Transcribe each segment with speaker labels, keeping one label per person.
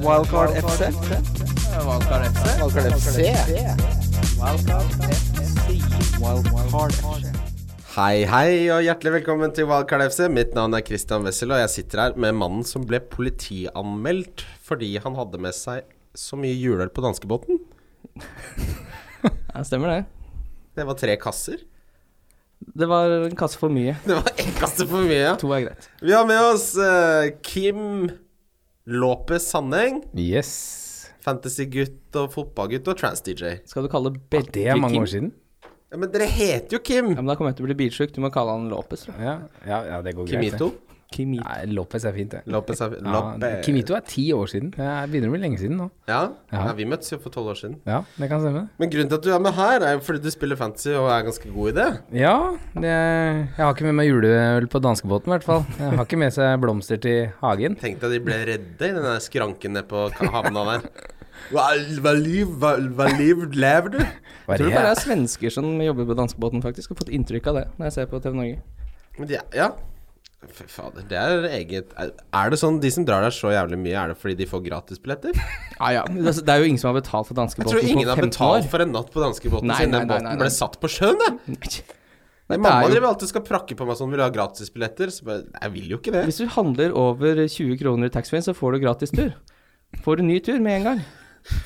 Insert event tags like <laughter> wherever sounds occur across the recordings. Speaker 1: Wildcard FC.
Speaker 2: Valkar FC.
Speaker 1: Wildcard FC. Wildcard FC.
Speaker 3: Hei, hei, og hjertelig velkommen til Wildcard FC. Mitt navn er Christian Wessel, og jeg sitter her med mannen som ble politianmeldt fordi han hadde med seg så mye juleøl på danskebåten.
Speaker 4: Ja, stemmer det.
Speaker 3: Det var tre kasser.
Speaker 4: Det var en kasse for mye.
Speaker 3: Det var én kasse for mye.
Speaker 4: To er greit.
Speaker 3: Vi har med oss eh, Kim Lopez Sandeng.
Speaker 2: Yes.
Speaker 3: Fantasygutt og fotballgutt og trans-DJ.
Speaker 4: Skal du kalle Berge
Speaker 2: Det er mange
Speaker 4: Kim?
Speaker 2: år siden.
Speaker 3: Ja, men dere heter jo Kim.
Speaker 4: Ja, men da kommer jeg til å bli bilsjuk. Du må kalle han Lopez. da.
Speaker 2: Ja, ja, ja det går greit.
Speaker 3: Kimito.
Speaker 4: Kimi.
Speaker 2: det. Nei, Lopez er fint, det.
Speaker 3: Lopez er
Speaker 2: Ja,
Speaker 3: Lope-
Speaker 2: Kimito er ti år siden. Det er- begynner å bli lenge siden nå.
Speaker 3: Ja.
Speaker 2: Ja.
Speaker 3: ja, vi møttes jo for tolv år siden.
Speaker 2: Ja, det kan stemme.
Speaker 3: Men grunnen til at du er med her, er jo fordi du spiller fantasy og er ganske god i det.
Speaker 2: Ja, det, jeg har ikke med meg juleøl på danskebåten i hvert fall. Jeg har ikke med seg blomster til hagen.
Speaker 3: Tenk deg de ble redde i den der skranken nede på ka- havna der. <laughs> Hva, hva liv, hva, hva liv lever du?
Speaker 2: Hva
Speaker 4: Jeg tror det bare er svensker som jobber på danskebåten, faktisk. Har fått inntrykk av det når jeg ser på TV Norge.
Speaker 3: Men de, er- ja. Fy fader, det er eget er, er det sånn de som drar der så jævlig mye, er det fordi de får gratisbilletter?
Speaker 4: Ja, ja. Det er- det er jo ingen som har betalt for
Speaker 3: Jeg
Speaker 4: danskebåten
Speaker 3: tror
Speaker 4: på
Speaker 3: ingen har
Speaker 4: 15
Speaker 3: betalt
Speaker 4: år.
Speaker 3: for en natt på danskebåten
Speaker 4: Nei,
Speaker 3: siden
Speaker 4: nei,
Speaker 3: den
Speaker 4: nei,
Speaker 3: båten
Speaker 4: nei, nei.
Speaker 3: ble satt på sjøen, det.
Speaker 4: Nei, det
Speaker 3: Mamma
Speaker 4: er jo,
Speaker 3: driver alltid og skal prakke på meg sånn, vil du ha gratisbilletter? Så bare, jeg vil jo ikke det.
Speaker 4: hvis du handler over 20 kroner i taxfree, så får du gratis tur. Får du ny tur med en gang.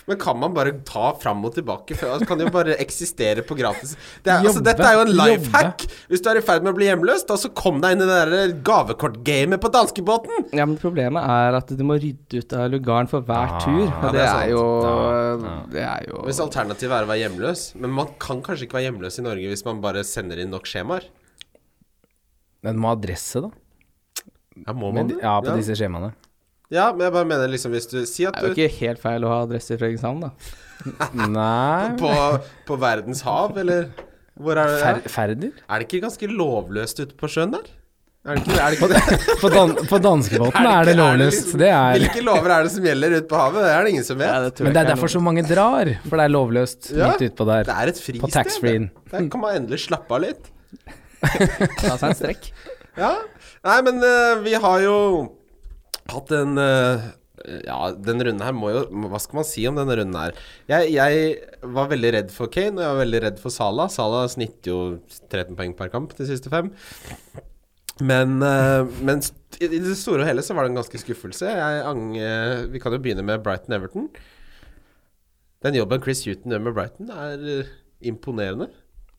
Speaker 3: Men kan man bare ta fram og tilbake? For, altså, kan det jo bare eksistere på gratis. Det er, altså,
Speaker 2: Jobbe,
Speaker 3: dette er jo en
Speaker 2: jobbe.
Speaker 3: life hack. Hvis du er i ferd med å bli hjemløs, da så kom deg inn i det der eh, gavekortgamet på danskebåten.
Speaker 4: Ja, men problemet er at du må rydde ut av lugaren for hver tur. Og
Speaker 3: det
Speaker 4: det,
Speaker 3: er
Speaker 4: er
Speaker 3: sant.
Speaker 4: jo,
Speaker 2: Ja,
Speaker 4: det er jo
Speaker 3: Hvis alternativet er å være hjemløs Men man kan kanskje ikke være hjemløs i Norge hvis man bare sender inn nok skjemaer.
Speaker 2: Den må ha adresse, da.
Speaker 3: Ja, må
Speaker 2: Men,
Speaker 3: man det?
Speaker 2: ja, på disse skjemaene.
Speaker 3: ja, men jeg bare mener liksom hvis du sier
Speaker 4: Det
Speaker 3: at
Speaker 4: er jo
Speaker 3: du
Speaker 4: ikke helt feil å ha adresse i Fredrikshavn, da.
Speaker 2: Nei
Speaker 3: på, på verdens hav, eller hvor er det?
Speaker 2: fer Ferder?
Speaker 3: Er det ikke ganske lovløst ute på sjøen der? Er det ikke, er det ikke
Speaker 2: <laughs>
Speaker 3: det?
Speaker 2: <laughs> På, dan på danskebåten er det lovløst.
Speaker 3: liksom-
Speaker 2: Det er
Speaker 3: Hvilke lover er det som gjelder ute på havet? Det er det ingen som vet.
Speaker 4: det
Speaker 2: Men det er derfor så mange drar, for det er lovløst
Speaker 3: Ja.
Speaker 2: midt utpå der.
Speaker 3: Det er et fristed.
Speaker 2: På taxfree-en.
Speaker 3: det. Der kan man endelig slappe av litt.
Speaker 4: Ta seg en strekk.
Speaker 3: Ja. Nei, men eh, vi har jo hatt en eh, Ja, den runden her må jo Hva skal man si om denne runden her? Jeg, jeg var veldig redd for Kane, og jeg var veldig redd for Salah. Salah snitter jo 13 poeng per kamp de siste fem. Men, eh, men st- i i det store og hele så var det en ganske skuffelse. Jeg ang, eh, vi kan jo begynne med Brighton Everton. Den jobben Chris Huton gjør med Brighton, er eh, imponerende.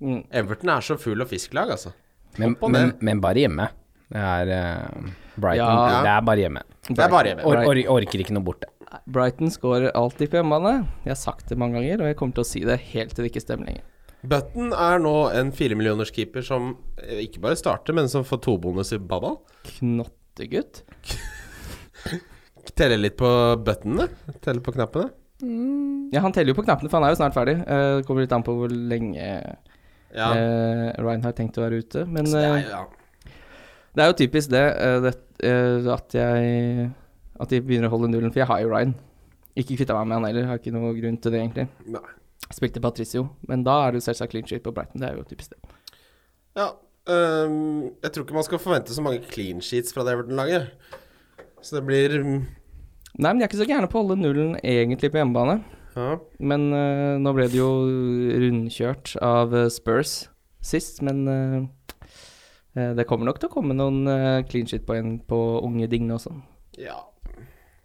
Speaker 4: Mm.
Speaker 3: Everton er så fugl og fisk-lag, altså.
Speaker 2: Men,
Speaker 3: og
Speaker 2: men,
Speaker 3: ned.
Speaker 2: men bare hjemme. Det er eh, Brighton.
Speaker 4: Ja.
Speaker 2: Det er bare hjemme.
Speaker 3: Det er bare hjemme.
Speaker 2: Or, or, orker ikke noe borte.
Speaker 4: Brighton scorer alltid på hjemmebane. Jeg har sagt det mange ganger, og jeg kommer til å si det helt til det ikke stemmer lenger.
Speaker 3: Button er nå en firemillionerskeeper som eh, ikke bare starter, men som får to bonus i Baba.
Speaker 4: Knottegutt.
Speaker 3: Teller litt på buttonene. Teller på knappene.
Speaker 4: Ja, han teller jo på knappene, for han er jo snart ferdig. Eh, Det kommer litt an på hvor lenge
Speaker 3: Ja.
Speaker 4: eh, Ryan har tenkt å være ute. Men
Speaker 3: Så det er,
Speaker 4: eh,
Speaker 3: jo- ja.
Speaker 4: det er jo typisk det, eh, det eh, at jeg At de begynner å holde nullen, for jeg har jo Ryan. Ikke kvitta meg med han heller, har ikke noe grunn til det, egentlig.
Speaker 3: Nei.
Speaker 4: Spilte Patricio, men da er det jo selvsagt clean sheet på Brighton. Det er jo typisk det.
Speaker 3: ja. øhm, jeg tror ikke man skal forvente så mange clean sheets fra det Everton-laget. Så det blir mm,
Speaker 4: Nei, men de er ikke så gærne på å holde nullen egentlig på hjemmebane.
Speaker 3: Ja.
Speaker 4: Men eh, nå ble det jo rundkjørt av eh, Spurs sist, men eh, eh, det kommer nok til å komme noen eh, clean shit på en på unge Digne også.
Speaker 3: ja.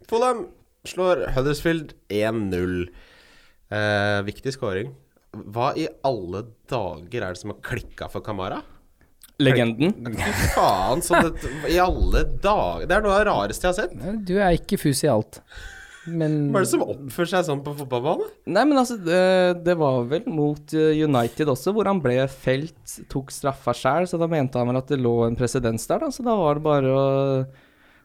Speaker 3: Fulham slår Huddersfield 1-0. Eh, viktig scoring. Hva i alle dager er det som har klikka for Kamara?
Speaker 4: Legenden.
Speaker 3: Fy faen, så det, i alle dager Det er noe av det rareste jeg har sett.
Speaker 2: Du er ikke fus i alt.
Speaker 4: <laughs>
Speaker 2: Men
Speaker 3: Hva er det som oppfører seg sånn på fotballbane?
Speaker 4: Nei, men altså, det, det var vel mot eh, United også, hvor han ble felt, tok straffa sjæl, så da mente han vel at det lå en presedens der, da, så da var det bare å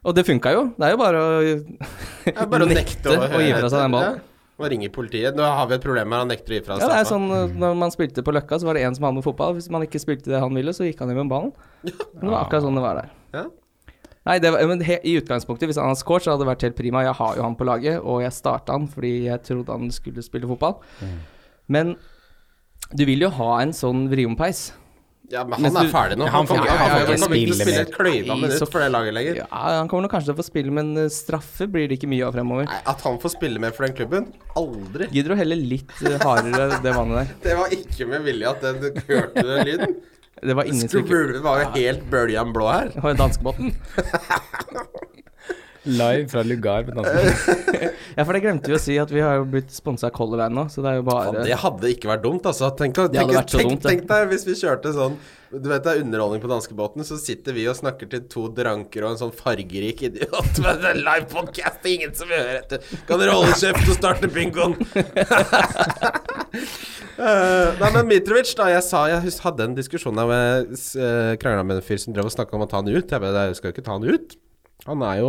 Speaker 4: Og det funka jo. Det er jo bare å nekte å gi fra seg den ballen.
Speaker 3: Og ringe politiet. Nå har vi et problem her, han nekter å gi fra seg
Speaker 4: Ja, det er
Speaker 3: straffa.
Speaker 4: sånn eh, når man spilte på Løkka, så var det en som hadde med fotball. Hvis man ikke spilte det han ville, så gikk han hjem med ballen. Men det var akkurat sånn det var der.
Speaker 3: Ja.
Speaker 4: Nei, det var, men he, i utgangspunktet, hvis han hadde scoret, så hadde det vært helt prima. Jeg har jo han på laget, og jeg starta han fordi jeg trodde han skulle spille fotball. Men du vil jo ha en sånn vriompeis.
Speaker 3: Ja, men
Speaker 4: Mens
Speaker 3: han er
Speaker 4: du-
Speaker 3: ferdig nå.
Speaker 2: Ja, han får-
Speaker 3: ikke-
Speaker 2: han får ikke
Speaker 3: kommer ikke til å
Speaker 2: spille
Speaker 3: spille
Speaker 2: mer.
Speaker 3: et kløyva
Speaker 4: Nei,
Speaker 3: minutt
Speaker 4: så-
Speaker 3: for det laget lenger.
Speaker 4: Ja, han kommer nok kanskje til å få spille, men eh, straffer blir det ikke mye av fremover.
Speaker 3: Nei, At han får spille mer for den klubben? Aldri.
Speaker 4: Gidder du helle litt eh, hardere det vannet der?
Speaker 3: Det var ikke med vilje at den du hørte den lyden.
Speaker 4: Det var ingen skurker.
Speaker 3: Skrubbe var jo helt bølja blå her.
Speaker 4: Det var jo danskebåten.
Speaker 2: Live fra lugar altså. på danskebåten.
Speaker 4: Ja, for det glemte vi å si, at vi har jo blitt sponsa av Color Line nå, så det er jo
Speaker 3: Ja,
Speaker 4: bare
Speaker 3: det hadde ikke vært dumt, altså. Tenk,
Speaker 4: Det hadde
Speaker 3: tenk,
Speaker 4: vært så
Speaker 3: tenk,
Speaker 4: dumt, det.
Speaker 3: tenk deg hvis vi kjørte sånn Du vet det er underholdning på danskebåten, så sitter vi og snakker til to dranker og en sånn fargerik idiot. <laughs> Men det er live podcast, det er ingen som hører etter. Kan dere holde kjeft og starte bingoen? <laughs> Eh, nei, men Mitrovic, da. Jeg sa Jeg hus- hadde en diskusjon der med uh, krangla med en fyr som drev og snakka om å ta han ut. Jeg bare, jeg skal jo ikke ta han ut. Han er jo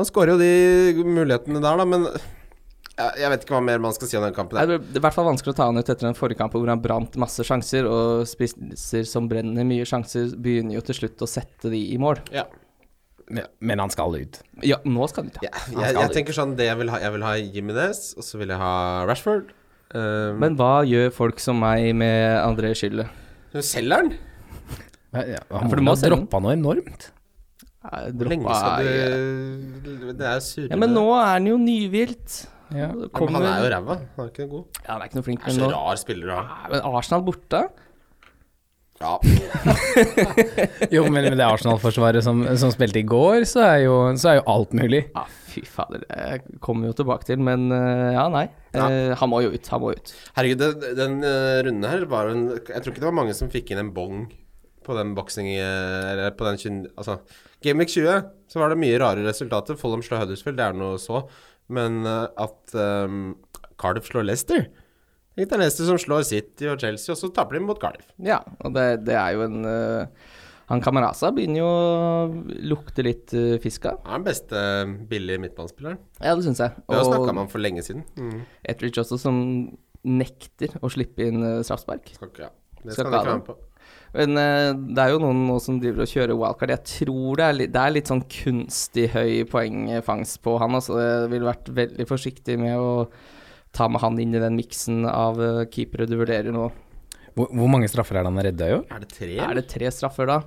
Speaker 3: Han skårer jo de mulighetene der, da, men jeg, jeg vet ikke hva mer man skal si om den kampen.
Speaker 4: Nei, det er i hvert fall vanskelig å ta han ut etter den forrige kampen hvor han brant masse sjanser, og spisser som brenner mye sjanser, begynner jo til slutt å sette de i mål.
Speaker 3: Ja.
Speaker 2: <laughs> Men- Men han skal ut.
Speaker 4: Ja, nå skal de ta
Speaker 3: Ja,
Speaker 4: han
Speaker 3: jeg,
Speaker 4: skal
Speaker 3: jeg
Speaker 4: ut.
Speaker 3: tenker sånn det jeg vil ha, jeg vil ha Jimenez, og så vil jeg ha Rashford. Um,
Speaker 4: Men hva gjør folk som meg med André Schille?
Speaker 3: men selger han?
Speaker 2: Ja, ja, han
Speaker 4: for du
Speaker 2: må
Speaker 4: må
Speaker 2: ha
Speaker 4: selge den.
Speaker 2: droppa noe enormt.
Speaker 4: Jeg
Speaker 3: Hvor lenge
Speaker 4: droppa-
Speaker 3: skal du Det er jo surrende.
Speaker 4: Ja, men nå er han jo nyvilt.
Speaker 2: Ja.
Speaker 3: Men
Speaker 4: Kommer
Speaker 3: Han er jo ræva. Han er ikke god.
Speaker 4: Ja, han er ikke noe flink,
Speaker 3: Er
Speaker 4: men
Speaker 3: så
Speaker 4: nå
Speaker 3: rar spiller å ha.
Speaker 4: Nei, Men Arsenal borte?
Speaker 3: Ja.
Speaker 2: Jo, men med det Arsenal-forsvaret som, som spilte i går, så er jo, så er jo alt mulig.
Speaker 4: Ja, Ah, fy fader. Jeg kommer vi jo tilbake til, men eh, ja, nei.
Speaker 3: Ja.
Speaker 4: Eh, han må jo ut, han må ut.
Speaker 3: Herregud, den, den eh, runden her var en Jeg tror ikke det var mange som fikk inn en bong på den boksing... eh, Eller på den kyn- Altså, Game Week 20 så var det mye rare resultater. Follum slår Huddersfield, det er noe så. Men eh, at um, Cardiff slår Leicester Tenk deg Leicester som slår City og Chelsea, og så taper de mot Cardiff.
Speaker 4: Ja, og det, det er jo en eh, Han Kamaraza begynner jo å lukte litt eh, fisk av.
Speaker 3: Han er den beste eh, billige midtbanespilleren.
Speaker 4: Ja, det syns jeg.
Speaker 3: Det
Speaker 4: Og
Speaker 3: snakka man for lenge siden. Mm.
Speaker 4: Etridge også, som nekter å slippe inn eh, straffespark.
Speaker 3: Skal ikke, ja. Det
Speaker 4: Skal
Speaker 3: skal
Speaker 4: ikke
Speaker 3: han ikke
Speaker 4: ha
Speaker 3: være
Speaker 4: den.
Speaker 3: med på.
Speaker 4: Men eh, det er jo noen nå som driver og kjører wildcard. Jeg tror det er, litt, det er litt sånn kunstig høy poengfangst på han. Altså. Jeg ville vært veldig forsiktig med å ta med han inn i den miksen av eh, keepere du vurderer nå.
Speaker 2: Hvor, hvor mange straffer er det han har redda i år?
Speaker 3: Er det tre?
Speaker 4: Er det Mm. tre straffer da?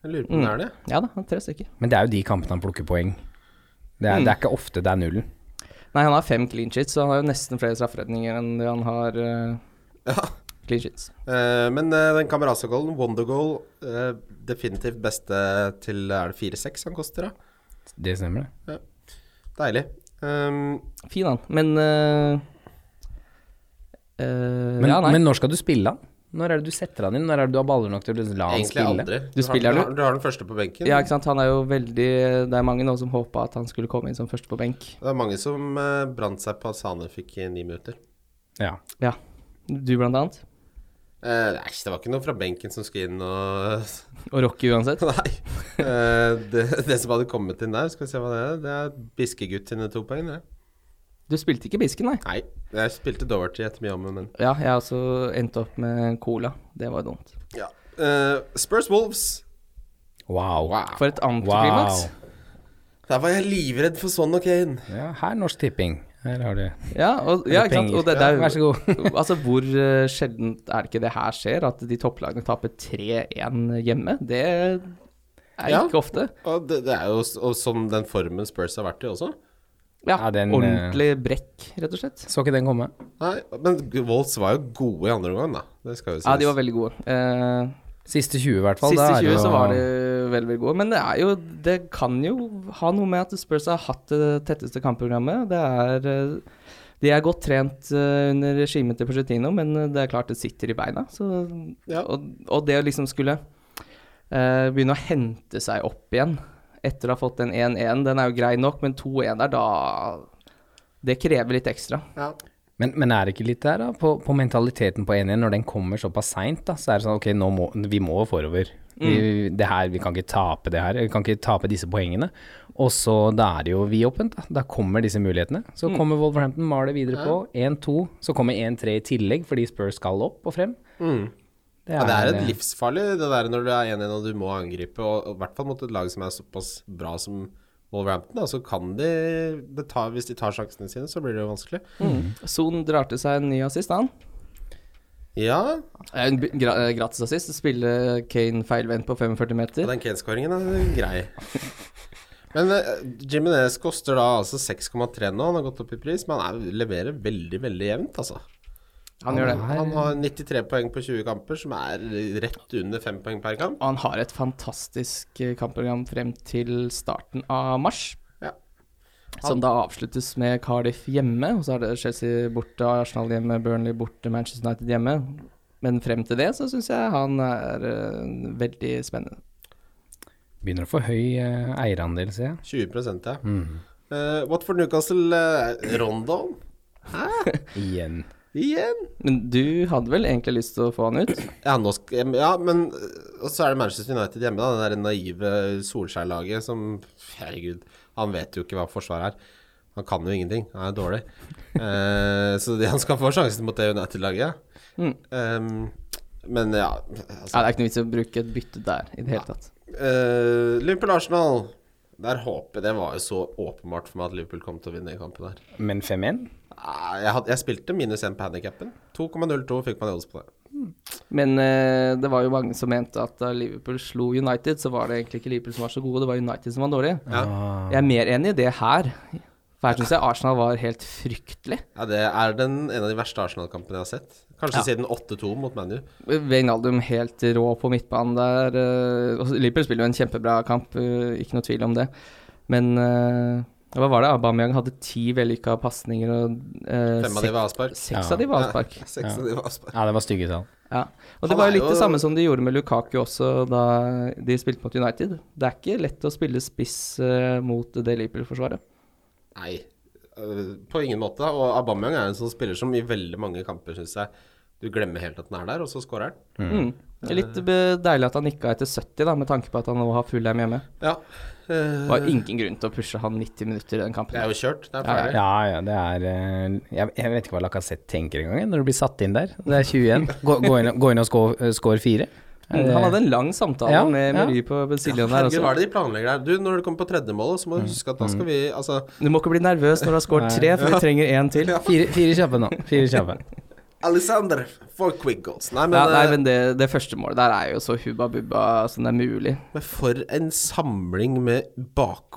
Speaker 3: Jeg lurer på om det er det.
Speaker 4: Ja da, tre stykker.
Speaker 2: Men det er jo de kampene han plukker poeng. Det
Speaker 4: Mm.
Speaker 2: er, det er ikke ofte det er nullen.
Speaker 4: Nei, han har fem clean sheets, så han har jo nesten flere strafferedninger enn det han har eh,
Speaker 3: Ja.
Speaker 4: clean sheets.
Speaker 3: Eh, men eh, den Camarasa-goalen, Wonder-goal, eh, definitivt beste til Er det 4-6 han koster, da?
Speaker 2: Det stemmer, det.
Speaker 3: Deilig. Ehm,
Speaker 4: Fin han, men eh, eh,
Speaker 2: Men,
Speaker 4: Ja, nei.
Speaker 2: men når skal du spille han? Når er det du setter han inn? Når er det du har baller nok til å la han
Speaker 3: egentlig
Speaker 2: spille?
Speaker 3: aldri.
Speaker 4: Du spiller
Speaker 3: har,
Speaker 4: den,
Speaker 3: du? har den første på benken.
Speaker 4: ja, ikke sant. Han er jo veldig Det er mange nå som håpa at han skulle komme inn som første på benk.
Speaker 3: Det er mange som eh, brant seg på at Sane fikk eh, ni minutter.
Speaker 2: Ja.
Speaker 4: Ja. Du, blant annet.
Speaker 3: Eh, nei, det var ikke noen fra benken som skulle inn og <laughs>
Speaker 4: Og Rocky uansett.
Speaker 3: Nei. Eh, det, det som hadde kommet inn der, skal vi se hva det er, det er Biskegutt sine to poeng, det.
Speaker 4: Du spilte ikke Bisken, nei.
Speaker 3: Nei, jeg spilte Doverty etter mye om, men
Speaker 4: Ja, jeg også endte opp med cola. Det var dumt.
Speaker 3: ja. Eh, Spurs Wolves.
Speaker 2: Wow.
Speaker 4: For et
Speaker 2: wow.
Speaker 4: antiklimaks.
Speaker 3: Der var jeg livredd for Son og Kane.
Speaker 2: Ja, her Norsk Tipping. Her har du
Speaker 4: Ja, og, ja, ikke sant.
Speaker 2: penger.
Speaker 4: Og det, det er, jo-
Speaker 2: Vær så god.
Speaker 4: <laughs> altså, hvor eh, sjeldent er det ikke det her skjer? At de topplagene taper 3-1 hjemme? Det er
Speaker 3: Ja.
Speaker 4: ikke ofte.
Speaker 3: Og det, det er jo s- og som den formen Spurs har vært i også.
Speaker 4: Ja,
Speaker 2: Ja, den, eh,
Speaker 4: ordentlig brekk, rett og slett.
Speaker 2: Så ikke den komme.
Speaker 3: Nei, men Wolves var jo gode i andre omgang, da. Det skal jo sies.
Speaker 4: Ja, de var veldig gode. Eh,
Speaker 2: Siste 20, i hvert fall.
Speaker 4: siste
Speaker 2: da er
Speaker 4: 20
Speaker 2: det
Speaker 4: så
Speaker 2: jo-
Speaker 4: var de veldig, veldig gode. Men det er jo Det kan jo ha noe med at Spurs har hatt det tetteste kampprogrammet. Det er eh, De er godt trent eh, under regimet til Pochettino, men eh, det er klart det sitter i beina. Så,
Speaker 3: Ja.
Speaker 4: og, og det å liksom skulle eh, begynne å hente seg opp igjen etter å ha fått den 1-1, den er jo grei nok, men 2-1 der, da Det krever litt ekstra.
Speaker 3: ja.
Speaker 2: Men, men er det ikke litt der, da? På, på mentaliteten på 1-1, når den kommer såpass seint, da, så er det sånn ok, nå må, vi må forover. Vi, det her, vi kan ikke tape det her, vi kan ikke tape disse poengene. Og så da er det jo vidåpent, da. Da kommer disse mulighetene. Så kommer Wolverhampton, maler videre på 1-2. Så kommer 1-3 i tillegg, fordi Spurs skal opp og frem.
Speaker 3: Ja, det er et livsfarlig det der når du er 1-1 og du må angripe, og og i hvert fall mot et lag som er såpass bra som Wolverhampton, da, så kan de det tar,
Speaker 2: Mm.
Speaker 3: Hvis de tar sjansene sine, så blir det jo vanskelig.
Speaker 4: Son drar til seg en ny assist, han.
Speaker 3: Ja,
Speaker 4: En b- gra eh, gratis assist. Spille Kane feilvendt på 45
Speaker 3: og
Speaker 4: meter.
Speaker 3: den Kane-skåringen er
Speaker 4: <laughs>
Speaker 3: grei. Men uh, Jimenez koster da altså 6,3 nå. Han har gått opp i pris, men han er, leverer veldig, veldig jevnt, altså.
Speaker 4: Han gjør det.
Speaker 2: Nei.
Speaker 3: Han har 93 poeng på 20 kamper, som er rett under 5 poeng per kamp.
Speaker 4: Og han har et fantastisk eh, kampprogram frem til starten av mars.
Speaker 3: Ja.
Speaker 4: Som da avsluttes med Cardiff hjemme, og så er det Chelsea borte, Arsenal hjemme, Burnley borte, Manchester United hjemme. Men frem til det så syns jeg han er eh, veldig spennende.
Speaker 2: Begynner å få høy eh, eierandel, ser jeg.
Speaker 3: 20 ja.
Speaker 4: Mm.
Speaker 3: Eh, Watford Newcastle eh, Rondon
Speaker 2: Igjen.
Speaker 3: igjen.
Speaker 4: Men du hadde vel egentlig lyst til å få han ut? <clears throat>
Speaker 3: Ja, nå sk- ja, men eh, Og så er det Manchester United hjemme, da. Det der naive Solskjær-laget som Herregud, han vet jo ikke hva forsvaret er. Han kan jo ingenting. Han er dårlig. Eh, så det, han skal få sjansen mot det United-laget.
Speaker 4: Mm.
Speaker 3: Ehm, men ja altså,
Speaker 4: Ja, det er ikke noe vits i å bruke et bytte der i det hele tatt.
Speaker 3: Eh, Liverpool Arsenal. Der håper jeg Det var jo så åpenbart for meg at Liverpool kom til å vinne den kampen der.
Speaker 2: Men 5-1?
Speaker 3: Ah, Jeg, hadde, jeg spilte minus 1 på handikappen. 2,02 fikk man i odds på det.
Speaker 4: Men eh, det var jo mange som mente at da Liverpool slo United, så var det egentlig ikke Liverpool som var så gode, det var United som var dårlige.
Speaker 3: Ja.
Speaker 4: Jeg er mer enig i det her. For her syns jeg Arsenal var helt fryktelig.
Speaker 3: Ja, det er den, en av de verste Arsenal-kampene jeg har sett. Kanskje siden 8-2 mot ManU.
Speaker 4: Wijnaldum helt rå på midtbanen der. eh, og Liverpool spiller jo en kjempebra kamp, eh, ikke noe tvil om det. Men eh, hva var det? Aubameyang hadde ti vellykka pasninger, og eh,
Speaker 3: Fem av de
Speaker 4: sek-
Speaker 3: var avspark.
Speaker 4: seks
Speaker 2: Ja.
Speaker 4: av de var avspark.
Speaker 3: Ja, Seks av de var avspark.
Speaker 2: Ja, det var stygge tall.
Speaker 4: Ja. Og
Speaker 3: Han
Speaker 4: det var
Speaker 3: er
Speaker 4: jo litt
Speaker 3: jo-
Speaker 4: det samme som de gjorde med Lukaku også da de spilte mot United. Det er ikke lett å spille spiss eh, mot det Liverpool-forsvaret.
Speaker 3: Nei, øh, på ingen måte. Og Aubameyang er en sånn spiller som i veldig mange kamper, syns jeg, du glemmer helt at den er der, og så scorer han.
Speaker 4: Mm. Det er Litt be- deilig at han nikka etter 70, da, med tanke på at han nå har full hjem hjemme.
Speaker 3: Ja.
Speaker 4: Det
Speaker 3: øh,
Speaker 4: var ingen grunn til å pushe han 90 minutter i den kampen.
Speaker 3: det er jo kjørt. Det er
Speaker 4: Ja,
Speaker 3: ferdig.
Speaker 2: Ja, ja, det er eh, Jeg, jeg vet ikke hva Lacassette tenker engang, jeg, når du blir satt inn der. Det er 21. <laughs> Gå, gå, inn, gå inn og score, eh, score fire. Eh, Er
Speaker 4: Mm,
Speaker 2: det-
Speaker 4: Han hadde <laughs> en lang samtale
Speaker 2: Ja,
Speaker 4: med
Speaker 2: ja.
Speaker 4: Mery på sidelinjen der
Speaker 3: Herregud, hva
Speaker 4: også. Mm.
Speaker 3: er det de planlegger der? Du, når du kommer på tredjemålet, så må du huske at da skal vi Altså,
Speaker 4: Du må ikke bli nervøs når du har skåret tre, for vi trenger én til. Ja,
Speaker 2: Fire, fire kjappe nå.
Speaker 4: <laughs>
Speaker 2: Fire kjappe.
Speaker 3: Alexander for quick goals. Nei, men,
Speaker 4: nei,
Speaker 3: øh,
Speaker 4: men det, det første målet der er jo så hubba bubba som det er mulig.
Speaker 3: eh, Men for en samling med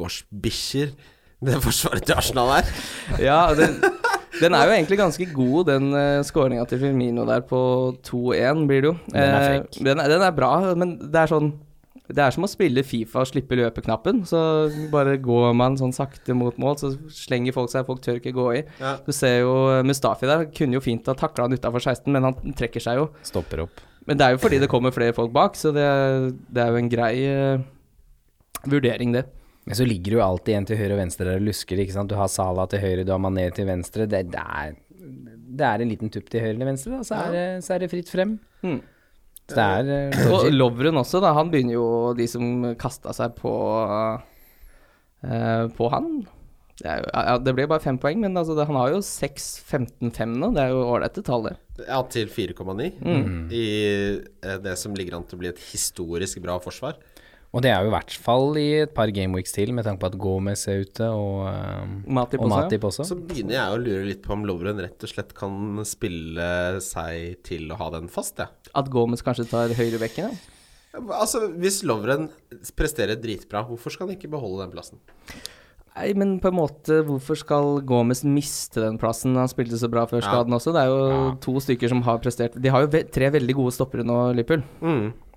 Speaker 3: bakgårdsbikkjer det forsvaret til Arsenal er.
Speaker 4: Ja, den, den er jo egentlig ganske god, den uh, skåringa til Firmino der på 2-1, blir det jo.
Speaker 2: Den er
Speaker 4: Eh,
Speaker 2: frekk.
Speaker 4: den, er- den er bra, men det er sånn det er som å spille Fifa og slippe løpeknappen. Så bare går man sånn sakte mot mål, så slenger folk seg, folk tør ikke gå i.
Speaker 3: Ja.
Speaker 4: Du ser jo eh, Mustafi der, kunne jo fint ha takla han utafor 16, men han trekker seg jo.
Speaker 2: Stopper opp.
Speaker 4: Men det er jo fordi det kommer flere folk bak, så det, det er jo en grei eh, vurdering, det.
Speaker 2: Men så ligger du jo alltid en til høyre og venstre der og lusker, ikke sant. Du har Sala til høyre, du har Mané til venstre. Det, det, er, det er en liten tupp til høyre eller venstre, da. Så er, det, så er det fritt frem.
Speaker 4: Mm.
Speaker 2: Så det er eh,
Speaker 4: Og Lovren også, da. Han begynner jo de som kasta seg på eh, På han. Det, er jo, ja, det ble bare fem poeng, men altså, det, han har jo 6-15-5 nå. Det er jo ålreite tall, det.
Speaker 3: Ja, til 4,9
Speaker 4: Mm.
Speaker 3: i eh, det som ligger an til å bli et historisk bra forsvar.
Speaker 2: Og det er jo i hvert fall i et par gameweeks til, med tanke på at Gomez er ute, og, eh,
Speaker 4: Matip
Speaker 2: og
Speaker 4: også, ja.
Speaker 2: Matip også.
Speaker 3: Så begynner jeg å lure litt på om Lovren rett og slett kan spille seg til å ha den fast, jeg.
Speaker 4: At Gomez kanskje tar høyrebekken, ja.
Speaker 3: Ja, Altså, hvis Lovren presterer dritbra, hvorfor skal han ikke beholde den plassen?
Speaker 4: Nei, men på en måte, hvorfor skal Gomez miste den plassen? Han spilte så bra før skaden også. Det er jo to stykker som har prestert De har jo ve tre veldig gode stoppere nå, Liverpool.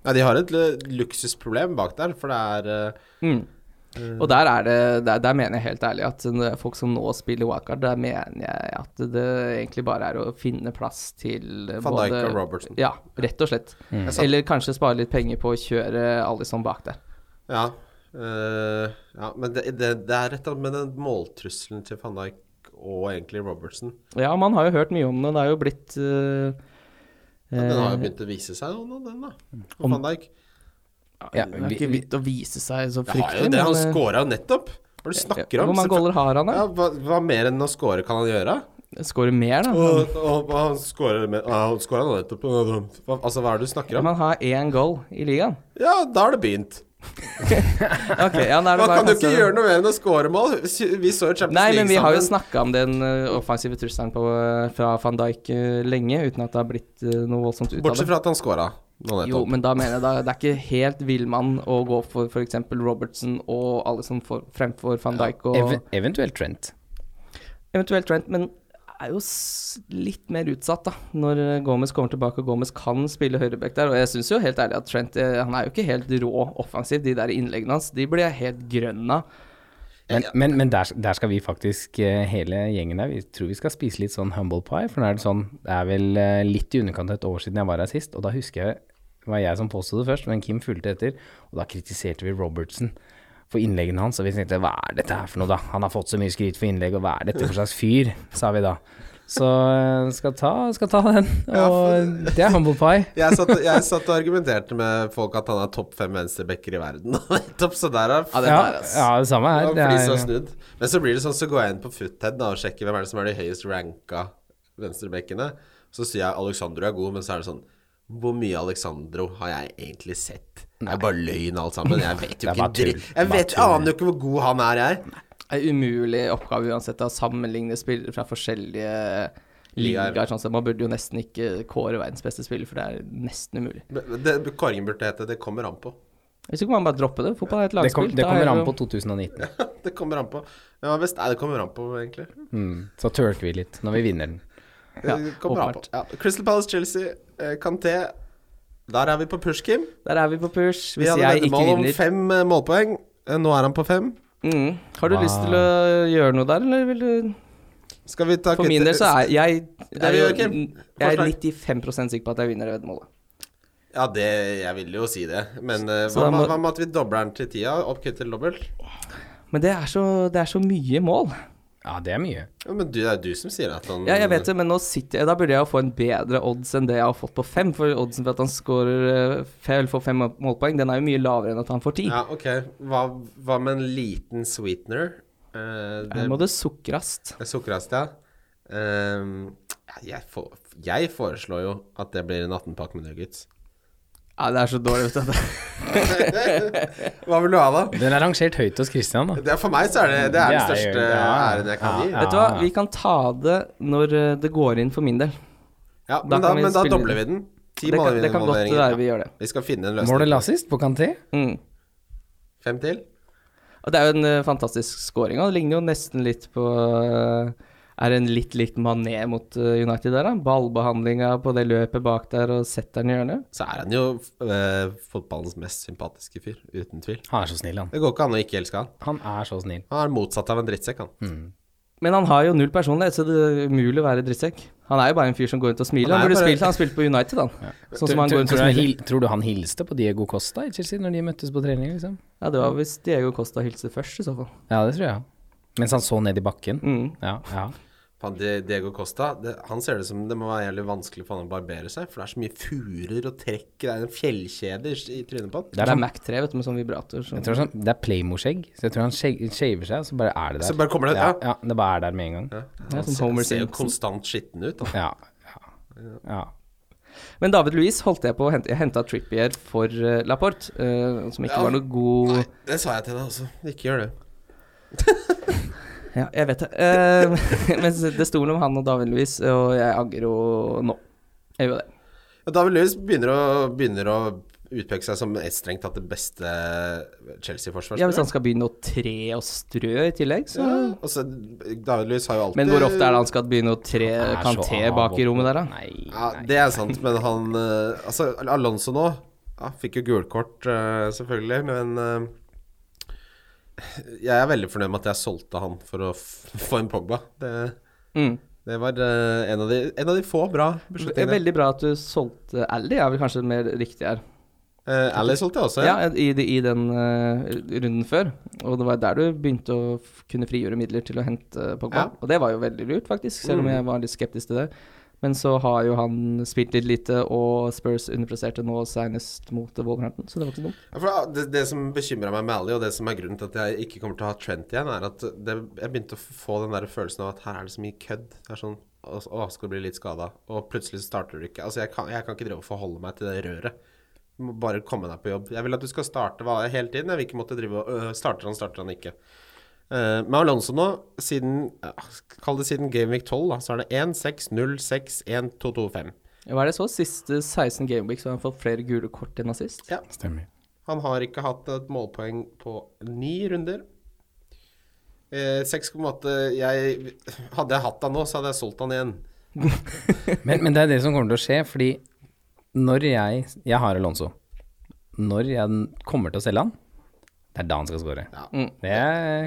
Speaker 3: Ja, de har et l- luksusproblem bak der, for det er eh,
Speaker 4: Mm. Og der er det der, der mener jeg helt ærlig at når folk som nå spiller wildcard, der mener jeg at det egentlig bare er å finne plass til eh,
Speaker 3: Van Dijk og Robertson.
Speaker 4: Ja, rett og slett. Eller kanskje spare litt penger på å kjøre Alison bak der.
Speaker 3: Ja, eh, ja men det, det, det er rett og slett med den måltrusselen til van Dijk og egentlig Robertson.
Speaker 4: Ja, man har jo hørt mye om det. Det er jo blitt eh,
Speaker 3: Ja, den har jo
Speaker 4: eh,
Speaker 3: begynt å vise seg nå, den da. Og
Speaker 4: Om-
Speaker 3: van Dijk.
Speaker 2: Ja,
Speaker 4: det er
Speaker 2: vi-
Speaker 4: ikke vidt å vise seg så
Speaker 3: Jeg har
Speaker 4: fryktelig.
Speaker 3: jo det, han
Speaker 4: men, eh,
Speaker 3: scora jo nettopp. Hva er det du snakker om?
Speaker 4: Hvor mange goller har han, da?
Speaker 3: Ja, hva, hva mer enn å score kan han gjøre?
Speaker 4: Skårer mer, da.
Speaker 3: Og, og, og han scorer med ja, Han scorer nettopp. Hva- Altså, hva er det du snakker om?
Speaker 4: Man har én goal i ligaen.
Speaker 3: Ja, da har det begynt.
Speaker 4: Ok, ja, da er det
Speaker 3: Man
Speaker 4: bare
Speaker 3: kan jo ikke
Speaker 4: passe-
Speaker 3: gjøre noe mer enn å score mål. Vi så jo Champions
Speaker 4: Nei, men vi har jo
Speaker 3: League sammen.
Speaker 4: snakka om den eh, offensive trusselen på, eh, fra van Dijk eh, lenge, uten at det har blitt eh, noe voldsomt ut av det.
Speaker 3: Bortsett fra at han scora nå
Speaker 4: Jo,
Speaker 3: nettopp.
Speaker 4: men da mener jeg da, det er ikke helt villmann å gå for f.eks. Robertson og alle som får fremfor van Dijk og
Speaker 2: Ev eventuelt Trent.
Speaker 4: eventuelt Trent, men er jo s- litt mer utsatt da, når eh, Gomez kommer tilbake og Gomez kan spille høyreback der. Og jeg syns jo helt ærlig at Trent eh, han er jo ikke helt rå offensiv, de der innleggene hans. De blir jeg helt grønn av.
Speaker 2: Men, men, men der, der skal vi faktisk, eh, hele gjengen der, vi tror vi skal spise litt sånn humble pie. For nå er det sånn, det er vel eh, litt i underkant av et år siden jeg var her sist, og da husker jeg det var jeg som påsto det først, men Kim fulgte etter, og da kritiserte vi Robertson for innleggene hans, og vi tenkte hva er dette her for noe, da? Han har fått så mye skryt for innlegg, og hva er dette for slags fyr, sa vi da. Så eh, skal ta, skal ta den.
Speaker 3: Ja,
Speaker 2: Og det er humble pie.
Speaker 3: Jeg satt, jeg satt og argumenterte med folk at han er topp fem venstrebacker i verden. <laughs> nettopp, så der er
Speaker 2: Ja, ja, det samme her.
Speaker 3: Og
Speaker 2: Det
Speaker 3: flisa
Speaker 2: er,
Speaker 3: snudd. Men så blir det sånn, så går jeg inn på Foothead da, og sjekker hvem er det som er de høyest ranka venstrebekkene. Så sier jeg Alexandro er god, men så er det sånn Hvor mye Alexandro har jeg egentlig sett? Det er bare løgn alt sammen. Jeg
Speaker 2: <laughs>
Speaker 3: vet jo
Speaker 2: Det er
Speaker 3: ikke
Speaker 2: bare
Speaker 3: en dritt.
Speaker 2: tull.
Speaker 3: Jeg
Speaker 2: Bare
Speaker 3: vet,
Speaker 2: tull.
Speaker 3: aner jo ikke hvor god han er, jeg.
Speaker 4: Det er umulig oppgave uansett å sammenligne spillere fra forskjellige
Speaker 3: Ligaer.
Speaker 4: ligaer. Sånn, så man burde jo nesten ikke kåre verdens beste spiller, for det er nesten umulig.
Speaker 3: Men Det, Kåringen burde hete 'Det kommer an på'. <laughs>
Speaker 4: Hvis ikke kan man bare droppe det. Fotball er et
Speaker 2: det,
Speaker 4: lagspill.
Speaker 2: kom, det
Speaker 4: Da
Speaker 2: kommer
Speaker 4: er
Speaker 2: an
Speaker 4: jo-
Speaker 2: på 2019.
Speaker 3: Det kommer an på. Hvem er best? Nei, det kommer an på, egentlig.
Speaker 2: Mm, så tørker vi litt når vi vinner den.
Speaker 4: Ja,
Speaker 3: det kommer an på.
Speaker 4: åpenbart.
Speaker 3: Ja. Crystal Palace, Chelsea, eh, Kanté. Der er vi på Pushkim.
Speaker 4: Der er vi på push.
Speaker 3: Vi
Speaker 4: Hvis
Speaker 3: hadde
Speaker 4: jeg ikke
Speaker 3: veddemål om
Speaker 4: vinner
Speaker 3: fem eh, målpoeng. Eh, Nå er han på fem.
Speaker 4: mm. Har du
Speaker 2: Wow.
Speaker 4: lyst til å gjøre noe der, eller vil du
Speaker 3: Skal vi ta
Speaker 4: For min del så er jeg
Speaker 3: Det
Speaker 4: er
Speaker 3: vi
Speaker 4: jo,
Speaker 3: gjør, Kim.
Speaker 4: Jeg er
Speaker 3: Forslag.
Speaker 4: 95 sikker på at jeg vinner det veddemålet.
Speaker 3: Ja, det, jeg ville jo si det. Men eh,
Speaker 4: Så
Speaker 3: hva,
Speaker 4: da må-
Speaker 3: med- hva med at vi dobler den til tida? Oppkutt til dobbelt?
Speaker 4: Men det er, så, det er så mye mål.
Speaker 2: Ja, det er mye.
Speaker 3: Ja, men du, det er jo du som sier at han
Speaker 4: Ja, jeg vet det, men nå sitter jeg Da burde jeg jo få en bedre odds enn det jeg har fått på fem. For oddsen for at han scorer eh, fe- eller får fem målpoeng, den er jo mye lavere enn at han får ti.
Speaker 3: Ja, ok. Hva, hva med en liten sweetener? Eh,
Speaker 4: Her må du sukrast.
Speaker 3: det sukkerast, ja. Ehm, ja, jeg, får, jeg foreslår jo at det blir en 18-pakke med nuggets.
Speaker 4: Ja, det er så dårlig, <laughs> vet du.
Speaker 3: Hva vil du ha, da?
Speaker 2: Den er rangert høyt hos Christian, da.
Speaker 3: Det er, for meg så er det, det er den
Speaker 2: Det er jo-
Speaker 3: største
Speaker 2: ja.
Speaker 3: æren jeg kan
Speaker 2: Ja,
Speaker 3: gi.
Speaker 2: ja.
Speaker 4: Vet du hva, vi kan ta det når eh, det går inn for min del.
Speaker 3: Ja,
Speaker 4: Da
Speaker 3: men da,
Speaker 4: kan vi
Speaker 3: men da
Speaker 4: spille
Speaker 3: dobler vi
Speaker 4: det.
Speaker 3: den. Ti
Speaker 4: Det kan, det kan godt være
Speaker 3: målvinderinger.
Speaker 4: vi gjør det.
Speaker 3: Vi skal finne en
Speaker 2: Målet
Speaker 3: løsning.
Speaker 2: lassist på Kanté?
Speaker 4: Mm.
Speaker 3: Fem til?
Speaker 4: Og det er jo en eh, fantastisk scoring, og det ligner jo nesten litt på eh, Er en litt lik mané mot eh, United der, da. Ballbehandlinga på det løpet bak der, og setter den i hjørnet.
Speaker 3: Så er han jo eh, fotballens mest sympatiske fyr, uten tvil.
Speaker 2: Han er så snill, han.
Speaker 3: Det går ikke an å ikke elske han.
Speaker 2: Han er så snill.
Speaker 3: Han er motsatt av en drittsekk, han.
Speaker 4: Men han har jo null personlighet, så det er umulig å være drittsekk. Han er jo bare en fyr som går rundt og smiler.
Speaker 3: Han
Speaker 4: Han,
Speaker 3: er
Speaker 4: burde
Speaker 3: bare-
Speaker 4: spilt, han spilte på United, han. Sånn som han
Speaker 2: Tror,
Speaker 4: går rundt og
Speaker 2: tror, jeg,
Speaker 4: smiler.
Speaker 2: hil- tror du han hilste på Diego Costa i Chelsea når de møttes på trening, liksom?
Speaker 4: Ja, det var hvis Diego Costa hilste først, i så fall.
Speaker 2: Ja, det tror jeg. Mens han så ned i bakken.
Speaker 4: Mm.
Speaker 2: Ja, ja.
Speaker 3: Faen, Di- Diego Costa, det, han ser det som det må være jævlig vanskelig for han å barbere seg, for det er så mye furer og trekk, det er en fjellkjede i, i trynet på han.
Speaker 2: Det
Speaker 4: Det
Speaker 2: er
Speaker 4: er,
Speaker 2: sånn,
Speaker 4: Mac 3, vet du, med sånn vibrator. Så.
Speaker 2: jeg tror sånn, det er Playmo-skjegg, så jeg tror han skjeg- shaver seg, og så bare er det der.
Speaker 3: Så bare kommer det,
Speaker 2: ja.
Speaker 3: ja.
Speaker 2: ja. Det bare er der med en gang.
Speaker 4: Ja,
Speaker 3: Han
Speaker 4: som
Speaker 3: ser,
Speaker 4: Homer
Speaker 3: ser jo
Speaker 4: Simpson.
Speaker 3: konstant skitten ut. Han.
Speaker 2: Ja. ja. ja.
Speaker 4: Men David Luiz holdt jeg på å hente Jeg henta Trippier for eh, Laporte, eh, som ikke
Speaker 3: Ja.
Speaker 4: var noe god
Speaker 3: Nei, det sa jeg til deg også. Ikke gjør det.
Speaker 4: Ja, jeg vet det. Eh, <laughs> men det sto mellom han og David Luiz, og jeg angrer jo nå. Jeg gjør det.
Speaker 3: Ja, David Lewis begynner å, begynner å utpeke seg som et strengt tatt det beste
Speaker 4: Ja, sånn- Hvis han
Speaker 3: Chelsea-forsvarsspilleren.
Speaker 4: skal begynne å tre og strø i tillegg, så
Speaker 3: og så David Lewis har jo alltid
Speaker 4: Men hvor ofte er det han skal begynne å tre
Speaker 2: Er så
Speaker 4: Eh, kanté
Speaker 2: av
Speaker 4: bak i
Speaker 2: og på.
Speaker 4: rommet der, da?
Speaker 2: Nei,
Speaker 3: Ja,
Speaker 2: nei.
Speaker 3: det er sant, men han eh, Altså, Al- Alonso nå ja, fikk jo gult kort, eh, selvfølgelig, men eh, Jeg er veldig fornøyd med at jeg solgte han for å f få en Pogba. Det,
Speaker 4: Mm.
Speaker 3: det var eh, en, av de, en av de få bra
Speaker 4: Det er
Speaker 3: beslutningene.
Speaker 4: veldig bra at du solgte Ally, er vel kanskje mer riktig her.
Speaker 3: Eh, Ally solgte jeg også, ja.
Speaker 4: Ja, i, de- i den eh, runden før. Og det var der du begynte å f kunne frigjøre midler til å hente Pogba.
Speaker 3: Ja.
Speaker 4: Og det var jo veldig lurt, faktisk, selv om
Speaker 3: Mm.
Speaker 4: jeg var litt skeptisk til det. Men så har jo han spilt litt lite, og Spurs underpresterte nå senest mot Wolverhampton, så det var ikke så dumt.
Speaker 3: Ja, For ah, det, det som bekymra meg med Ally, og det som er grunnen til at jeg ikke kommer til å ha Trent igjen, er at det, jeg begynte å f- få den der følelsen av at her er det så mye kødd. Det er sånn Å, å, skal du bli litt skada? Og plutselig starter du ikke. Altså, jeg kan, jeg kan ikke drive og forholde meg til det røret. Du må bare komme deg på jobb. Jeg vil at du skal starte hva- hele tiden. Jeg vil ikke måtte drive og øh, Starter han, starter han ikke. Eh, med Alonso nå, siden ja, Kall det siden Game Week 12, da, så er det 1, 6, 0, 6, 1, 2, 2, 5.
Speaker 4: Hva er det så? Siste 16 gameweeks har han fått flere gule kort enn assist.
Speaker 3: Ja.
Speaker 2: Stemmer.
Speaker 3: Han har ikke hatt et målpoeng på ni runder. Eh, 6,8 jeg, Hadde jeg hatt han nå, så hadde jeg solgt han igjen.
Speaker 2: Men, men det er det som kommer til å skje, fordi når jeg Jeg har Alonso. Når jeg kommer til å selge han, det er da han skal score.
Speaker 3: Ja.
Speaker 2: Det,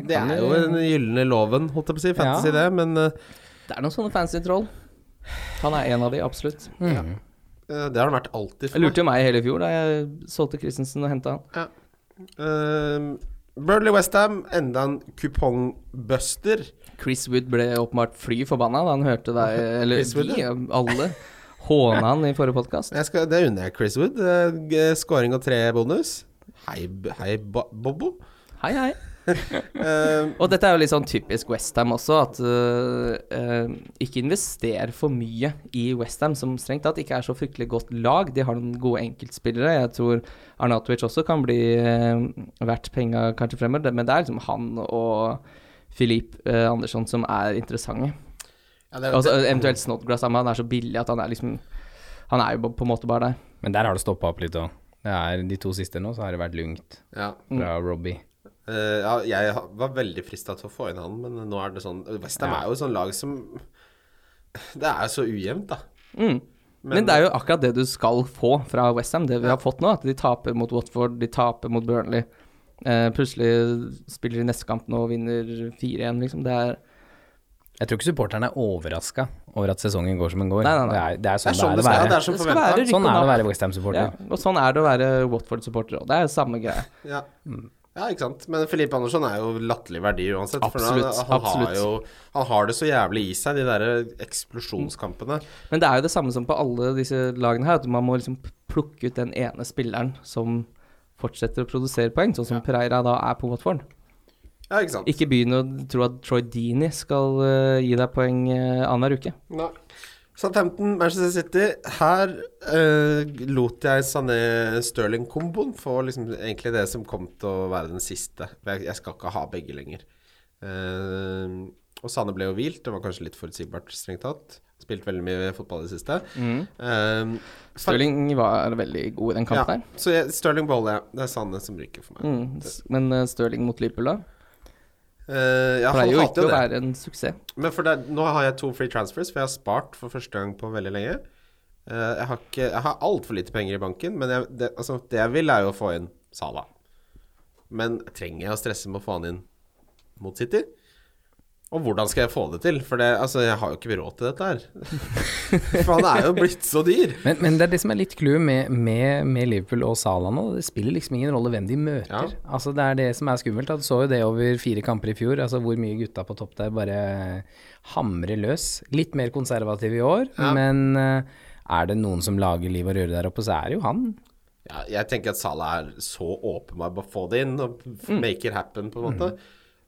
Speaker 3: Det
Speaker 2: kan
Speaker 3: er jo den gylne loven, holdt jeg på å si. Fantasy, det. Men eh,
Speaker 4: Det er noen sånne fancy troll. Han er en av de, absolutt.
Speaker 3: det har han vært alltid
Speaker 4: Jeg lurte jo meg hele fjor da jeg solgte Christensen og henta han.
Speaker 3: Ja. Ehm, Burnley Westham, enda en kupongbuster.
Speaker 4: Chris Wood ble åpenbart fly forbanna da han hørte
Speaker 3: <laughs>
Speaker 4: deg, eller
Speaker 3: Chris Wood,
Speaker 4: vi, alle, håna han i forrige podkast.
Speaker 3: Jeg skal- Det unner jeg Chris Wood. Eh, g- Scoring og tre bonus. Hei, B- hei Bo- Bobo.
Speaker 4: Hei, hei.
Speaker 3: Ehm,
Speaker 4: Og dette er jo litt sånn typisk Westham også, at øh, øh, ikke invester for mye i Westham, som strengt tatt ikke er så fryktelig godt lag. De har noen gode enkeltspillere. Jeg tror Arnatovic også kan bli øh, verdt penga kanskje fremover, det- men det er liksom han og Filip øh, Andersson som er interessante.
Speaker 3: ja, det,
Speaker 4: Altså, eventuelt Snodgrass, men han er så billig at han er liksom Han er jo på en måte bare der.
Speaker 2: Men der har det stoppa opp litt òg. Det er De to siste nå, så har det vært lugnt
Speaker 3: ja.
Speaker 2: fra Robbie.
Speaker 3: Eh, ja, jeg ha- var veldig frista til å få inn han, men nå er det sånn Westham er jo et sånt lag som Det er jo så ujevnt, da.
Speaker 4: Men, det er jo akkurat det du skal få fra Westham, det vi har fått nå. At de taper mot Watford, de taper mot Burnley. Eh, plutselig spiller de neste kamp nå og vinner 4-1, liksom. Det er
Speaker 2: Jeg tror ikke supporterne er overraska over at sesongen går som den går.
Speaker 4: Nei, nei, nei.
Speaker 2: Det, er, det er
Speaker 3: Det er
Speaker 2: sånn
Speaker 3: sånn
Speaker 2: det
Speaker 3: det skal, det
Speaker 2: er å være.
Speaker 3: er som
Speaker 4: Det skal
Speaker 3: forventa.
Speaker 4: være-
Speaker 2: Sånn er det å være
Speaker 4: ja,
Speaker 2: Westham-supporter.
Speaker 4: Og sånn er det å være Watford-supporter òg. Det er samme greie.
Speaker 3: Ja. ja, ikke sant. Men Filipe Andersson er jo latterlig verdi uansett.
Speaker 4: Absolutt,
Speaker 3: for han, han,
Speaker 4: absolutt.
Speaker 3: Har jo, han har det så jævlig i seg, de der eksplosjonskampene.
Speaker 4: Men det er jo det samme som på alle disse lagene her, at man må liksom plukke ut den ene spilleren som fortsetter å produsere poeng, sånn som Pereira da er på Watford.
Speaker 3: Ja, ikke sant.
Speaker 4: Ikke begynn å tro at Troy Dini skal eh, gi deg poeng uh, annenhver uke.
Speaker 3: Nei. Southampton, Manchester City. Her eh, lot jeg Sané Stirling-komboen få liksom egentlig det som kom til å være den siste. For Jeg, jeg skal ikke ha begge lenger. Eh, og Sané ble jo hvilt. Det var kanskje litt forutsigbart, strengt tatt. Spilt veldig mye fotball i det siste.
Speaker 4: Mm.
Speaker 3: Eh,
Speaker 4: Stirling var veldig god i den
Speaker 3: ja,
Speaker 4: kampen her.
Speaker 3: så jeg, Stirling beholder jeg. Det er Sané som ryker for meg.
Speaker 4: Mm, s- men eh, Stirling mot Liverpool, da?
Speaker 3: Eh, ja, han
Speaker 4: Pleier jo
Speaker 3: hater
Speaker 4: ikke
Speaker 3: jo
Speaker 4: å
Speaker 3: det.
Speaker 4: være en suksess.
Speaker 3: Men for det, nå har jeg to free transfers, for jeg har spart for første gang på veldig lenge. Eh, jeg har, ikke- jeg har altfor lite penger i banken, men jeg, det, altså, det jeg vil, er jo å få inn Sala. Men trenger jeg å stresse med å få han inn mot City? Og hvordan skal jeg få det til? For det, altså, jeg har jo ikke råd til dette her. <laughs> for han er jo blitt så dyr.
Speaker 2: Men, men det er det som er litt clouet med, med, med Liverpool og Salah nå. Det spiller liksom ingen rolle hvem de møter.
Speaker 3: Ja.
Speaker 2: Altså Det er det som er skummelt. da. Du så jo det over fire kamper i fjor. Altså Hvor mye gutta på topp der bare hamrer løs. Litt mer konservative i år, men eh, er det noen som lager liv og røre der oppe, så er det jo han.
Speaker 3: Ja, jeg tenker at Salah er så åpenbar på å få det inn og f- make it happen, på en måte.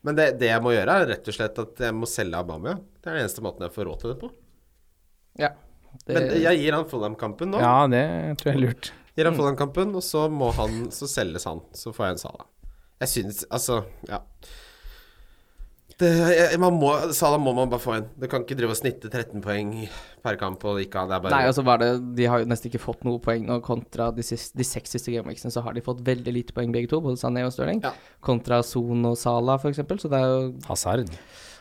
Speaker 3: Men det, det jeg må gjøre, er rett og slett at jeg må selge Abamia. Det er den eneste måten jeg får råd til det på.
Speaker 4: Ja. Det,
Speaker 3: Men jeg gir han Fulham-kampen nå.
Speaker 2: Ja, det tror jeg er lurt.
Speaker 3: Gir
Speaker 4: Mm.
Speaker 3: han Fulham-kampen, og så må han Så selges han. Så får jeg en Sala. Jeg syns Altså, ja. Det, jeg, man må, Sala må man bare få inn. Du kan ikke drive og snitte 13 poeng per kamp og ikke ha det er bare
Speaker 4: Nei, altså var det De har jo nesten ikke fått noe poeng nå, kontra de, siste, de seks siste gameweeksene, så har de fått veldig lite poeng begge to, både Sané og Stirling.
Speaker 3: Ja.
Speaker 4: Kontra Son og Salah, for eksempel. Så det er jo
Speaker 2: Hazard.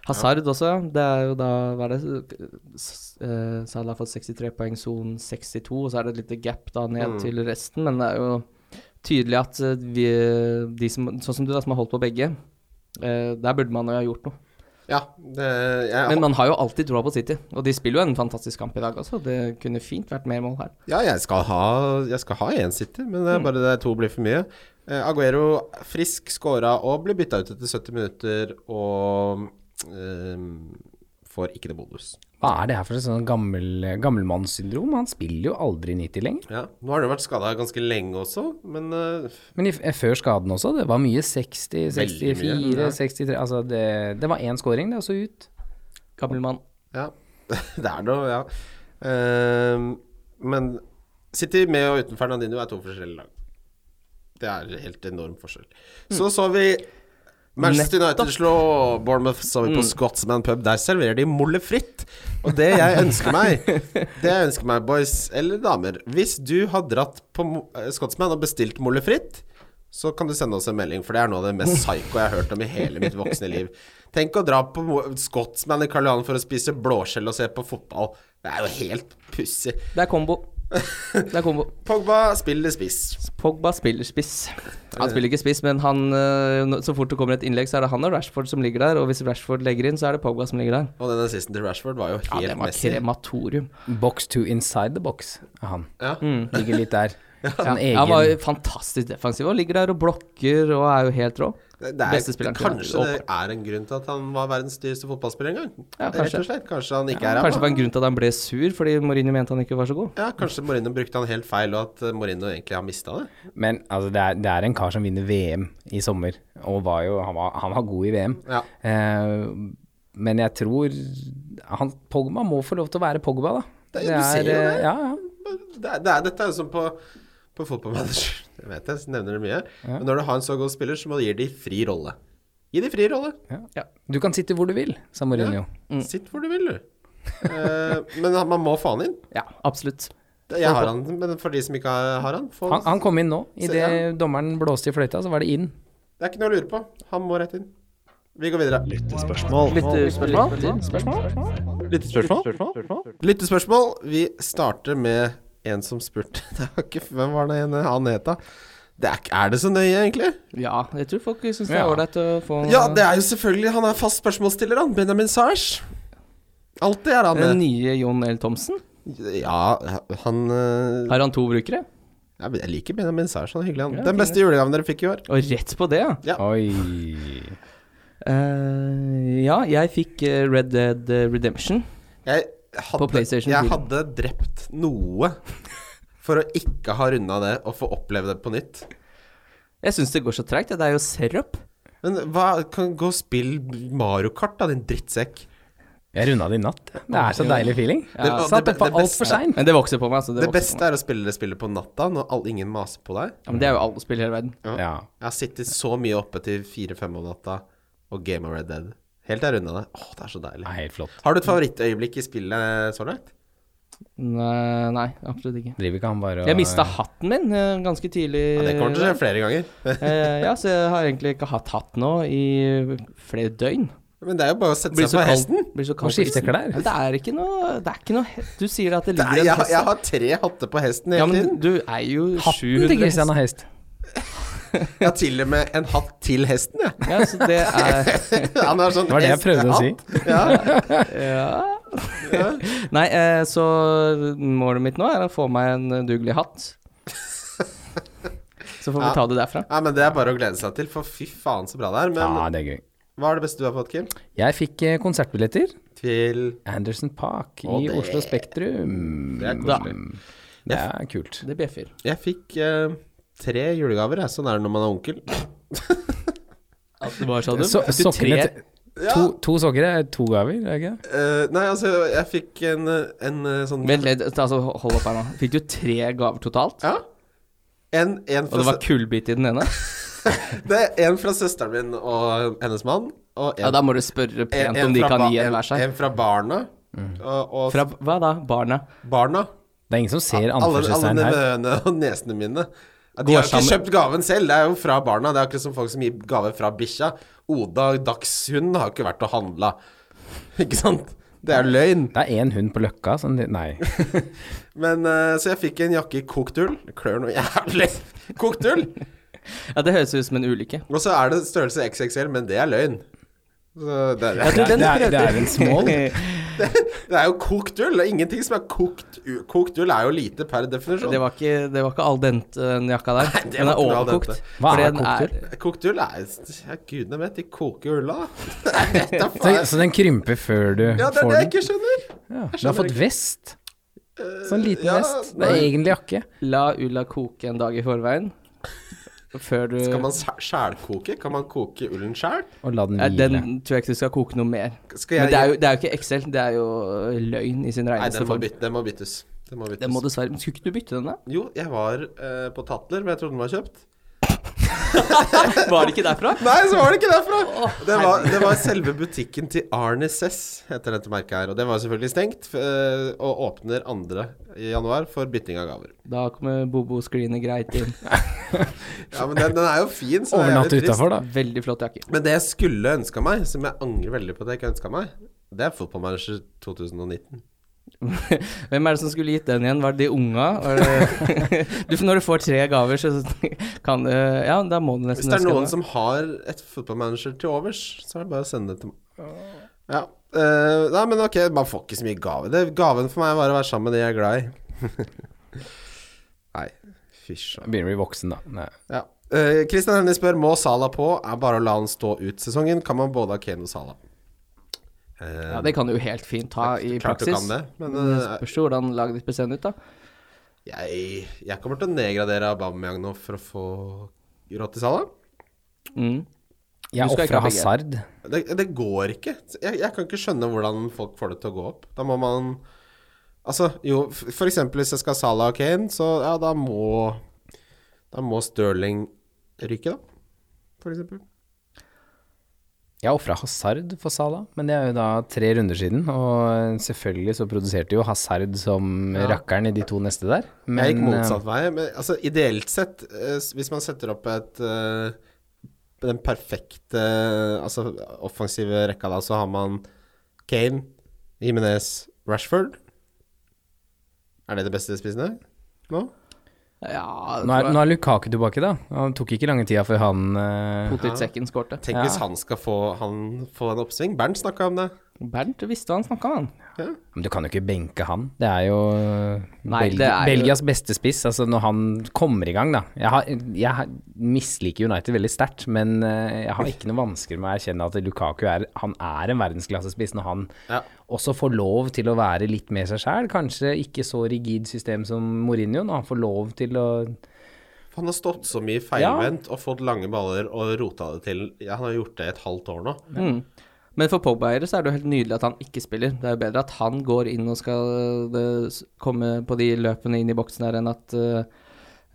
Speaker 4: Hazard også, ja. Det er jo da Hva er det S- eh, Salah har fått 63 poeng, Son 62, og så er det et lite gap da ned til resten, men det er jo tydelig at eh, vi, de som Sånn som du, da, som har holdt på begge, eh, der burde man jo ha gjort noe.
Speaker 3: Ja, det jeg,
Speaker 4: Men man har jo alltid troa på City, og de spiller jo en fantastisk kamp i dag også. Det kunne fint vært mer mål her.
Speaker 3: Ja, jeg skal ha Jeg skal ha én City, men
Speaker 4: Mm.
Speaker 3: det er bare det to blir for mye. Eh, Aguero frisk scora og blir bytta ut etter 70 minutter og eh, får ikke det bonus.
Speaker 2: Hva er det her for et sånn gammel, gammelmannssyndrom? Han spiller jo aldri 90 lenger.
Speaker 3: Ja, Nå har du vært skada ganske lenge også, men eh,
Speaker 2: Men i, eh, før skaden også, det var mye 60,
Speaker 3: Veldig mye,
Speaker 2: 64,
Speaker 3: ja.
Speaker 2: 63 Altså det, det var én scoring, det, og så ut.
Speaker 3: <laughs>
Speaker 4: Gammel mann.
Speaker 3: Ja. Det er noe, ja. Ehm, men City med og uten Fernandinho er to forskjellige lag. Det er helt enorm forskjell. Så så vi Manchester United slå Bournemouth, så vi på
Speaker 4: Mm.
Speaker 3: Scotsman pub. Der serverer de molle fritt. Og det jeg ønsker
Speaker 4: <laughs>
Speaker 3: meg, det jeg ønsker meg, boys eller damer Hvis du har dratt på Mo- eh, Scotsman og bestilt molle fritt, så kan du sende oss en melding, for det er noe av det mest psycho jeg har hørt om i hele mitt voksne liv. Tenk å dra på Mo- Scotsman i Karl Johan for å spise blåskjell og se på fotball. Det er jo helt pussig.
Speaker 4: Det er kombo. Det er kombo.
Speaker 3: Pogba spiller spiss.
Speaker 4: Pogba spiller spiss. Han spiller ikke spiss, men han, eh, nå- så fort det kommer et innlegg, så er det han og Rashford som ligger der. Og hvis Rashford legger inn, så er det Pogba som ligger der.
Speaker 3: Og den assisten til Rashford var jo
Speaker 4: Ja,
Speaker 3: helt
Speaker 4: det var
Speaker 3: messig.
Speaker 4: krematorium.
Speaker 2: Box to inside the box er han.
Speaker 3: Ja.
Speaker 4: Mm.
Speaker 2: Ligger
Speaker 3: <laughs>
Speaker 2: litt der. En
Speaker 4: Han var jo
Speaker 2: egen
Speaker 4: fantastisk defensiv og ligger der og blokker og er jo helt rå.
Speaker 3: Det det
Speaker 4: Beste
Speaker 3: er,
Speaker 4: spilleren til
Speaker 3: kanskje det
Speaker 4: United,
Speaker 3: er en grunn til at han var verdens dyreste fotballspiller en gang.
Speaker 4: Ja,
Speaker 3: Rett og
Speaker 4: kanskje.
Speaker 3: slett. Kanskje han ikke er
Speaker 4: Kanskje det var
Speaker 3: ræva.
Speaker 4: en grunn til at han ble sur, fordi Mourinho mente han ikke var så god.
Speaker 3: Ja, kanskje Morino brukte han helt feil, og at eh, Morino egentlig har mista det.
Speaker 2: Men altså, det, er, det er en kar som vinner VM i sommer, og var jo, han, var, han var god i VM.
Speaker 3: Ja.
Speaker 2: Eh, men jeg tror han, Pogba må få lov til å være Pogba, da.
Speaker 3: Det- du ser jo
Speaker 2: eh,
Speaker 3: det.
Speaker 2: Ja, ja.
Speaker 3: det, er, det er, dette er jo som på, på fotballmanager. <laughs> Jeg vet jeg nevner det mye. Men når du har en så god spiller, så må du gi de fri rolle. Gi de fri rolle.
Speaker 2: Du kan sitte hvor du vil, sa Mourinho.
Speaker 4: Mm.
Speaker 3: Sitt hvor du vil, du. Eh, men han- man må få han inn.
Speaker 4: Ja, absolutt.
Speaker 3: Jeg har han, men for de som ikke har har han, få
Speaker 2: Han, han kom inn nå.
Speaker 3: Se,
Speaker 2: Idet dommeren blåste i fløyta, så var det inn.
Speaker 3: Det er ikke noe å lure på. Han må rett inn. Vi går videre. Lyttespørsmål. Vi starter med en som spurte <laughs> det var ikke, Hvem var det ene han het, da? Det er, ikke- er det så nøye, egentlig?
Speaker 4: Ja, jeg tror folk syns det er
Speaker 2: Ja.
Speaker 4: ålreit å få
Speaker 3: Ja, det er jo selvfølgelig Han er fast spørsmålsstiller, han. Benjamin Sars. Alltid er han
Speaker 4: den
Speaker 3: med.
Speaker 4: nye Jon L. Thomsen.
Speaker 3: Ja, han eh,
Speaker 4: Har han to brukere?
Speaker 3: ja, men Jeg liker Benjamin Sars, han er hyggelig,
Speaker 4: Ja,
Speaker 3: han. Den beste julegaven dere fikk i år.
Speaker 4: Og rett på det, ja.
Speaker 2: Oi.
Speaker 4: Eh, ja, jeg fikk eh, Red Dead Redemption.
Speaker 3: Jeg hadde,
Speaker 4: På PlayStation
Speaker 3: jeg
Speaker 4: 4.
Speaker 3: hadde drept noe for å ikke ha runda det og få oppleve det på nytt.
Speaker 4: Jeg syns det går så treigt. ja. Det er jo sirup.
Speaker 3: Men hva, kan gå og spill Mario Kart, da, din drittsekk.
Speaker 2: Jeg runda det i natt. Det er så deilig feeling.
Speaker 3: Ja.
Speaker 2: Satt
Speaker 3: Det- det- det
Speaker 2: oppe
Speaker 3: beste-
Speaker 2: altfor seint.
Speaker 4: Men det vokser på meg. Altså, det,
Speaker 3: Det
Speaker 4: vokser
Speaker 3: beste
Speaker 4: på meg.
Speaker 3: er å spille det spillet på natta, når all, ingen maser på deg.
Speaker 4: Ja, men det er jo alle spill i hele verden.
Speaker 2: Ja.
Speaker 3: Jeg har sittet så mye oppe til fire-fem om natta og game of Red Dead. Helt til jeg runda det. Åh, det er så
Speaker 2: Det
Speaker 3: deilig.
Speaker 2: er helt flott.
Speaker 3: Har du et favorittøyeblikk i spillet så langt?
Speaker 4: Nei, nei absolutt ikke.
Speaker 2: Driver ikke han bare og
Speaker 4: Jeg mista hatten min eh, ganske tidlig.
Speaker 3: Ja, det kommer til å skje flere ganger.
Speaker 4: <laughs> Eh, ja, så jeg har egentlig ikke hatt hatt nå i flere døgn.
Speaker 3: Men det er jo bare å sette
Speaker 4: Blir
Speaker 3: seg
Speaker 4: så
Speaker 3: på
Speaker 4: kaldt.
Speaker 3: hesten.
Speaker 4: Blir så
Speaker 2: Må
Speaker 4: kaldt. på
Speaker 2: skifte
Speaker 4: isen.
Speaker 2: klær.
Speaker 4: Men Det er ikke noe Det er ikke noe he- Du sier at det
Speaker 3: Nei,
Speaker 4: ligger en
Speaker 3: jeg,
Speaker 4: hest
Speaker 3: jeg
Speaker 4: der.
Speaker 3: har tre hatter på
Speaker 4: Ja,
Speaker 3: hesten hele
Speaker 4: men
Speaker 3: tiden.
Speaker 4: du er jo 700
Speaker 2: Hatten til Christian har hest.
Speaker 3: Jeg har til og med en hatt til hesten,
Speaker 2: <laughs>
Speaker 3: jeg.
Speaker 4: Ja, så det <laughs> er
Speaker 3: Han har sånn
Speaker 2: Det var det jeg prøvde å si.
Speaker 4: Ja. <laughs> Nei, eh, så målet mitt nå er å få meg en eh, dugelig hatt. Så får vi
Speaker 3: Ja.
Speaker 4: ta det derfra.
Speaker 3: Ja, men Det er bare å glede seg til, for fy faen så bra det er. Men
Speaker 2: Ja, det er gøy.
Speaker 3: hva er det beste du har fått, Kim?
Speaker 2: Jeg fikk eh, konsertbilletter.
Speaker 3: Til
Speaker 2: Anderson Park
Speaker 3: Å,
Speaker 2: i
Speaker 3: det-
Speaker 2: Oslo Spektrum.
Speaker 3: Det er
Speaker 4: Da.
Speaker 2: Det er kult.
Speaker 4: Det bjeffer.
Speaker 3: Jeg fikk eh, tre julegaver, jeg. Sånn er det når man er onkel.
Speaker 4: Hva sa du?
Speaker 2: Så, sokkene
Speaker 4: tre-
Speaker 2: til to, to sokker er to gaver, er det ikke det?
Speaker 3: Eh, nei, altså, jeg fikk en, eh, en eh, sånn
Speaker 4: Vent litt, altså, hold opp her nå. Fikk du tre gaver totalt?
Speaker 3: Ja. En, en,
Speaker 4: Og det
Speaker 3: fra,
Speaker 4: var kullbit i den ene?
Speaker 3: sø- det er en fra søsteren min og hennes mann. Og en,
Speaker 4: Ja, da må du spørre
Speaker 3: en,
Speaker 4: pent om de
Speaker 3: fra
Speaker 4: kan
Speaker 3: ba-
Speaker 4: gi en
Speaker 3: en,
Speaker 4: hver seg.
Speaker 3: en fra barna. Og, og
Speaker 4: Fra hva da? Barna?
Speaker 3: barna.
Speaker 2: Det er ingen som ser
Speaker 3: Alle, alle
Speaker 2: anførselstegn her.
Speaker 3: nevøene og nesene mine. Ja, De har jo ikke
Speaker 4: sammen.
Speaker 3: kjøpt gaven selv, det er jo fra barna. Det er akkurat som folk som gir gave fra bikkja. Oda, dagshunden, har jo ikke vært og handla. <laughs> Ikke sant? Det er løgn.
Speaker 2: Det er én hund på Løkka som de-
Speaker 3: <laughs>
Speaker 2: Nei.
Speaker 3: Men eh, Så jeg fikk en jakke i kokt ull. Det klør noe jævlig. <laughs> Kokt ull!
Speaker 4: Ja, det høres ut som en ulykke.
Speaker 3: Og så er det størrelse XXL, men det er løgn. Så det, er,
Speaker 2: Det er, det er, det er en small.
Speaker 3: <laughs> det er jo kokt ull. Det er ingenting som er kokt ull. Kokt ull er jo lite per definisjon.
Speaker 4: <laughs> Det var ikke, det var ikke al dente, den jakka der.
Speaker 3: det
Speaker 4: Den er
Speaker 3: var ikke noe al dente.
Speaker 4: overkokt.
Speaker 2: Hva
Speaker 4: fordi
Speaker 2: er
Speaker 4: den
Speaker 2: kokt ull?
Speaker 3: Kokt ull er ja, Gudene vet, de koker jo ulla, <laughs> da. Jeg vet
Speaker 2: <laughs>
Speaker 3: da
Speaker 2: Så,
Speaker 3: faen.
Speaker 2: så den krymper før du
Speaker 3: Ja, det er
Speaker 2: får
Speaker 3: det jeg
Speaker 2: den?
Speaker 3: ikke skjønner.
Speaker 2: Ja. Du har fått vest. Sånn liten
Speaker 3: ja,
Speaker 2: vest. Det er egentlig jakke.
Speaker 4: La ulla koke en dag i forveien. Før du
Speaker 3: Kan man sæ- sjælkoke? Kan man koke ullen sjæl?
Speaker 2: Og la den
Speaker 4: Nei,
Speaker 2: hvile.
Speaker 4: den tror jeg ikke du skal koke noe mer.
Speaker 3: Skal
Speaker 4: Men
Speaker 3: jeg
Speaker 4: det er, jo, det er jo ikke Excel, det er jo løgn i sin
Speaker 3: Nei,
Speaker 4: reneste
Speaker 3: den må,
Speaker 4: form.
Speaker 3: byt, den må byttes. Det må byttes.
Speaker 4: Det må dessverre Men Skulle ikke du bytte
Speaker 3: <laughs>
Speaker 4: den, da?
Speaker 3: Jo, jeg var eh, på Tatler, men jeg trodde den var kjøpt.
Speaker 4: Var det ikke derfra?
Speaker 3: Nei, så var det ikke derfra! Det var, det var selve butikken til Arne Sess, heter dette merket her. Og det var selvfølgelig stengt, f eh, og åpner 2. i januar for bytting av gaver.
Speaker 4: Da kommer Bobo-screenet greit inn.
Speaker 3: Ja, men den, den er jo fin, så det er
Speaker 2: Overnatte
Speaker 3: jævlig trist.
Speaker 2: utafor, da.
Speaker 4: Veldig flott jakke. <laughs>
Speaker 3: Men det jeg skulle ønska meg, som jeg angrer veldig på at jeg ikke ønska meg, det er Football Manager 2019.
Speaker 4: Hvem er det som skulle gitt den igjen? Var det de unga? Var det- <laughs> du, når du får tre gaver, så <laughs> kan du Ja, da må du nesten
Speaker 3: Hvis det er
Speaker 4: ønske
Speaker 3: noen
Speaker 4: deg.
Speaker 3: som har et Football Manager til overs, så er det bare å sende det til meg. Ja. eh, nei, men ok, man får ikke så mye gave. Det, gaven for meg var å være sammen med de jeg er glad i. <laughs> nei, fysj.
Speaker 2: Begynner å bli voksen, da. Nei.
Speaker 3: Ja. Eh, Christian Hennie spør Må Sala på? Er bare å la han stå ut sesongen? Kan man både ha Kane og Sala? Eh,
Speaker 4: Ja, det kan du jo helt fint ta i
Speaker 3: klart du
Speaker 4: praksis. Mm.
Speaker 3: kan det, men eh,
Speaker 4: Spørs jo hvordan laget ditt blir seende ut, da.
Speaker 3: Jeg, jeg kommer til å nedgradere Aubameyang nå for å få råd til Salah.
Speaker 4: Mm. Du
Speaker 2: Jeg
Speaker 4: skal ikke ha
Speaker 2: ofra
Speaker 4: begge.
Speaker 2: hasard.
Speaker 3: Det, det går ikke. Jeg, jeg kan ikke skjønne hvordan folk får det til å gå opp. Da må man Altså, jo, f- for eksempel hvis jeg skal ha Salah og Kane, så ja, da må Da må Stirling ryke, da. For eksempel.
Speaker 2: Jeg ofra Hazard for Salah, men det er jo da tre runder siden. Og selvfølgelig så produserte jo Hazard som rakkeren i de to neste der. Men eh,
Speaker 3: jeg gikk motsatt vei. Men altså, ideelt sett, eh, s- hvis man setter opp et eh, Den perfekte eh, altså, offensive rekka da, så har man Kane, Jimenez, Rashford. Er det det beste spissene nå?
Speaker 4: Ja,
Speaker 2: eh, nå, er, nå er Lukaku tilbake, da. Han tok ikke lange tida før han eh,
Speaker 4: Potetsekken skårte.
Speaker 3: Tenk hvis han skal få, han, få en oppsving. Bernt snakka om det.
Speaker 4: Bernt visste hva han snakka om, han.
Speaker 2: Men du kan jo ikke benke han. Det er jo eh,
Speaker 4: Nei,
Speaker 2: Belgi-
Speaker 4: det er jo-
Speaker 2: Belgias beste spiss. Altså når han kommer i gang, da. Jeg, har, jeg har- misliker United veldig sterkt, men eh, jeg har ikke noe vansker med å erkjenne at Lukaku er, han er en verdensklassespiss når han
Speaker 3: Ja.
Speaker 2: også får lov til å være litt med seg sjæl. Kanskje ikke så rigid system som Mourinho, når han får lov til å
Speaker 3: Han har stått så mye feilvendt og fått lange baller og rota det til. Ja, han har gjort det i et halvt år nå.
Speaker 4: Mm. Men for Pogba-eiere så er det jo helt nydelig at han ikke spiller. Det er jo bedre at han går inn og skal eh, s- komme på de løpene inn i boksen her, enn at eh,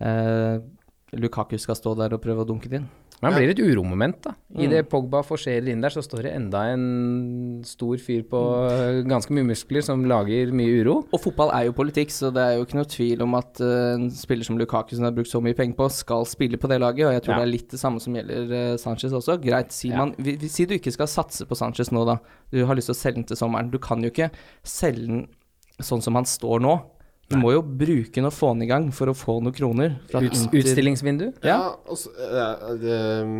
Speaker 4: eh, Lukaku skal stå der og prøve å dunke det inn.
Speaker 2: Men han blir et uromoment, da.
Speaker 4: Mm.
Speaker 2: Idet Pogba forserer inn der, så står det enda en stor fyr på eh, ganske mye muskler som lager mye uro.
Speaker 4: Og fotball er jo politikk, så det er jo ikke noe tvil om at eh, en spiller som Lukaku, som de har brukt så mye penger på, skal spille på det laget. Og jeg tror
Speaker 2: Ja.
Speaker 4: det er litt det samme som gjelder eh, Sanchez også. Greit, si, man, vi, vi, si du ikke skal satse på Sanchez nå, da. Du har lyst til å selge den til sommeren. Du kan jo ikke selge den sånn som han står nå. Du må jo bruke den og få den i gang for å få noen kroner. fra
Speaker 2: Uts
Speaker 4: Inter-
Speaker 2: utstillingsvindu.
Speaker 3: Ja, og så, eh, det,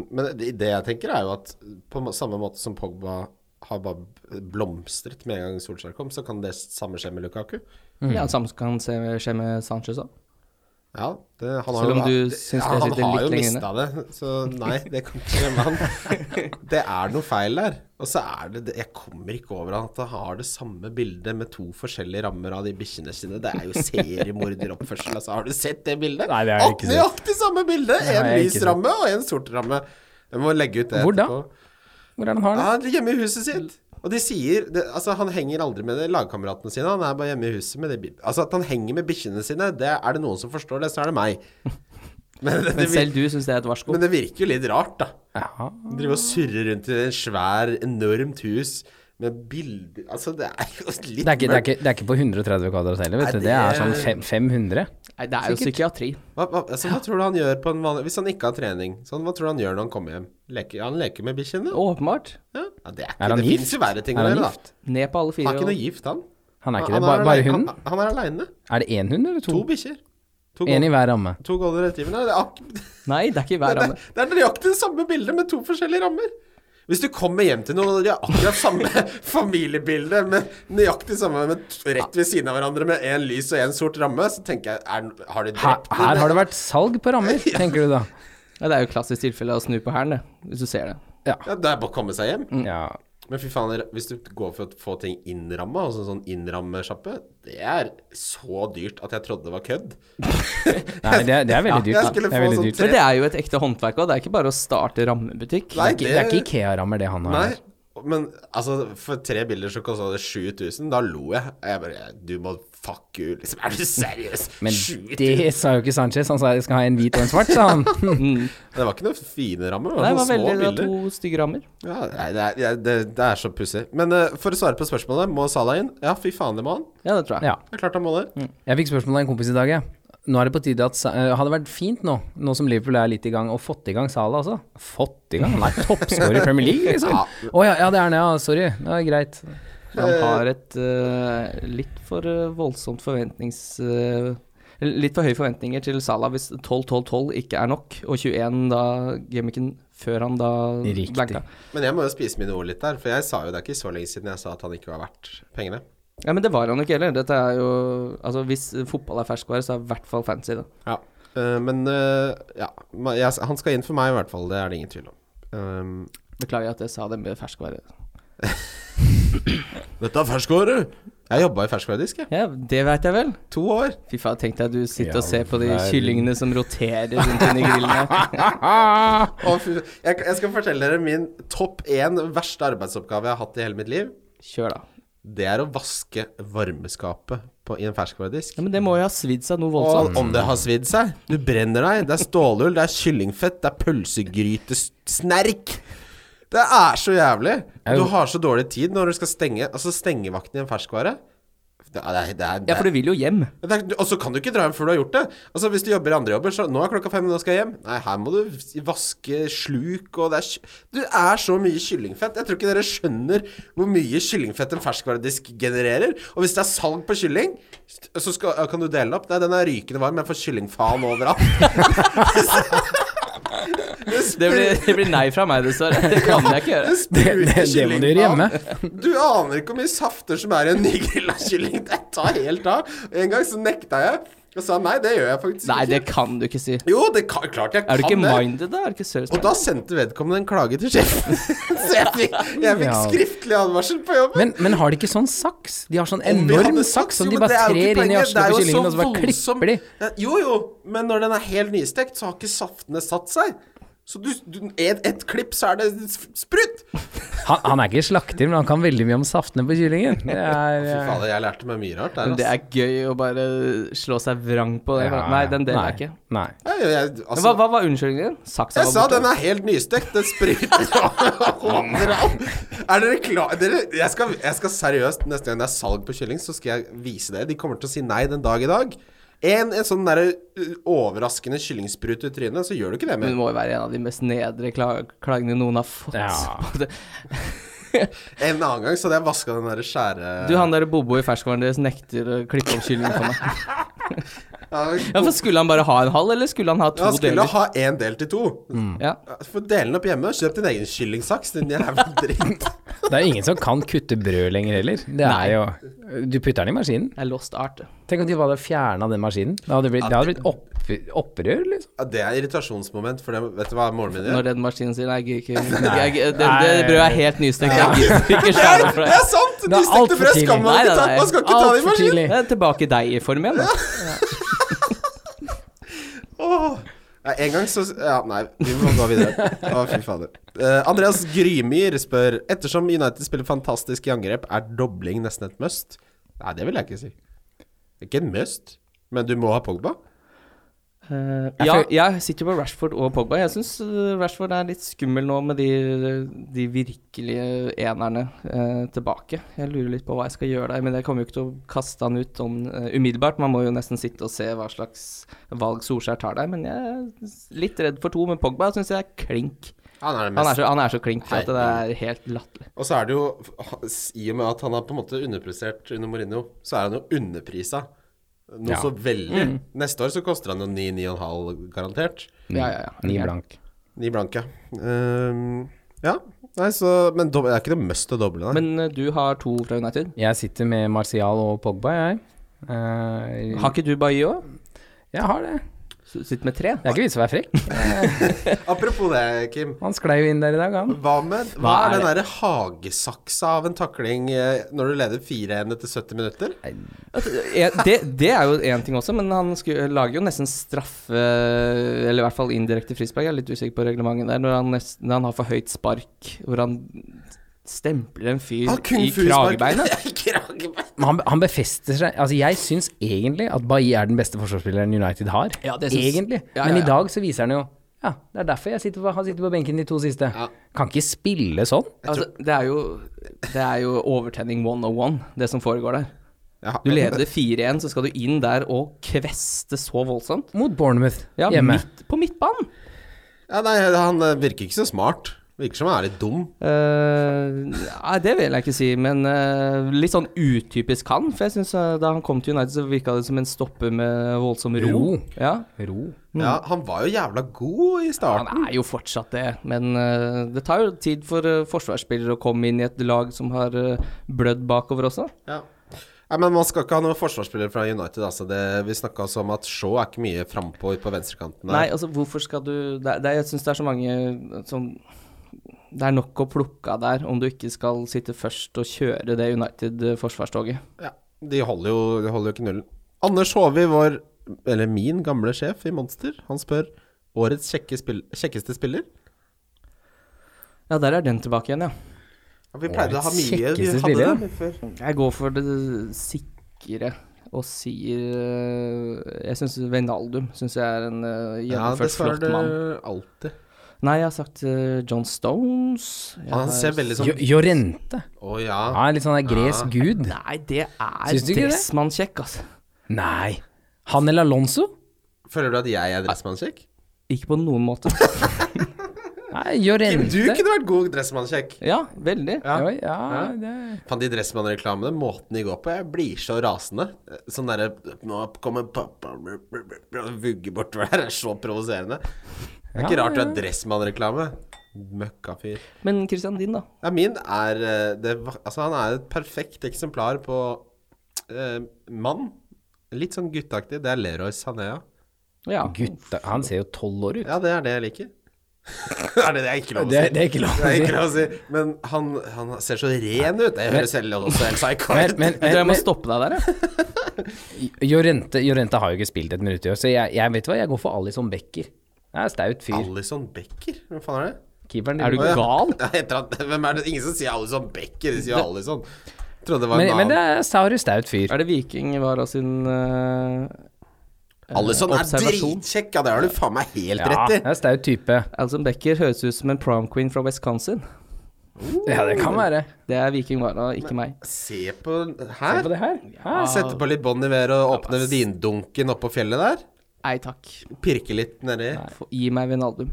Speaker 3: men det, det jeg tenker er jo at på må- samme måte som Pogba har bare b- blomstret med en gang Solskjær kom, så kan det samme skje med Lukaku.
Speaker 4: Ja, samme som kan se, skje med Sanchez òg.
Speaker 3: Ja, det, han har
Speaker 4: Selv
Speaker 3: jo,
Speaker 4: om du syns det
Speaker 3: han
Speaker 4: sitter
Speaker 3: har
Speaker 4: litt
Speaker 3: jo
Speaker 4: lenger
Speaker 3: mista det, så nei, det kan ikke skje med
Speaker 4: <laughs>
Speaker 3: han. Det er noe feil der. Og så er det, det Jeg kommer ikke over at han har det samme bildet med to forskjellige rammer av de bikkjene sine. Det er jo seriemorderoppførsel. Altså, har du sett det bildet?
Speaker 2: Nei, det har jeg ikke sett.
Speaker 3: Nøyaktig samme bilde!
Speaker 2: har
Speaker 3: En
Speaker 2: jeg ikke
Speaker 3: lys
Speaker 2: sett.
Speaker 3: ramme og en sort ramme. Jeg må legge ut det
Speaker 2: Hvor da?
Speaker 3: etterpå.
Speaker 2: Hvor er det han har det?
Speaker 3: Ja, han er hjemme i huset sitt. Og de sier det, Altså, han henger aldri med de lagkameratene sine. Han er bare hjemme i huset med de bi- Altså, at han henger med bikkjene sine, det er det noen som forstår det, så er det
Speaker 2: <laughs>
Speaker 3: meg. Men det, det,
Speaker 4: Men
Speaker 3: vir-
Speaker 4: selv du syns det er et varsko.
Speaker 3: men det virker jo litt rart, da.
Speaker 2: Ja.
Speaker 3: Drive og surre rundt i en svær, enormt hus med bilder Altså, det er jo litt
Speaker 2: Det, er ikke, det, er
Speaker 3: mørkt.
Speaker 2: ikke, det er ikke på 130 kvadrat heller, vet
Speaker 3: Nei,
Speaker 2: du. Det er
Speaker 3: det-
Speaker 2: sånn fem, 500.
Speaker 4: Nei, det er jo psykiatri.
Speaker 3: Hva, hva, altså, hva tror du han gjør på en vanlig Hvis han ikke har trening, sånn, hva tror du han gjør når han kommer hjem? Leker, han leker med bikkjene?
Speaker 4: Åpenbart.
Speaker 3: Ja. Ja, det er ikke
Speaker 2: Er han
Speaker 3: Det
Speaker 2: gift?
Speaker 3: fins jo verre ting
Speaker 2: Er
Speaker 3: å
Speaker 2: han
Speaker 3: gjøre,
Speaker 2: gift?
Speaker 3: da.
Speaker 4: Ned på alle
Speaker 3: Han
Speaker 4: fire.
Speaker 3: er ikke
Speaker 4: og-
Speaker 3: noe gift, han.
Speaker 2: Han er ikke
Speaker 3: Han- han
Speaker 2: det. Bare, bare
Speaker 3: alene-
Speaker 2: hunden?
Speaker 3: Han, han er aleine.
Speaker 2: Er det én hund eller to?
Speaker 3: To bikkjer. To,
Speaker 2: Én i
Speaker 3: gold-
Speaker 2: hver ramme.
Speaker 3: to golden retrievere. Det, er ak-
Speaker 4: Nei, det er ikke hver
Speaker 3: det,
Speaker 4: ramme.
Speaker 3: <laughs> det er nøyaktig det samme bildet med to forskjellige rammer. Hvis du kommer hjem til noen og de har akkurat samme <laughs> familiebilde, men nøyaktig samme men t- rett ved siden av hverandre med én lys og én sort ramme, så tenker jeg er, Har de
Speaker 2: Her,
Speaker 3: drept
Speaker 2: her har det vært salg på
Speaker 3: <laughs>
Speaker 2: rammer, tenker du da.
Speaker 4: Ja, det er jo klassisk tilfelle å snu på hælen, det. Hvis du ser det.
Speaker 3: Ja, det er bare å komme seg hjem.
Speaker 2: Ja.
Speaker 3: Men fy faen, hvis du går for å få ting innramma, altså sånn innrammesjappe, det er så dyrt at jeg trodde det var kødd.
Speaker 2: Nei, det er, det er veldig
Speaker 3: Ja, jeg
Speaker 2: dyrt. da.
Speaker 3: skulle
Speaker 2: Det er
Speaker 3: få
Speaker 2: veldig
Speaker 3: sånn
Speaker 2: dyrt.
Speaker 3: tre-
Speaker 4: Men det er jo et ekte håndverk òg. Det er ikke bare å starte rammebutikk.
Speaker 3: Nei,
Speaker 2: Det er ikke Ikea-rammer det han har.
Speaker 3: Nei,
Speaker 2: her.
Speaker 3: Men altså, for tre bilder så kosta det 7000. Da lo jeg. Jeg bare Du må fuck you, liksom. Er
Speaker 4: <laughs>
Speaker 3: du seriøs?
Speaker 2: Men
Speaker 3: 7000?
Speaker 2: det sa jo ikke Sanchez. Han sa jeg skal ha en hvit og en svart, sa han. <laughs>
Speaker 3: Det var ikke noe fine rammer. Det
Speaker 4: Nei,
Speaker 3: var,
Speaker 4: det var
Speaker 3: sånne små
Speaker 4: veldig det var
Speaker 3: bilder.
Speaker 4: to stygge rammer.
Speaker 3: Ja, nei, det, er, jeg- det, det er så pussig. Men eh, for å svare på spørsmålet, må Salah inn? Ja, fy faen, det må han.
Speaker 4: Ja, det tror jeg.
Speaker 2: Ja.
Speaker 3: Det er klart han må det.
Speaker 4: Mm.
Speaker 2: Jeg fikk spørsmål av en kompis i dag, jeg. Nå er det på tide at Sa- eh, Hadde vært fint nå, nå som Liverpool er litt i gang, og fått i gang Salah altså. Fått i gang? Han er toppscorer i Premier League, liksom. Å <laughs> ja, ja, det er han, ja. Sorry. Det er greit.
Speaker 4: Han har et eh, litt for eh, voldsomt forventnings... eh, litt for høye forventninger til Salah hvis 12-12-12 ikke er nok, og 21 da gameweeken før han da
Speaker 2: Riktig.
Speaker 4: blanka.
Speaker 3: Men jeg må jo spise mine ord litt der, for jeg sa jo det er ikke så lenge siden jeg sa at han ikke var verdt pengene.
Speaker 4: Ja, men det var han jo ikke heller. Dette er jo Altså, hvis fotball er ferskvare, så er i hvert fall fancy det.
Speaker 3: Ja. Eh, men eh, ja, ma- jeg, han skal inn for meg i hvert fall, det er det ingen tvil om. Um,
Speaker 4: Beklager at jeg sa det med ferskvare.
Speaker 3: Dette er ferskvare! Jeg jobba i ferskvaredisk, jeg.
Speaker 4: Ja, det veit jeg vel.
Speaker 3: To år.
Speaker 4: Fy faen, tenk deg at du sitter og
Speaker 2: Ja,
Speaker 4: ser på de
Speaker 2: verden.
Speaker 4: kyllingene som roterer rundt inni grillene.
Speaker 3: <laughs> Å, fy- jeg, jeg skal fortelle dere min topp én verste arbeidsoppgave jeg har hatt i hele mitt liv.
Speaker 4: Kjør, da.
Speaker 3: Det er å vaske varmeskapet på, i en ferskvaredisk.
Speaker 4: Ja, sånn. men det må jo ha svidd seg noe voldsomt.
Speaker 3: Og om det har svidd seg. Du brenner deg. Det er stålull, det er kyllingfett, det er pølsegrytesnerk. Det er så jævlig. Du har så dårlig tid når du skal stenge Altså stengevakten i en ferskvare. Det er, det er, det er,
Speaker 4: Ja, for du vil jo hjem.
Speaker 3: Men det er, du- og så kan du ikke dra hjem før du har gjort det. Altså Hvis du jobber i andre jobber, så Nå er klokka fem, nå skal jeg hjem. Nei, her må du vaske sluk, og det er ky- Du er så mye kyllingfett. Jeg tror ikke dere skjønner hvor mye kyllingfett en ferskvaredisk genererer. Og hvis det er salg på kylling, så skal, kan du dele det opp. Nei, den er rykende varm, jeg får kyllingfaen overalt.
Speaker 4: <laughs>
Speaker 3: <laughs>
Speaker 4: Det blir, det blir nei fra meg, dessverre. Det kan jeg ikke gjøre.
Speaker 2: Det, det, det må du gjøre hjemme.
Speaker 3: Du aner ikke hvor mye safter som er i en nygrilla kylling. Det tar helt av. En gang så nekta jeg og sa nei, det gjør jeg faktisk
Speaker 4: Nei, det
Speaker 3: ikke.
Speaker 4: kan du ikke si.
Speaker 3: Jo, det kan, klart jeg kan
Speaker 4: Er du ikke
Speaker 3: det.
Speaker 4: minded, da? Er du ikke serious
Speaker 3: Og da
Speaker 4: minded?
Speaker 3: sendte vedkommende en klage til sjefen. <laughs> Så jeg fikk, jeg fikk
Speaker 2: Ja.
Speaker 3: skriftlig advarsel på jobben.
Speaker 2: Men, men har de ikke sånn saks? De har sånn
Speaker 3: Om vi
Speaker 2: enorm
Speaker 3: hadde
Speaker 2: saks som
Speaker 3: jo,
Speaker 2: de
Speaker 3: men
Speaker 2: bare
Speaker 3: det er jo ikke
Speaker 2: trer inn i
Speaker 3: poenget. Det
Speaker 2: arslet
Speaker 3: er
Speaker 2: på
Speaker 3: jo
Speaker 2: kyllingen,
Speaker 3: så
Speaker 2: og så bare
Speaker 3: voldsom-
Speaker 2: klipper de.
Speaker 3: Ja, Jo, jo, men når den er helt nystekt, så har ikke saftene satt seg. Så du, du et, et klipp, så er det s- sprut!
Speaker 2: Han, han er ikke slakter, men han kan veldig mye om saftene på kyllingen. Det er,
Speaker 3: Fy
Speaker 2: eh,
Speaker 3: fader, jeg lærte meg mye rart der,
Speaker 4: Men det
Speaker 3: altså.
Speaker 4: er gøy å bare slå seg vrang på det.
Speaker 2: ja,
Speaker 4: Nei, den deler
Speaker 2: nei,
Speaker 4: jeg ikke.
Speaker 2: Nei.
Speaker 3: Jeg, jeg,
Speaker 4: Men
Speaker 3: altså
Speaker 4: hva, hva var unnskyldningen din? Saksa
Speaker 3: jeg
Speaker 4: var
Speaker 3: sa
Speaker 4: borte.
Speaker 3: den er helt nystekt, den
Speaker 4: <laughs>
Speaker 3: spruter overalt. <laughs> Er dere klare dere, jeg, skal, jeg skal seriøst, neste gang det er salg på kylling, så skal jeg vise det. De kommer til å si nei den dag i dag. En, en sånn derre uh, overraskende kyllingsprut i trynet, så gjør du ikke det
Speaker 4: Men det
Speaker 3: mer.
Speaker 4: må jo være en av de mest nedre kla- klagene noen har fått.
Speaker 2: Ja.
Speaker 3: En annen gang så hadde jeg vaska den derre skjære...
Speaker 4: Du, han der Bobo i ferskvaren deres nekter å klippe om kyllingen for
Speaker 3: <laughs>
Speaker 4: meg. Ja,
Speaker 3: ja,
Speaker 4: for skulle han bare ha en halv, eller skulle han ha to
Speaker 3: han skulle
Speaker 4: deler? Mm.
Speaker 3: ha én del til to.
Speaker 4: Ja.
Speaker 3: Få dele den opp hjemme. Kjøp din egen kyllingsaks, din jævla dritt.
Speaker 4: <laughs>
Speaker 2: Det er ingen som kan kutte brød lenger heller. Det er jo Du putter den i maskinen.
Speaker 4: Det er lost art.
Speaker 2: Tenk om de bare hadde fjerna den maskinen. Det hadde blitt, det hadde blitt opp, opprør, liksom.
Speaker 3: Ja, det er irritasjonsmoment, for det, vet du hva moren min gjør?
Speaker 4: Når den maskinen sier nei, jeg gidder ikke jeg, jeg, det, det brødet er helt nystekt. Jeg gidder ikke
Speaker 3: Det er,
Speaker 4: skjære for <laughs>
Speaker 3: det
Speaker 4: det.
Speaker 3: er sant!
Speaker 2: er
Speaker 3: Nystekte
Speaker 2: alt for
Speaker 3: frø skal man
Speaker 4: Nei,
Speaker 3: ikke ta.
Speaker 4: nei, nei.
Speaker 3: Man skal ikke ta det i
Speaker 2: Altfor
Speaker 3: maskinen.
Speaker 2: tidlig.
Speaker 4: Det er tilbake i deg i form igjen, da.
Speaker 3: Åh. Nei, en gang så Ja, nei, vi må gå videre. Å, fy fader. Eh, Andreas Grymyr spør Ettersom United spiller fantastisk i angrep, er dobling nesten et must? Nei, det vil jeg ikke si. Det er Ikke en must, men du må ha Pogba.
Speaker 4: Eh,
Speaker 2: Jeg
Speaker 4: ja,
Speaker 2: føl-
Speaker 4: jeg sitter jo på Rashford og Pogba. Jeg syns eh, Rashford er litt skummel nå med de, de virkelige enerne eh, tilbake. Jeg lurer litt på hva jeg skal gjøre der, men jeg kommer jo ikke til å kaste han ut om, eh, umiddelbart. Man må jo nesten sitte og se hva slags valg Solskjær tar der, men jeg er litt redd for to, men Pogba syns jeg er klink.
Speaker 3: Han er det
Speaker 4: Han er,
Speaker 3: mest.
Speaker 4: så, han er så klink at det er helt latterlig.
Speaker 3: Og så er det jo I og med at han er på en måte underprestert under Mourinho, så er han jo underprisa. Noe
Speaker 2: Ja.
Speaker 3: så veldig.
Speaker 4: Mm.
Speaker 3: Neste år så koster han jo 9-9,5 garantert.
Speaker 4: Ja, ja, ja.
Speaker 2: Ni blank.
Speaker 3: Ni blanke. Ehm, ja. Nei, så Men dob- det er ikke noe must å doble, nei.
Speaker 4: Men eh, du har to fra United.
Speaker 2: Jeg sitter med Martial og Pogba, jeg. Eh,
Speaker 4: Har ikke du Bailly òg?
Speaker 2: jeg har det.
Speaker 4: Sitter med tre?
Speaker 2: Det er ikke vits i å være
Speaker 3: <laughs>
Speaker 2: frekk.
Speaker 3: Apropos det, Kim.
Speaker 2: Han sklei jo inn der i dag, han.
Speaker 3: Hva, med, hva,
Speaker 2: Hva
Speaker 3: er
Speaker 2: er
Speaker 3: den derre hagesaksa av en takling eh, når du leder 4-1 etter 70 minutter?
Speaker 4: Ja, det, det er jo én ting også, men han sku- lager jo nesten straffe Eller i hvert fall indirekte frispark. Jeg er litt usikker på reglementet der. Når han, nesten, når han har for høyt spark, hvor han stempler en fyr
Speaker 3: Han
Speaker 4: i
Speaker 3: <laughs>
Speaker 4: kragebeinet.
Speaker 3: kragebeinet.
Speaker 2: Men han, han befester seg Altså, jeg syns egentlig at Bailly er den beste forsvarsspilleren United har.
Speaker 4: Ja, det syns-
Speaker 2: Egentlig.
Speaker 4: Ja, ja,
Speaker 2: Men
Speaker 4: ja.
Speaker 2: i dag så viser han jo Ja, det er derfor jeg sitter på, han sitter på benken de to siste. Kan ikke spille sånn.
Speaker 4: Altså, det, er jo, det er jo overtenning 101, det som foregår der.
Speaker 3: Ja.
Speaker 4: Du <laughs> leder 4-1, så skal du inn der og kveste så voldsomt.
Speaker 2: Mot Bournemouth
Speaker 4: Ja,
Speaker 2: hjemme.
Speaker 4: midt på midtbanen.
Speaker 3: Ja, nei, han eh, virker ikke så smart. Virker som han er litt dum.
Speaker 4: Eh, nei, det vil jeg ikke si, men eh, litt sånn utypisk han. For jeg syns da han kom til United, så virka det som en stopper med voldsom ro.
Speaker 2: Ro.
Speaker 4: Ja.
Speaker 2: Ro.
Speaker 3: Ja, han var jo jævla god i starten.
Speaker 4: Mm. Han er jo fortsatt det, men eh, det tar jo tid for eh, forsvarsspillere å komme inn i et lag som har eh, blødd bakover også.
Speaker 3: Ja. Nei, men man skal ikke ha noen forsvarsspiller fra United. Altså det, vi snakka også om at Shaw er ikke mye frampå ut på venstrekanten.
Speaker 4: Nei,
Speaker 3: der.
Speaker 4: altså hvorfor skal du det, er- det, er- Jeg syns det er så mange eh, som Det er nok å plukke av der om du ikke skal sitte først og kjøre det eh, United-forsvarstoget.
Speaker 3: Ja, de, holder jo, de holder jo ikke nullen. Anders Håvi, vår Eller min gamle sjef i Monster, han spør årets kjekke spill, kjekkeste spiller.
Speaker 4: Ja, der er den tilbake igjen, ja.
Speaker 3: Ja, vi pleide å ha
Speaker 2: Årets
Speaker 3: mye vi
Speaker 2: kjekkeste
Speaker 3: hadde det
Speaker 2: spiller?
Speaker 3: litt før.
Speaker 4: Jeg går for det sikre og sier eh, Jeg syns Veinaldum syns jeg er en eh,
Speaker 3: Ja, det
Speaker 4: gjennomført
Speaker 3: svarer
Speaker 4: flott
Speaker 3: du
Speaker 4: mann.
Speaker 3: alltid.
Speaker 4: Nei, jeg har sagt eh, John Stones. Jeg
Speaker 3: Han
Speaker 4: har-
Speaker 3: ser veldig sånn
Speaker 2: Jo- Jorente.
Speaker 3: Å ja.
Speaker 2: Ja, litt sånn der
Speaker 4: Ah.
Speaker 2: gresk gud.
Speaker 4: Nei, det er
Speaker 2: Syns du ikke det?
Speaker 4: dressmannkjekk, altså.
Speaker 2: Nei. Han eller Alonso?
Speaker 3: Føler du at jeg er dressmannkjekk?
Speaker 4: Ikke på noen måte. <laughs>
Speaker 2: Nei, Jorente.
Speaker 3: Du kunne vært god dressmannkjekk.
Speaker 4: Ja, veldig.
Speaker 3: Ja.
Speaker 2: Oi, ja, det
Speaker 3: Fan, de Dressmann-reklamene, måten de går på, jeg blir så rasende. Sånn derre Nå kommer pappa og vugger bortover der. Det er så provoserende. Det er ikke
Speaker 2: Ja,
Speaker 3: rart du er Dressmann-reklame. Møkkafyr.
Speaker 4: Men Christian, din, da?
Speaker 3: Ja, min er eh, det, va- Altså, han er et perfekt eksemplar på eh, mann. Litt sånn gutteaktig. Det er Leroy Sanea.
Speaker 4: Ja.
Speaker 2: Gutta, han ser jo tolv år ut.
Speaker 3: Ja, det er det jeg <laughs> liker. det er det det er ikke lov å si.
Speaker 2: Det- det er ikke lov å
Speaker 3: Det er
Speaker 2: si.
Speaker 3: ikke lov å si. Men han, han ser så ren ut. Det høres selv også helt psycho
Speaker 2: Men,
Speaker 3: ut.
Speaker 2: men,
Speaker 4: Jeg tror
Speaker 2: men,
Speaker 4: jeg må stoppe deg der, jeg.
Speaker 2: Jorente, Jorente har jo ikke spilt et minutt i år, så jeg, jeg vet hva, jeg går for Alison Becker. Det er staut fyr.
Speaker 3: Alison Becker? Hvem faen er det?
Speaker 2: Keeperen
Speaker 4: Er du
Speaker 2: de-
Speaker 4: gal?
Speaker 3: Ja, etter at, hvem er det? Ingen som sier Alison Becker, de sier Alison. Trodde det var
Speaker 2: Men,
Speaker 3: en
Speaker 2: men det
Speaker 3: annen.
Speaker 2: er Sauri staut fyr.
Speaker 4: Er det Viking var av sin eh,
Speaker 3: Alison er
Speaker 4: observasjon?
Speaker 3: dritkjekk, ja, det har du faen meg helt
Speaker 2: Ja,
Speaker 3: rett
Speaker 2: det
Speaker 3: i.
Speaker 2: er staut type.
Speaker 4: Alison Becker høres ut som en prom queen fra Wisconsin.
Speaker 2: Ja, det kan være.
Speaker 4: Det er Viking Vara, ikke meg.
Speaker 3: Se på
Speaker 2: Se
Speaker 3: Her?
Speaker 2: på det her. Ja.
Speaker 3: Sette på litt Bon Iver og åpne vindunken oppå fjellet der.
Speaker 4: Nei takk.
Speaker 3: Pirke litt nedi.
Speaker 4: Få- Gi meg Vinaldum.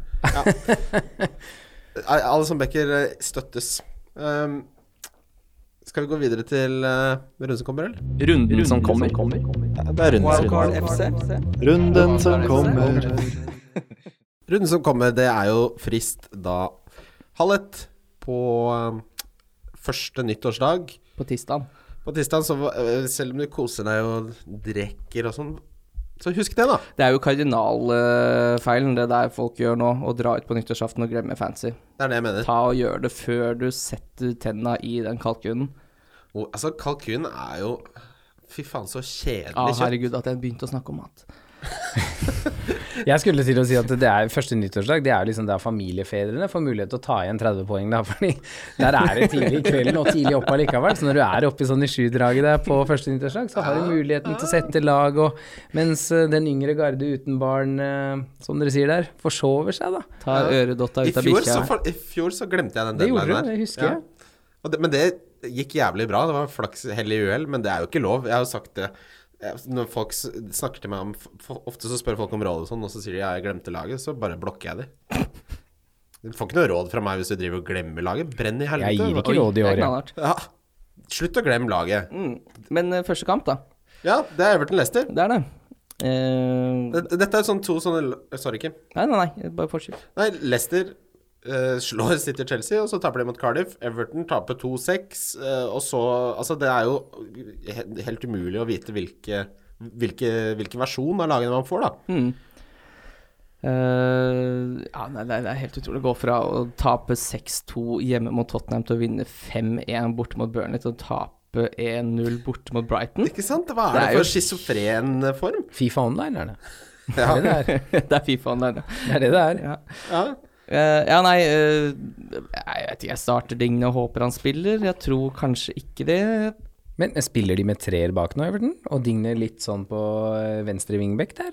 Speaker 3: Al- Alison Becker eh, støttes. Um, skal vi gå videre til eh, runden som kommer, eller?
Speaker 5: Runden som kommer.
Speaker 3: Det er runden
Speaker 5: Runden som kommer.
Speaker 3: Runden som kommer, det er jo frist da halv ett på eh, første nyttårsdag.
Speaker 4: På tirsdag.
Speaker 3: På tirsdag, så eh, selv om du koser deg og drikker og sånn, så husk det, da.
Speaker 4: Det er jo kardinalfeilen, det der folk gjør nå. Å dra ut på nyttårsaften og glemme fancy.
Speaker 3: Det er det jeg mener.
Speaker 4: Ta og Gjør det før du setter tenna i den kalkunen.
Speaker 3: Og, altså, kalkun er jo Fy faen, så
Speaker 4: Å,
Speaker 3: kjedelig kjøtt.
Speaker 4: Ah, herregud, at jeg begynte å snakke om mat.
Speaker 2: Jeg skulle til å si at det er første nyttårsdag, det er liksom der familiefedrene får mulighet til å ta igjen 30 poeng, da, fordi der er det tidlig i kvelden og tidlig oppe allikevel. Så når du er oppe i sånn i sju-draget der på første nyttårsdag, så har du muligheten til å sette lag og Mens eh, den yngre garde uten barn, eh, som dere sier der, forsover seg, da.
Speaker 4: Ta øredotta
Speaker 3: I
Speaker 4: ut av
Speaker 3: fjor, så,
Speaker 4: bikkja.
Speaker 3: for, I fjor så glemte jeg den
Speaker 2: Det gjorde
Speaker 3: deadlinen
Speaker 2: du,
Speaker 3: der.
Speaker 2: det husker jeg.
Speaker 3: Og det, men det gikk jævlig bra. Det var flaks, hell i uhell, men det er jo ikke lov. Jeg har jo sagt det. Jeg- Når folk s- snakker til meg om f- f- Ofte så spør folk om råd og sånn, og så sier de ja, jeg glemte laget, så bare blokker jeg de. Du får ikke noe råd fra meg hvis du driver og glemmer laget. Brenn i helvete.
Speaker 2: Jeg gir
Speaker 3: hva-
Speaker 2: ikke råd Mm. i
Speaker 4: Det er
Speaker 2: år, jeg.
Speaker 4: knallhardt.
Speaker 3: Ja. Slutt å glemme laget.
Speaker 4: Men eh, første kamp, da.
Speaker 3: Ja, det er Everton Leicester.
Speaker 4: Det er det. Eh,
Speaker 3: Dette dette er sånn to sånne l- Sorry, Kim.
Speaker 4: nei, nei, nei. Bare fortsett.
Speaker 3: Nei, Leicester eh, slår City og Chelsea, og så taper de mot Cardiff. Everton taper 2-6, eh, og så Altså, det er jo he- helt umulig å vite hvilke Hvilke, hvilken versjon av lagene man får,
Speaker 4: Mm.
Speaker 3: da.
Speaker 4: Eh, ja, nei, det er- det er helt utrolig å gå fra å tape 6-2 hjemme mot Tottenham til å vinne 5-1 borte mot Burnley til å tape 1-0 borte mot Brighton. <laughs>
Speaker 3: Ikke sant? Hva er
Speaker 4: Det
Speaker 3: det,
Speaker 4: er jo-
Speaker 3: for schizofren eh, form?
Speaker 2: Fifa Online er det. Det er det det er.
Speaker 4: det er Fifa-en der,
Speaker 2: Det er det det er.
Speaker 4: ja.
Speaker 3: Ja.
Speaker 4: Eh, Eh, ja, nei eh, Jeg vet ikke, jeg starter Digne og håper han spiller. Jeg tror kanskje ikke det.
Speaker 2: Men spiller de med treer bak nå, Everton? Og Digne litt sånn på eh, venstre vingbekk der?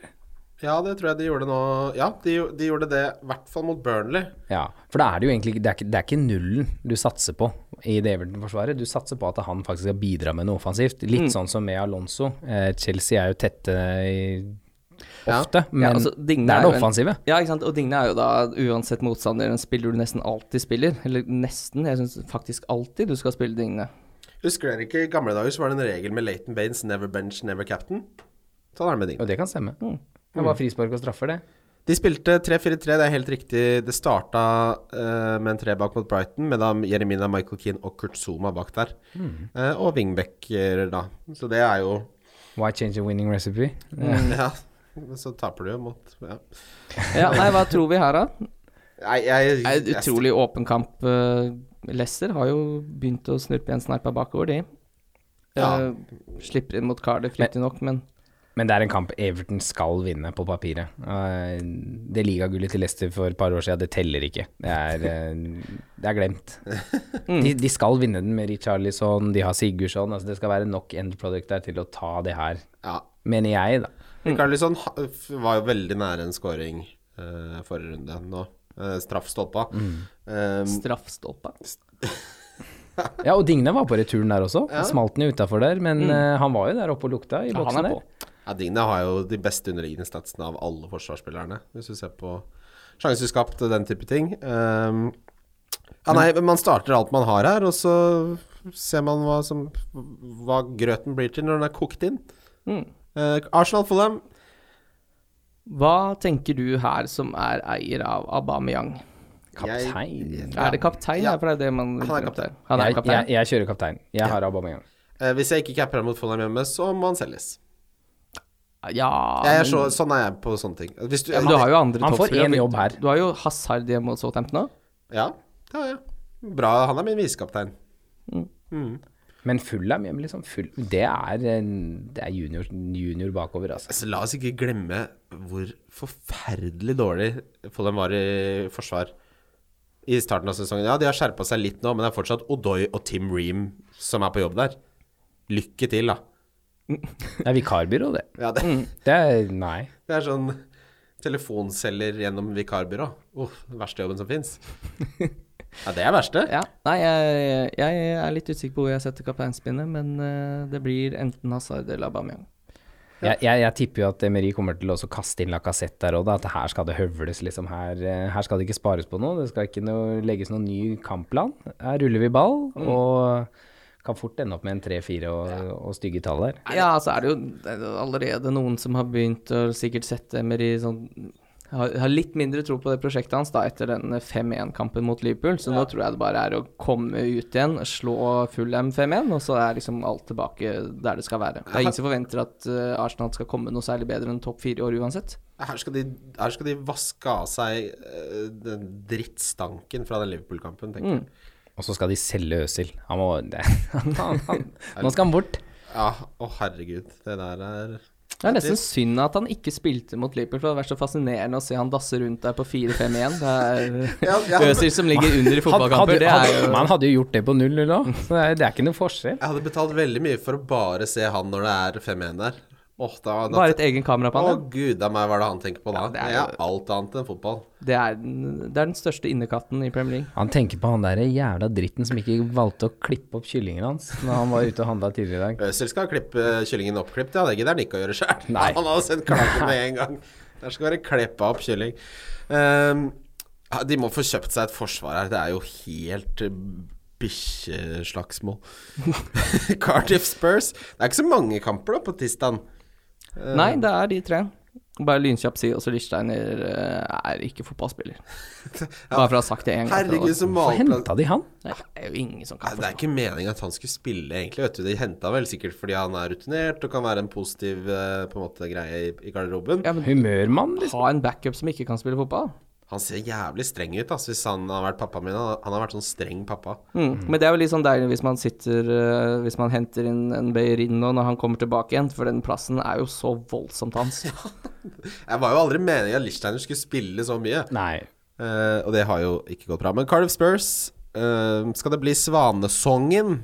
Speaker 3: Ja, det tror jeg de gjorde nå. Ja, de, gjo- de gjorde det i hvert fall mot Burnley.
Speaker 2: Ja, for da er det jo egentlig ikke- det er, ikke- det er ikke nullen du satser på i det Everton-forsvaret. Du satser på at han faktisk skal bidra med noe offensivt. Litt
Speaker 4: Mm.
Speaker 2: sånn som med Alonso. Eh, Chelsea er jo tette i,
Speaker 3: Ja.
Speaker 2: ofte, men
Speaker 4: Ja, altså,
Speaker 2: det
Speaker 4: Digne
Speaker 2: er
Speaker 4: er jo
Speaker 2: det
Speaker 4: en-
Speaker 2: offensive.
Speaker 4: Ja, ikke sant? Og Digne er jo da uansett motstander en spiller du nesten alltid spiller. Eller nesten, jeg syns faktisk alltid du skal spille Digne.
Speaker 3: Husker dere ikke i gamle dager så var det en regel med Leighton Baines, never bench, never captain? Sånn er det med Digne.
Speaker 2: Og det kan stemme.
Speaker 4: Mm.
Speaker 2: Det var frispark og straffer, det.
Speaker 3: De spilte 3-4-3, det er helt riktig. Det starta eh, med en tre bak mot Brighton, med da Jeremina, Michael Keane og Kurt Zuma bak der. Eh, og wingbacker, da. Så det er jo <laughs>
Speaker 2: Why change a winning recipe?
Speaker 4: Mm.
Speaker 3: Ja. Men så taper du jo mot ja.
Speaker 4: Ja, <laughs> nei, hva tror vi her, da?
Speaker 3: Nei, jeg,
Speaker 4: Det er en utrolig åpen kamp. eh, Leicester har jo begynt å snurpe igjen sneipa bakover, de.
Speaker 3: Ja.
Speaker 4: Eh, slipper inn mot Cardiff, riktig nok, men
Speaker 2: Men det er en kamp Everton skal vinne på papiret. Eh, Det ligagullet til Leicester for et par år siden, det teller ikke. Det er, eh, det er glemt. De, de skal vinne den med Richarlison, de har Sigurdsson. Altså det skal være nok end product der til å ta det her,
Speaker 3: Ja.
Speaker 2: mener jeg, da.
Speaker 3: Carlisson sånn var jo veldig nære en scoring eh, forrige runde nå. Uh, Straffstolpa. Um,
Speaker 4: straffstolpa.
Speaker 2: Ja, og Digne var på returen der også. Smalt den jo utafor der, men eh, han var jo der oppe og lukta i
Speaker 4: Ja,
Speaker 2: boksen
Speaker 4: han er
Speaker 2: der.
Speaker 4: på.
Speaker 3: ja, Digne har jo de beste underliggende statsene av alle forsvarsspillerne, hvis du ser på sjanser skapt og den type ting. Um, ja, nei, men man starter alt man har her, og så ser man hva, som, hva grøten blir til når den er kokt inn.
Speaker 4: Mm.
Speaker 3: Eh, Arsenal Fulham
Speaker 4: Hva tenker du her som er eier av Aubameyang?
Speaker 2: Kaptein. Jeg,
Speaker 4: Er det kaptein?
Speaker 3: Ja.
Speaker 4: Ja. For det er det man
Speaker 3: Han er kaptein.
Speaker 4: Han er
Speaker 2: jeg,
Speaker 4: kaptein.
Speaker 2: jeg, kjører kaptein. Jeg har Aubameyang.
Speaker 3: eh, Hvis jeg ikke capper mot Fulham hjemme, så må han selges.
Speaker 4: Ja,
Speaker 3: Jeg er
Speaker 4: men-
Speaker 3: så, sånn er jeg på sånne ting. Hvis du,
Speaker 4: ja, men du har jo andre
Speaker 2: Han får
Speaker 4: toppspillere.
Speaker 2: én jobb her.
Speaker 4: Du har jo Hazard hjemme mot Southampton òg.
Speaker 3: Ja, det har jeg. Bra, han er min visekaptein.
Speaker 2: Men Fulham, ja, men liksom full, det er, en- det er junior, junior bakover, altså.
Speaker 3: Altså, la oss ikke glemme hvor forferdelig dårlig Follum var i forsvar i starten av sesongen. Ja, de har skjerpa seg litt nå, men det er fortsatt Odoi og Tim Ream som er på jobb der. Lykke til, da.
Speaker 2: Det er vikarbyrå, det.
Speaker 3: Ja, det,
Speaker 2: Det er Nei.
Speaker 3: det er sånn telefonselger gjennom vikarbyrå. Uff, den verste jobben som fins. <laughs> Ja, det er verste.
Speaker 4: Ja. Nei, jeg, jeg er litt usikker på hvor jeg setter kapteinspinnet, men eh, det blir enten Hazard eller Aubameyang.
Speaker 2: Jeg, jeg, jeg tipper jo at Emery kommer til å også kaste inn Lacassette der òg, da. At her skal det høvles, liksom. Her, eh, her skal det ikke spares på noe. Det skal ikke noe, legges noen ny kampplan. Her ruller vi ball,
Speaker 4: Mm.
Speaker 2: og kan fort ende opp med en tre-fire og, og stygge tall der.
Speaker 4: Ja, så er det jo det er jo allerede noen som har begynt å sikkert sette Emery sånn har, har litt mindre tro på det prosjektet hans da etter den 5-1-kampen mot Liverpool, så nå tror jeg det bare er å komme ut igjen, slå Fulham 5-1, og så er liksom alt tilbake der det skal være. Det er ingen som forventer at eh, Arsenal skal komme noe særlig bedre enn topp fire i år uansett.
Speaker 3: Her skal, de, her skal de vaske av seg eh, den drittstanken fra den Liverpool-kampen, tenker jeg.
Speaker 2: Og så skal de selge Øsil. Han må det. <laughs> han,
Speaker 4: <laughs>
Speaker 2: han, Nå skal han bort.
Speaker 3: Ja, å herregud. Det der er
Speaker 4: Det er nesten synd at han ikke spilte mot Liverpool, for det har vært så fascinerende å se han dasse rundt der på 4-5-1. Det er
Speaker 3: Ja, ja.
Speaker 4: Øzil som ligger under i fotballkamper, det er jo
Speaker 2: man hadde jo gjort det på null null òg, så det er, det er ikke noe forskjell.
Speaker 3: Jeg hadde betalt veldig mye for å bare se han når det er 5-1 der. Åh, da, da,
Speaker 4: bare et egen kamera på
Speaker 3: Å
Speaker 4: han. ja.
Speaker 3: gud a meg, hva er det han tenker på da?
Speaker 4: det
Speaker 3: det,
Speaker 4: er
Speaker 3: er
Speaker 4: jo-
Speaker 3: alt annet enn fotball.
Speaker 4: Det er, den, det er den største innekatten i Premier League.
Speaker 2: Han tenker på han der jævla dritten som ikke valgte å klippe opp kyllingen hans når han var ute og handla tidligere i dag.
Speaker 3: Øzil skal klippe kyllingen oppklippet, ja. Det gidder han ikke å gjøre sjøl.
Speaker 2: Nei.
Speaker 3: <laughs> Han hadde sendt klagen med en gang. Der skal være kleppa opp kylling. Ehm, ja, de må få kjøpt seg et forsvar her. Det er jo helt eh, bikkjeslagsmål. <laughs> Cardiff Spurs. Det er ikke så mange kamper da på tirsdag. Eh.
Speaker 4: Nei, det er de tre. Bare lynkjapt si også Lichsteiner eh, er ikke
Speaker 3: <laughs>
Speaker 4: fotballspiller. Bare for å ha sagt det én gang. for
Speaker 3: Herregud,
Speaker 4: alle.
Speaker 3: så
Speaker 2: Hvor
Speaker 3: malplass
Speaker 2: henta de han?
Speaker 4: Nei, Det er jo ingen som
Speaker 3: Nei,
Speaker 4: kan
Speaker 3: Det er
Speaker 4: forstå.
Speaker 3: ikke meningen at han skulle spille, egentlig. vet du De henta vel sikkert fordi han er rutinert og kan være en positiv eh, på en måte greie i- i garderoben.
Speaker 4: Ja, men
Speaker 2: Humørmann, liksom.
Speaker 4: ha en backup som ikke kan spille fotball.
Speaker 3: Han ser jævlig streng ut altså, hvis han har vært pappaen min. Han han har vært sånn streng pappa.
Speaker 4: Mm. Men det er jo litt sånn deilig hvis man sitter eh, Hvis man henter inn en Beirino når han kommer tilbake igjen, for den plassen er jo så voldsomt hans.
Speaker 3: <laughs> Jeg var jo aldri meningen at Lichsteiner skulle spille så mye.
Speaker 2: Nei.
Speaker 3: Eh, og det har jo ikke gått bra. Men Cardiff Spurs eh, Skal det bli Svanesongen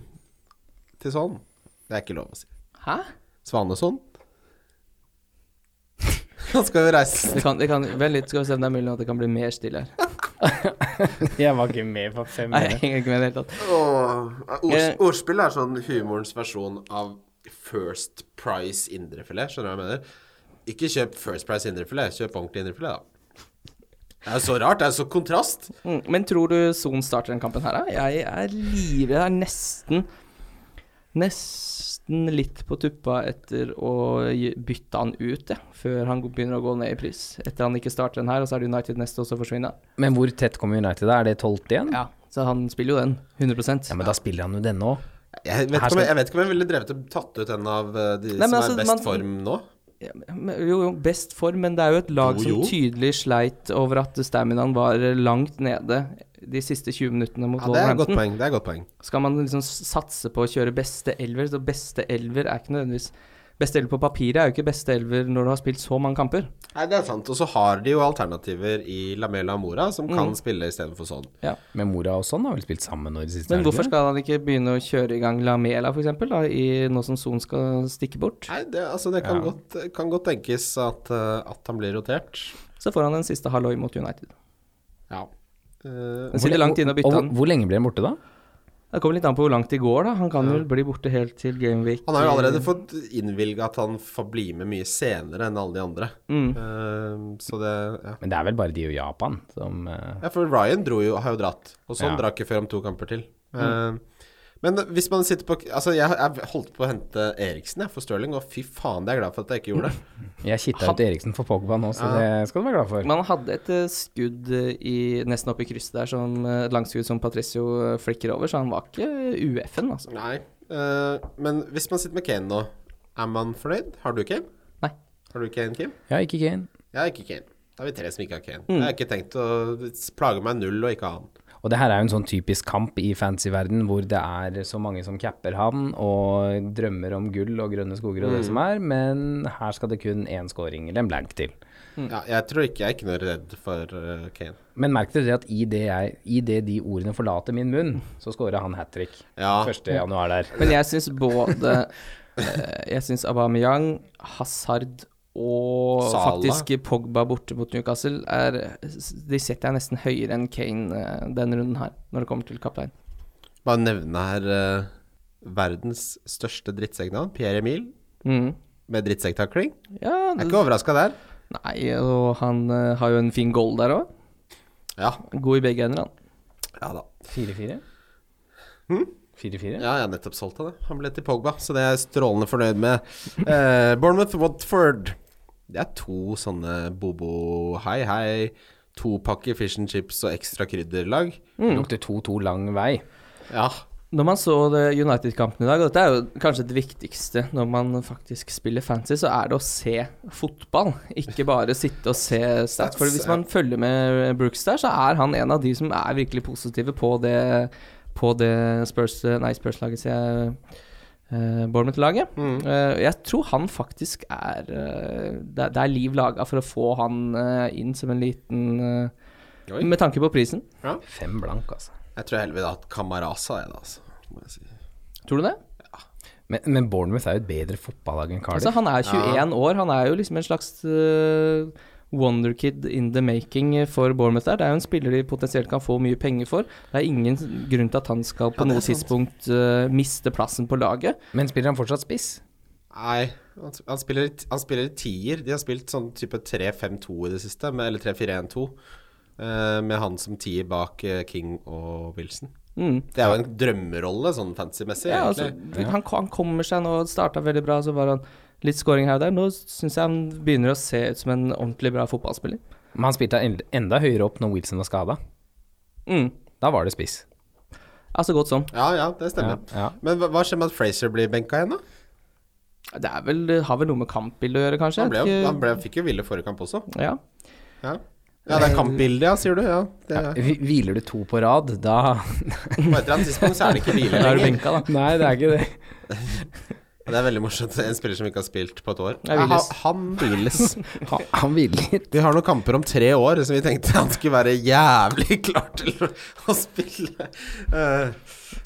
Speaker 3: til sånn? Det er ikke lov å si.
Speaker 4: Hæ?
Speaker 3: Svanesonn? <laughs> Han skal jo reise
Speaker 4: Det kan, det kan, vent litt, skal vi se om det er mulig at det kan bli mer stille her.
Speaker 2: Jeg var ikke med på fem
Speaker 4: Nei, jeg henger ikke med i det hele tatt.
Speaker 3: Åh, Ordspill er sånn humorens versjon av First Price indrefilet. Skjønner du hva jeg mener? Ikke kjøp First Price indrefilet, kjøp ordentlig indrefilet, da. Det er jo så rart. Det er jo så kontrast.
Speaker 4: Mm, Men tror du Son starter den kampen her, da? Jeg er livredd. Jeg er nesten Nesten litt på tuppa etter å gi- bytte han ut, jeg, før han begynner å gå ned i pris. Etter han ikke starter den her, og så er det United neste, og så forsvinner han.
Speaker 2: Men hvor tett kommer United? da? Er det tolvte igjen?
Speaker 4: Ja, så han spiller jo den, 100
Speaker 2: Ja, men da spiller han jo denne òg.
Speaker 3: Jeg vet,
Speaker 2: Her
Speaker 3: ikke om
Speaker 2: skal-
Speaker 3: jeg, jeg vet ikke om jeg ville drevet og tatt ut en av eh, de
Speaker 4: Nei, men
Speaker 3: som
Speaker 4: altså,
Speaker 3: er best
Speaker 4: man-
Speaker 3: form nå.
Speaker 4: Ja, men- Jo, jo, best form, men det er jo et lag
Speaker 3: Jo,
Speaker 4: som
Speaker 3: jo.
Speaker 4: tydelig sleit over at staminaen var langt nede de siste 20 minuttene mot
Speaker 3: Ja, det er et godt
Speaker 4: Wolverhampton.
Speaker 3: poeng. Det er et godt poeng.
Speaker 4: Skal man liksom s- satse på å kjøre beste elver, så beste elver er ikke nødvendigvis Beste elver på papiret er jo ikke beste elver når du har spilt så mange kamper.
Speaker 3: Nei, det er sant. Og så har de jo alternativer i Lamela Mora, som kan spille istedenfor sånn.
Speaker 2: Men mora og sånn har vel spilt sammen nå i det siste?
Speaker 4: Men
Speaker 2: har de
Speaker 4: hvorfor
Speaker 2: ikke
Speaker 4: skal han ikke begynne å kjøre i gang Lamela, f.eks., nå som Son skal stikke bort?
Speaker 3: Nei, det, altså, det kan, godt, kan godt tenkes at, eh, at han blir rotert.
Speaker 4: Så får han den siste halloi mot United.
Speaker 3: Ja. Eh,
Speaker 4: Den
Speaker 2: det?
Speaker 4: sitter langt inne og bytter
Speaker 2: Og
Speaker 4: han.
Speaker 2: hvor- Hvor lenge ble han borte, da?
Speaker 4: Det kommer litt an på hvor langt det går, da. Han kan vel bli borte helt til Gameweek.
Speaker 3: han har jo allerede fått innvilga at han får bli med mye senere enn alle de andre. Eh, så det ja.
Speaker 2: Men det er vel bare de og Japan som eh,
Speaker 3: ja, for Ryan dro jo, har jo dratt, og sånn
Speaker 2: Ja.
Speaker 3: drar ikke før om to kamper til. Eh, men hvis man sitter på Altså, jeg, jeg holdt på å hente Eriksen jeg, for Stirling, og fy faen, det er jeg glad for at jeg ikke gjorde det.
Speaker 2: Jeg kitta ut Eriksen for Pogba nå, så det skal du være glad for.
Speaker 4: Man hadde et eh, skudd eh, i, nesten oppe i krysset der, som, eh, et langskudd som Patricio eh, flikker over, så han var ikke UF-en, altså.
Speaker 3: Nei, eh, men hvis man sitter med Kane nå, er man fornøyd? Har du Kane?
Speaker 4: Nei.
Speaker 3: Har du Kane, Kim?
Speaker 2: Ja, ikke Kane.
Speaker 3: Jeg har ikke Kane. Da er vi tre som ikke har Kane. Jeg har ikke tenkt å plage meg null og ikke ha han.
Speaker 2: Og det her er jo en sånn typisk kamp i fantasyverden hvor det er så mange som capper han og drømmer om gull og grønne skoger
Speaker 4: Mm.
Speaker 2: og det som er, men her skal det kun én scoring eller en blank til.
Speaker 3: Ja, jeg tror ikke jeg er ikke noe redd for eh, Kane.
Speaker 2: Men merk dere det at i det, jeg, i det de ordene forlater min munn, så scorer han hat trick
Speaker 3: Ja.
Speaker 2: 1. januar der.
Speaker 4: Men jeg syns både eh, Jeg syns Aubameyang, Hazard og
Speaker 3: Salah.
Speaker 4: faktisk Pogba borte mot Newcastle er De setter jeg nesten høyere enn Kane eh, denne runden her, når det kommer til kaptein.
Speaker 3: Bare nevne her eh, verdens største drittsekknavn, Pierre Emil,
Speaker 4: Mm.
Speaker 3: med drittsekktakling.
Speaker 4: Ja,
Speaker 3: Jeg er ikke overraska der.
Speaker 4: nei, og han eh, har jo en fin goal der òg.
Speaker 3: Ja,
Speaker 4: God i begge ender, han.
Speaker 3: ja da.
Speaker 2: 4-4? 4-4?
Speaker 3: Hm? Ja, jeg har nettopp solgt han, jeg. Han ble til Pogba, så det er jeg strålende fornøyd med. Eh, Bournemouth Watford. Det er to sånne bobo hei, hei. To pakker fish and chips og ekstra krydderlag.
Speaker 2: Det Lukter 2-2 lang vei.
Speaker 3: Ja.
Speaker 4: Når man så det United-kampen i dag, og dette er jo kanskje det viktigste når man faktisk spiller fancy, så er det å se fotball, ikke bare sitte og se stats. For hvis man følger med Brooks der, så er han en av de som er virkelig positive på det, på det Spurs, nei, Spurs-laget, sier jeg. eh, Bournemouth-laget. Eh, jeg tror han faktisk er eh, det, det er liv laga for å få han eh, inn som en liten eh,
Speaker 3: Oi.
Speaker 4: Med tanke på prisen.
Speaker 2: Fem blank, altså.
Speaker 3: Jeg tror jeg heller ville hatt Camarasa, jeg da, altså. Må jeg si.
Speaker 4: Tror du det?
Speaker 2: Men, men Bournemouth er jo et bedre fotballag enn Cardiff.
Speaker 4: Altså, han er 21 år. Han er jo liksom en slags eh, wonderkid in the making for Bournemouth der. Det er jo en spiller de potensielt kan få mye penger for. Det er ingen grunn til at han skal på noe tidspunkt eh, miste plassen på laget.
Speaker 2: Men spiller han fortsatt spiss?
Speaker 3: Nei, han, han, spiller, i- han spiller i tier. De har spilt sånn type 3-5-2 i det siste, med, eller 3-4-1-2. eh, med han som tier bak eh, King og Wilson.
Speaker 4: Mm.
Speaker 3: Det er jo en drømmerolle sånn fancy-messig,
Speaker 4: Ja, altså,
Speaker 3: egentlig.
Speaker 4: han, han kommer seg nå, starta veldig bra, så var han litt scoring her og der. Nå syns jeg han begynner å se ut som en ordentlig bra fotballspiller.
Speaker 2: Men han spilte en- enda høyere opp når Wilson var skada.
Speaker 4: Mm.
Speaker 2: Da var det spiss.
Speaker 4: Ja, så godt som.
Speaker 3: Ja, ja, det stemmer.
Speaker 2: Ja, ja.
Speaker 3: Men hva, hva skjer med at Fraser blir benka igjen, da?
Speaker 4: Det er vel, har vel noe med kampbildet å gjøre, kanskje?
Speaker 3: Han, ble, jo-
Speaker 4: Ikke-
Speaker 3: han ble, fikk jo hvile forrige kamp også.
Speaker 4: ja.
Speaker 3: Ja, ja
Speaker 4: Eh,
Speaker 3: det er kampbildet, ja, sier du. Ja, det er.
Speaker 2: Hvi- Hviler du to på rad, da
Speaker 3: På et eller annet tidspunkt så er det ikke
Speaker 4: <laughs>
Speaker 3: hvile
Speaker 2: <laughs>
Speaker 4: Da er du
Speaker 3: lenger.
Speaker 4: benka, da.
Speaker 2: Nei, det er ikke det.
Speaker 3: Det er veldig morsomt. En spiller som ikke har spilt på et år.
Speaker 4: er Willis.
Speaker 3: Ja, han han
Speaker 4: <laughs>
Speaker 3: Willis.
Speaker 2: Han, han vil litt.
Speaker 3: Vi har noen kamper om tre år som vi tenkte han skulle være jævlig <laughs> klar til å spille. Eh,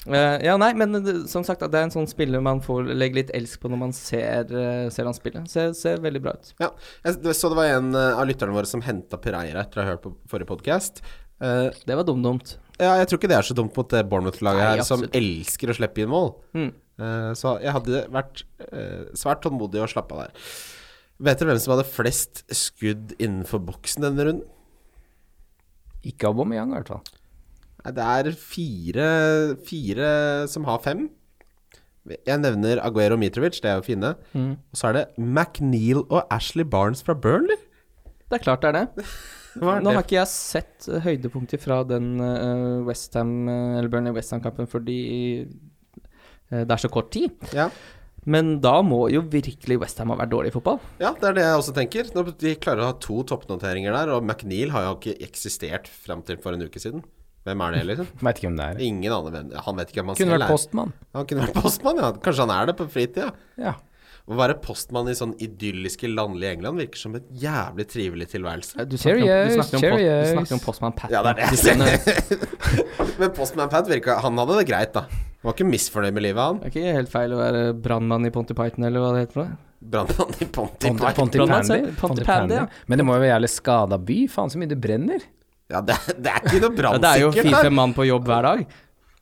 Speaker 4: Eh, ja, nei, men det, som sagt, det er en sånn spiller man får legge litt elsk på når man ser, eh, ser han spille. Ser, ser veldig bra ut.
Speaker 3: ja. Jeg så det var en eh, av lytterne våre som henta Pereira etter å ha hørt på forrige podkast.
Speaker 4: Det var dumt-dumt.
Speaker 3: Ja, jeg tror ikke det er så dumt mot det Bournemouth-laget
Speaker 4: Nei,
Speaker 3: her, som
Speaker 4: absolutt.
Speaker 3: elsker å slippe inn mål.
Speaker 4: Mm.
Speaker 3: Eh, så jeg hadde vært eh, svært tålmodig og slappa der. Vet dere hvem som hadde flest skudd innenfor boksen denne runden?
Speaker 2: Ikke Aubameyang, i hvert fall.
Speaker 3: Nei, Det er fire, fire som har fem. Jeg nevner Aguero og Mitrovic, det er jo fine. Og så er det McNeil og Ashley Barnes fra Burnley.
Speaker 4: Det er klart det er det.
Speaker 3: Hva er
Speaker 4: Nå
Speaker 3: det?
Speaker 4: har ikke jeg sett eh, høydepunkter fra den eh, West Ham, eh, eller Burnley Westham-kampen fordi eh, det er så kort tid.
Speaker 3: Ja.
Speaker 4: Men da må jo virkelig Westham ha vært dårlig i fotball.
Speaker 3: ja, det er det jeg også tenker. Når de klarer å ha to toppnoteringer der, og McNeil har jo ikke eksistert fram til for en uke siden. Hvem er det, liksom?
Speaker 2: Veit ikke hvem det er.
Speaker 3: Ingen aner hvem Han vet ikke hvem han
Speaker 2: Kunne
Speaker 3: selv
Speaker 2: vært
Speaker 3: er.
Speaker 2: postmann.
Speaker 3: Han kunne vært postmann, ja. Kanskje han er det på fritida.
Speaker 2: Ja.
Speaker 3: Å være postmann i sånn idylliske, landlige England virker som en jævlig trivelig tilværelse.
Speaker 4: Eh, Du snakker, om, du
Speaker 2: Cheerios,
Speaker 4: snakker, om, post,
Speaker 2: cheerios.
Speaker 4: du snakker om postmann Pat.
Speaker 3: Ja, det er det.
Speaker 4: Madison, eh,
Speaker 3: Men postman Pat virka Han hadde det greit, da. Han var ikke misfornøyd med livet,
Speaker 4: <laughs>
Speaker 3: han.
Speaker 4: Det er ikke helt feil å være brannmann i Ponty Python, eller hva det heter for noe.
Speaker 3: Brannmann i Ponty
Speaker 2: Ponty,
Speaker 3: Park.
Speaker 2: Ponty
Speaker 4: Bra,
Speaker 2: Pandy.
Speaker 4: altså. Ponty
Speaker 2: Ponty
Speaker 4: Pandy,
Speaker 2: Pandy.
Speaker 4: ja.
Speaker 2: Men det må jo være jævlig skada by. Faen så mye det brenner.
Speaker 3: Ja, det, er- det er ikke noe
Speaker 4: Ja, det er jo
Speaker 3: brannsikkert
Speaker 4: fire
Speaker 3: der.
Speaker 4: mann på jobb hver dag.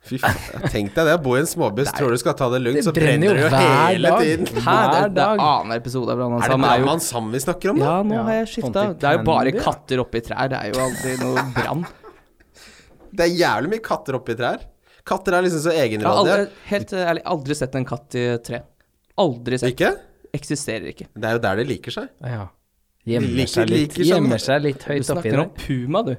Speaker 3: Fy faen. Tenk deg det, å bo i en småbuss, tror du skal ta det lugnt,
Speaker 2: Det
Speaker 3: så
Speaker 2: brenner jo hver
Speaker 3: hele
Speaker 2: dag.
Speaker 3: tiden.
Speaker 4: Hæ, det
Speaker 2: Hver
Speaker 4: er, det er
Speaker 2: dag.
Speaker 4: annen episode av Brannmann
Speaker 3: Er det
Speaker 4: Sam. er jo-
Speaker 3: brannmann Sam vi snakker om, da?
Speaker 4: Ja, nå
Speaker 2: Ja,
Speaker 4: har jeg skifta.
Speaker 2: Pontic
Speaker 4: Det er jo bare
Speaker 2: Candy, ja.
Speaker 4: katter oppi trær. Det er jo aldri noe <laughs> brann.
Speaker 3: Det er jævlig mye katter oppi trær. Katter er liksom så
Speaker 4: Jeg har aldri,
Speaker 3: egenrådige.
Speaker 4: helt eh, ærlig aldri sett en katt i tre. Aldri sett.
Speaker 3: Ikke?
Speaker 4: Eksisterer ikke.
Speaker 3: Det er jo der de liker seg.
Speaker 2: Ja. Gjemmer
Speaker 3: Liker-
Speaker 2: seg litt,
Speaker 3: liker sånn-
Speaker 2: gjemmer seg litt
Speaker 4: Du
Speaker 2: høyt oppi
Speaker 4: snakker
Speaker 2: der.
Speaker 4: om puma, du.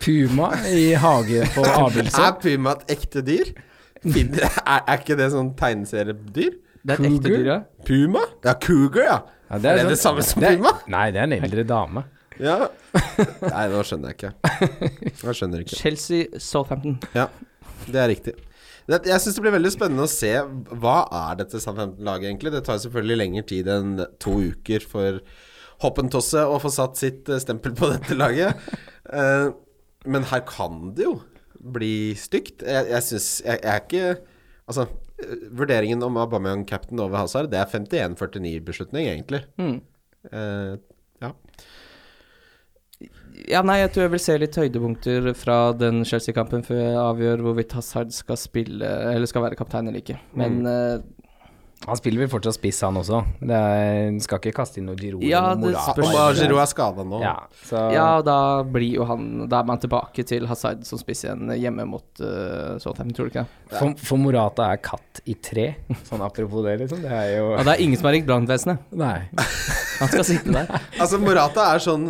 Speaker 2: Puma i hage
Speaker 4: <laughs>
Speaker 2: på Abildsø.
Speaker 3: Er puma et ekte dyr? Finner, <laughs> er, er ikke det sånn tegneseriedyr?
Speaker 4: Det er et ekte
Speaker 2: Cougar?
Speaker 4: dyr, ja.
Speaker 3: Puma? Ja, cougar, ja.
Speaker 2: Ja,
Speaker 3: er, det
Speaker 2: sånn-
Speaker 3: det samme som
Speaker 2: det er-
Speaker 3: puma?
Speaker 2: Nei, det er en eldre dame.
Speaker 3: Ja. <laughs> Nei, nå skjønner jeg ikke. Nå skjønner jeg ikke.
Speaker 4: Chelsea Southampton.
Speaker 3: Ja, det er riktig. Det, jeg syns det blir veldig spennende å se hva er dette Southampton-laget egentlig. Det tar selvfølgelig lengre tid enn to uker for Hoppentosse å få satt sitt eh, stempel på dette laget. Eh, men her kan det jo bli stygt. Jeg, jeg syns jeg, jeg er ikke Altså, eh, vurderingen om Aubameyang captain over Hazard, det er 51-49-beslutning, egentlig. Eh, ja.
Speaker 4: Ja, nei, jeg tror jeg vil se litt høydepunkter fra den Chelsea-kampen før jeg avgjør hvorvidt Hazard skal spille, eller skal være kaptein eller ikke. Men eh,
Speaker 2: Han spiller vel fortsatt spiss, han også. Det er, skal ikke kaste inn noe Giroud
Speaker 4: Ja,
Speaker 2: eller noe
Speaker 4: det
Speaker 2: Morata.
Speaker 4: spørs-
Speaker 3: Omar Ah, Giroud er skada nå.
Speaker 2: Ja, så
Speaker 4: Ja, da blir jo han Da er man tilbake til Hazard som spiss igjen hjemme mot uh, Southampton, tror du ikke det?
Speaker 2: For, for Morata er katt i tre. Sånn apropos det, liksom. Det er jo
Speaker 4: Og det er ingen som har ringt brannvesenet.
Speaker 2: Nei.
Speaker 4: Han skal sitte der.
Speaker 3: Altså Morata er sånn,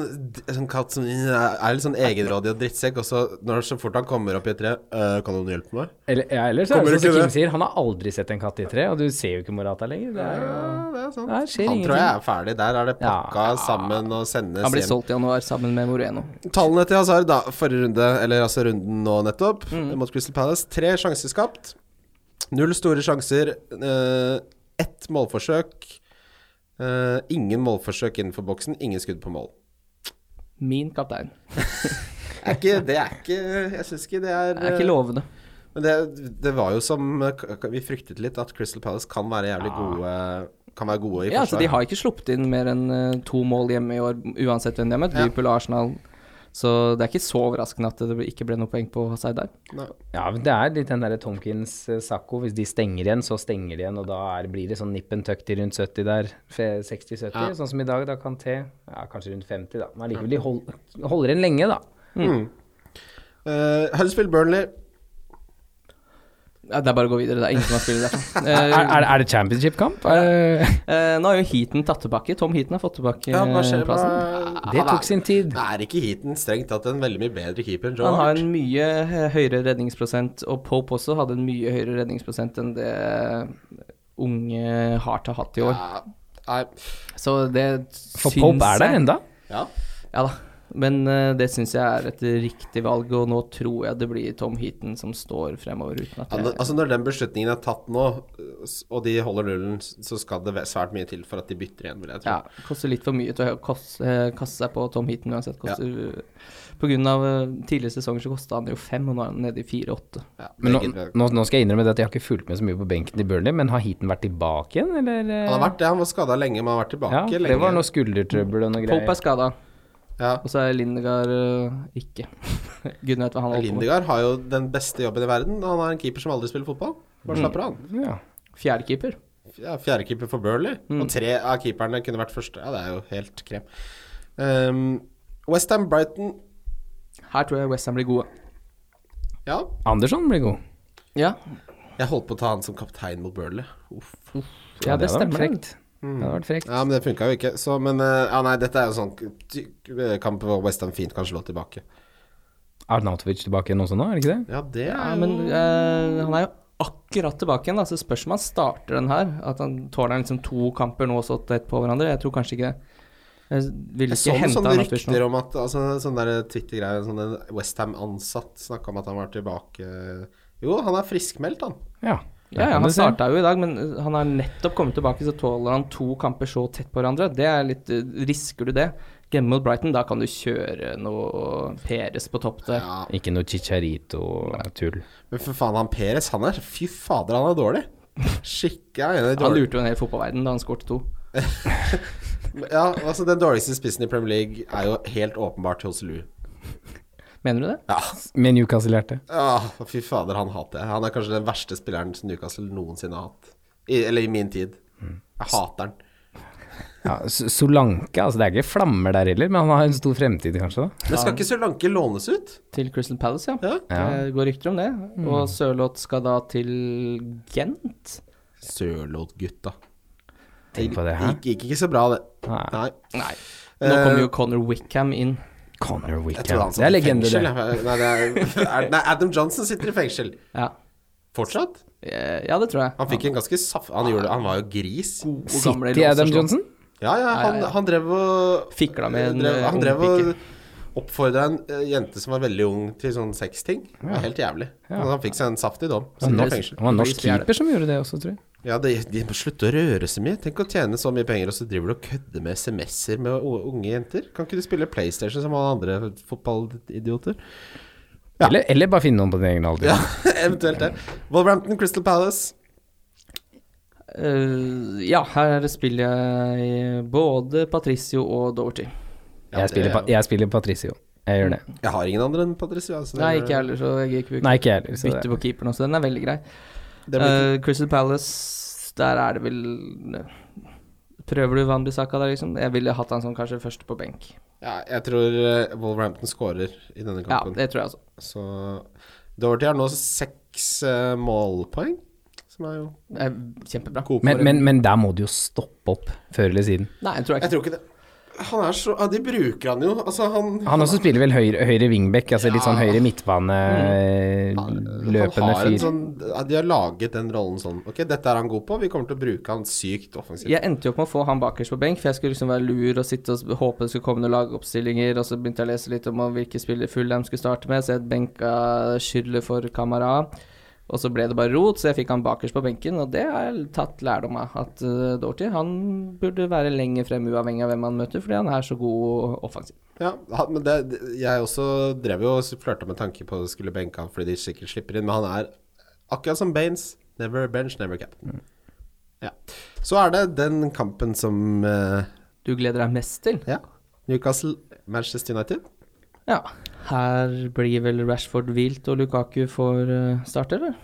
Speaker 3: sånn katt som er litt sånn egenrådig og drittsekk, og så, når, så fort han kommer opp i et tre «Øh, Kan noen hjelpe meg?
Speaker 2: Eller, ja, ellers er
Speaker 3: Kommer
Speaker 2: det
Speaker 3: ikke
Speaker 2: sånn som Kim
Speaker 3: det?
Speaker 2: sier, han har aldri sett en katt i tre, og du ser jo ikke Morata lenger. Det er jo
Speaker 3: Ja, det er sant.
Speaker 2: Nei,
Speaker 3: Han
Speaker 2: det skjer
Speaker 3: tror jeg
Speaker 2: ingenting.
Speaker 3: er ferdig. Der er det pakka sammen og sendes
Speaker 4: <laughs> Han blir solgt i januar sammen med Moreno.
Speaker 3: Tallene til Hazard, da. Forrige runde, eller altså runden nå nettopp,
Speaker 4: Mm.
Speaker 3: mot Crystal Palace. Tre sjanser skapt. Null store sjanser. eh, ett målforsøk. eh, ingen målforsøk innenfor boksen. Ingen skudd på mål.
Speaker 4: Min kaptein.
Speaker 3: Er ikke, det er ikke Jeg syns ikke det er
Speaker 4: Det er ikke lovende.
Speaker 3: Men det, det var jo som eh, k- k- vi fryktet litt, at Crystal Palace kan være jævlig gode Kan være gode i
Speaker 4: Ja, altså,
Speaker 3: forsvar.
Speaker 4: de har ikke sluppet inn mer enn eh, to mål hjemme i år, uansett hvem de har møtt. Liverpool og Arsenal. Så det er ikke så overraskende at det ikke ble noe poeng på Hazard der.
Speaker 3: Nei.
Speaker 2: Ja, men det er litt den derre Tomkins-Sacco. Hvis de stenger igjen, så stenger de igjen, og da er, blir det sånn nippen tucked i rundt 70 der. fe- 60-70, sånn som i dag. Da kan T ja, kanskje rundt 50, da. Men allikevel, de hold, holder igjen lenge, da.
Speaker 3: Eh, Huddersfield Burnley.
Speaker 4: Ja, det er bare å gå videre. Det er ingen som har spilt der.
Speaker 2: Er, <laughs>
Speaker 4: Eh,
Speaker 2: er, er det championship-kamp? Er-
Speaker 4: eh, nå har jo Heaton tatt tilbake. Tom Heaton har fått tilbake
Speaker 3: Ja, hva
Speaker 4: eh,
Speaker 3: skjer
Speaker 4: plassen.
Speaker 3: hva-
Speaker 2: Det
Speaker 3: Han
Speaker 2: tok sin tid.
Speaker 3: Er, er ikke Heaton strengt tatt en veldig mye bedre keeper enn Joe
Speaker 4: Han har
Speaker 3: Hart?
Speaker 4: en mye eh, høyere redningsprosent, og Pope også hadde en mye høyere redningsprosent enn det eh, unge Hart har hatt i år.
Speaker 3: Ja, nei.
Speaker 4: Så det
Speaker 2: For Pope er der enda.
Speaker 3: Ja.
Speaker 4: Ja da. Men eh, det syns jeg er et riktig valg, og nå tror jeg det blir Tom Heaton som står fremover. uten at jeg...
Speaker 3: Ja, altså, nå- altså Når den beslutningen er tatt nå, s- og de holder nullen, så skal det væ- svært mye til for at de bytter igjen, vil jeg tro.
Speaker 4: Ja, koster litt for mye til å koste, eh, kaste seg på Tom Heaton uansett. Koster, eh, På grunn av eh, tidligere sesonger så kosta han jo fem, og nå er han nede i fire-åtte.
Speaker 3: Ja,
Speaker 2: Men nå,
Speaker 3: det gidder jeg.
Speaker 2: nå, nå skal jeg innrømme det at jeg har ikke fulgt med så mye på benken til Burnley, men har Heaton vært tilbake igjen, eller? eh?
Speaker 3: han har vært det, han var skada lenge, men han har vært tilbake
Speaker 2: ja, for
Speaker 3: lenge.
Speaker 2: det var noe skuldertrøbbel og noe
Speaker 4: Pope er
Speaker 2: greier.
Speaker 4: skada,
Speaker 3: ja.
Speaker 4: og så er Lindegaard eh, ikke. <laughs> Gud vet hva han holder på med.
Speaker 3: Lindegaard har jo den beste jobben i verden. Han er en keeper som aldri spiller fotball. Bare slapper av, han.
Speaker 2: Ja.
Speaker 4: Fjerdekeeper.
Speaker 3: Ja, Fjerdekeeper for Burley. Og tre av keeperne kunne vært første. Ja, det er jo helt krem. Um, Westham Brighton
Speaker 4: Her tror jeg Westham blir gode.
Speaker 3: Ja,
Speaker 2: Andersson blir god.
Speaker 4: Ja,
Speaker 3: jeg holdt på å ta han som kaptein mot Burley. Uff.
Speaker 4: ja det Mm.
Speaker 2: hadde vært
Speaker 4: stemmer.
Speaker 2: frekt. Det hadde vært frekt.
Speaker 3: Ja, men det funka jo ikke. Så, men eh, ja, nei, dette er jo sånn ty- kamp hvor Westham fint kan slå tilbake.
Speaker 2: Arnautovic tilbake igjen også nå, er det ikke det?
Speaker 3: Ja, det
Speaker 4: Ja,
Speaker 3: er jo
Speaker 4: men eh, han er jo akkurat tilbake igjen, da, så spørs om han starter den her. At han tåler liksom to kamper nå så tett på hverandre. Jeg tror kanskje ikke det. Jeg ville
Speaker 3: Jeg så
Speaker 4: ikke
Speaker 3: noen
Speaker 4: hente
Speaker 3: sånn- sånne
Speaker 4: han Arthur
Speaker 3: rykter om at altså, Sånne der Twitter-greier Sånn en Westham-ansatt snakka om at han var tilbake Jo, han er friskmeldt, han.
Speaker 2: Ja.
Speaker 4: Ja,
Speaker 2: Der
Speaker 4: ja,
Speaker 2: kan
Speaker 4: han
Speaker 2: du se.
Speaker 4: starta jo i dag, men eh, han har nettopp kommet tilbake, så tåler han to kamper så tett på hverandre. Det er litt eh, Risker du det? Hjemme mot Brighton, da kan du kjøre noe Peres på topp der.
Speaker 3: Ja,
Speaker 2: Ikke noe chicharito-tull.
Speaker 3: Men for faen, han Peres, han er Fy fader, han er dårlig. Skikkelig han er
Speaker 4: Han
Speaker 3: dårlig.
Speaker 4: lurte jo en hel fotballverden da han skårte to.
Speaker 3: Ja, altså Den dårligste spissen i Premier League er jo helt åpenbart hos Lou.
Speaker 4: Mener du det?
Speaker 3: Ja.
Speaker 2: Men Newcastle-hjerte.
Speaker 3: Ah, fy fader, han hater jeg. Han er kanskje den verste spilleren som Newcastle noensinne har hatt. I, eller i min tid.
Speaker 2: Mm.
Speaker 3: Jeg hater han.
Speaker 2: Ja, S- Solanke, altså det er ikke flammer der heller, men han har en stor fremtid kanskje, da.
Speaker 3: Men skal ikke Sri Lanka lånes ut?
Speaker 4: Til Crystal Palace, ja.
Speaker 3: Ja.
Speaker 2: Ja.
Speaker 4: Det går rykter om det. Og Sørloth skal da til Gent.
Speaker 3: Sørloth-gutta.
Speaker 2: Tenk på det her.
Speaker 3: Gikk, gikk ikke så bra, det.
Speaker 2: Nei.
Speaker 3: Nei.
Speaker 4: Nei. Nå
Speaker 3: Eh,
Speaker 4: kommer jo Connor Wickham inn.
Speaker 2: Connor
Speaker 3: Jeg tror han
Speaker 2: Wickham. Det
Speaker 3: satt
Speaker 2: er
Speaker 3: i
Speaker 2: legende,
Speaker 3: fengsel.
Speaker 2: det.
Speaker 3: jeg. Nei, det er, <laughs> er- nei, Adam Johnson sitter i fengsel.
Speaker 4: Ja,
Speaker 3: Fortsatt?
Speaker 4: Eh, ja det tror jeg.
Speaker 3: Han fikk en ganske saff... Han, gjorde, han var jo gris.
Speaker 4: God gamle
Speaker 2: City Adam
Speaker 4: Låserslå.
Speaker 2: Johnson?
Speaker 3: Ja, ja, han,
Speaker 4: ja, ja.
Speaker 3: han drev og
Speaker 4: Fikla med en,
Speaker 3: drev,
Speaker 4: eh,
Speaker 3: Han
Speaker 4: ung
Speaker 3: drev og oppfordra en eh, jente som var veldig ung, til sånn sexting. Det var helt jævlig. Men han fikk seg en saftig dom. Så
Speaker 2: Han
Speaker 3: nå
Speaker 2: var-
Speaker 3: fengsel.
Speaker 2: han var en norsk
Speaker 4: Blir fjerde.
Speaker 2: keeper som gjorde det også, tror jeg.
Speaker 3: Ja, de, de må slutte å røre så mye. Tenk å tjene så mye penger, og så driver du og kødder med SMS-er med u- unge jenter. Kan ikke du spille PlayStation som alle andre fotballidioter? <laughs> Ja.
Speaker 2: Eller, eller bare finne noen på din egen alder.
Speaker 3: Ja, eventuelt det. Wolverhampton Crystal Palace.
Speaker 4: Eh, ja, her spiller jeg både Patricio og Doverty.
Speaker 3: Ja,
Speaker 2: Jeg spiller,
Speaker 3: det-
Speaker 2: pa- jeg spiller Patricio. Jeg gjør det.
Speaker 3: Jeg har ingen andre enn Patricio. altså.
Speaker 4: Nei, ikke jeg heller, så jeg gir ikke
Speaker 2: Nei, ikke jeg heller. så
Speaker 4: bytte
Speaker 2: det-
Speaker 4: på keeperen også. Den er veldig grei.
Speaker 3: Det blir-
Speaker 4: Eh, Crystal Palace, der er det vel eh, Prøver du Van Bissaka der, liksom? Jeg ville hatt han som kanskje først på benk.
Speaker 3: ja, jeg tror eh, Wolverhampton scorer i denne
Speaker 4: Ja,
Speaker 3: kampen.
Speaker 4: det tror jeg altså.
Speaker 3: Så Doherty har nå seks eh, målpoeng, som er jo
Speaker 4: Eh, Kjempebra.
Speaker 3: god
Speaker 2: Men,
Speaker 3: for-
Speaker 2: men, men der må du jo stoppe opp før eller siden.
Speaker 4: Nei, jeg tror jeg
Speaker 3: Jeg
Speaker 4: ikke.
Speaker 3: tror ikke det. Han er så ja, De bruker han jo. Altså, han
Speaker 2: Han også spiller vel høyre, høyre wingback, altså litt sånn høyre
Speaker 3: Mm.
Speaker 2: midtbane,
Speaker 3: han
Speaker 2: løpende
Speaker 3: har en
Speaker 2: fyr.
Speaker 3: sånn, ja, De har laget den rollen sånn Ok, dette er han god på, vi kommer til å bruke han sykt offensivt.
Speaker 4: Jeg endte jo opp med å få han bakerst på benk, for jeg skulle liksom være lur og sitte og s- håpe det skulle komme noen lagoppstillinger, og så begynte jeg å lese litt om om hvilke spillere Fulham skulle starte med, så jeg benka Schürrle for Kamara. Og så ble det bare rot, så jeg fikk han bakerst på benken, og det har jeg tatt lærdom av. At uh, Dorty, han burde være lenger frem uavhengig av hvem han møter, fordi han er så god og offensiv.
Speaker 3: Ja, han- men det, det- jeg også drev jo og flørta med tanke på å skulle benke han fordi de sikkert slipper inn, men han er akkurat som Baines. Never bench, never
Speaker 2: Mm.
Speaker 3: captain. Ja. Så er det den kampen som eh,
Speaker 4: Du gleder deg mest til?
Speaker 3: Ja. Newcastle, Manchester United.
Speaker 4: Ja. Her blir vel Rashford hvilt og Lukaku får uh, starte, eller?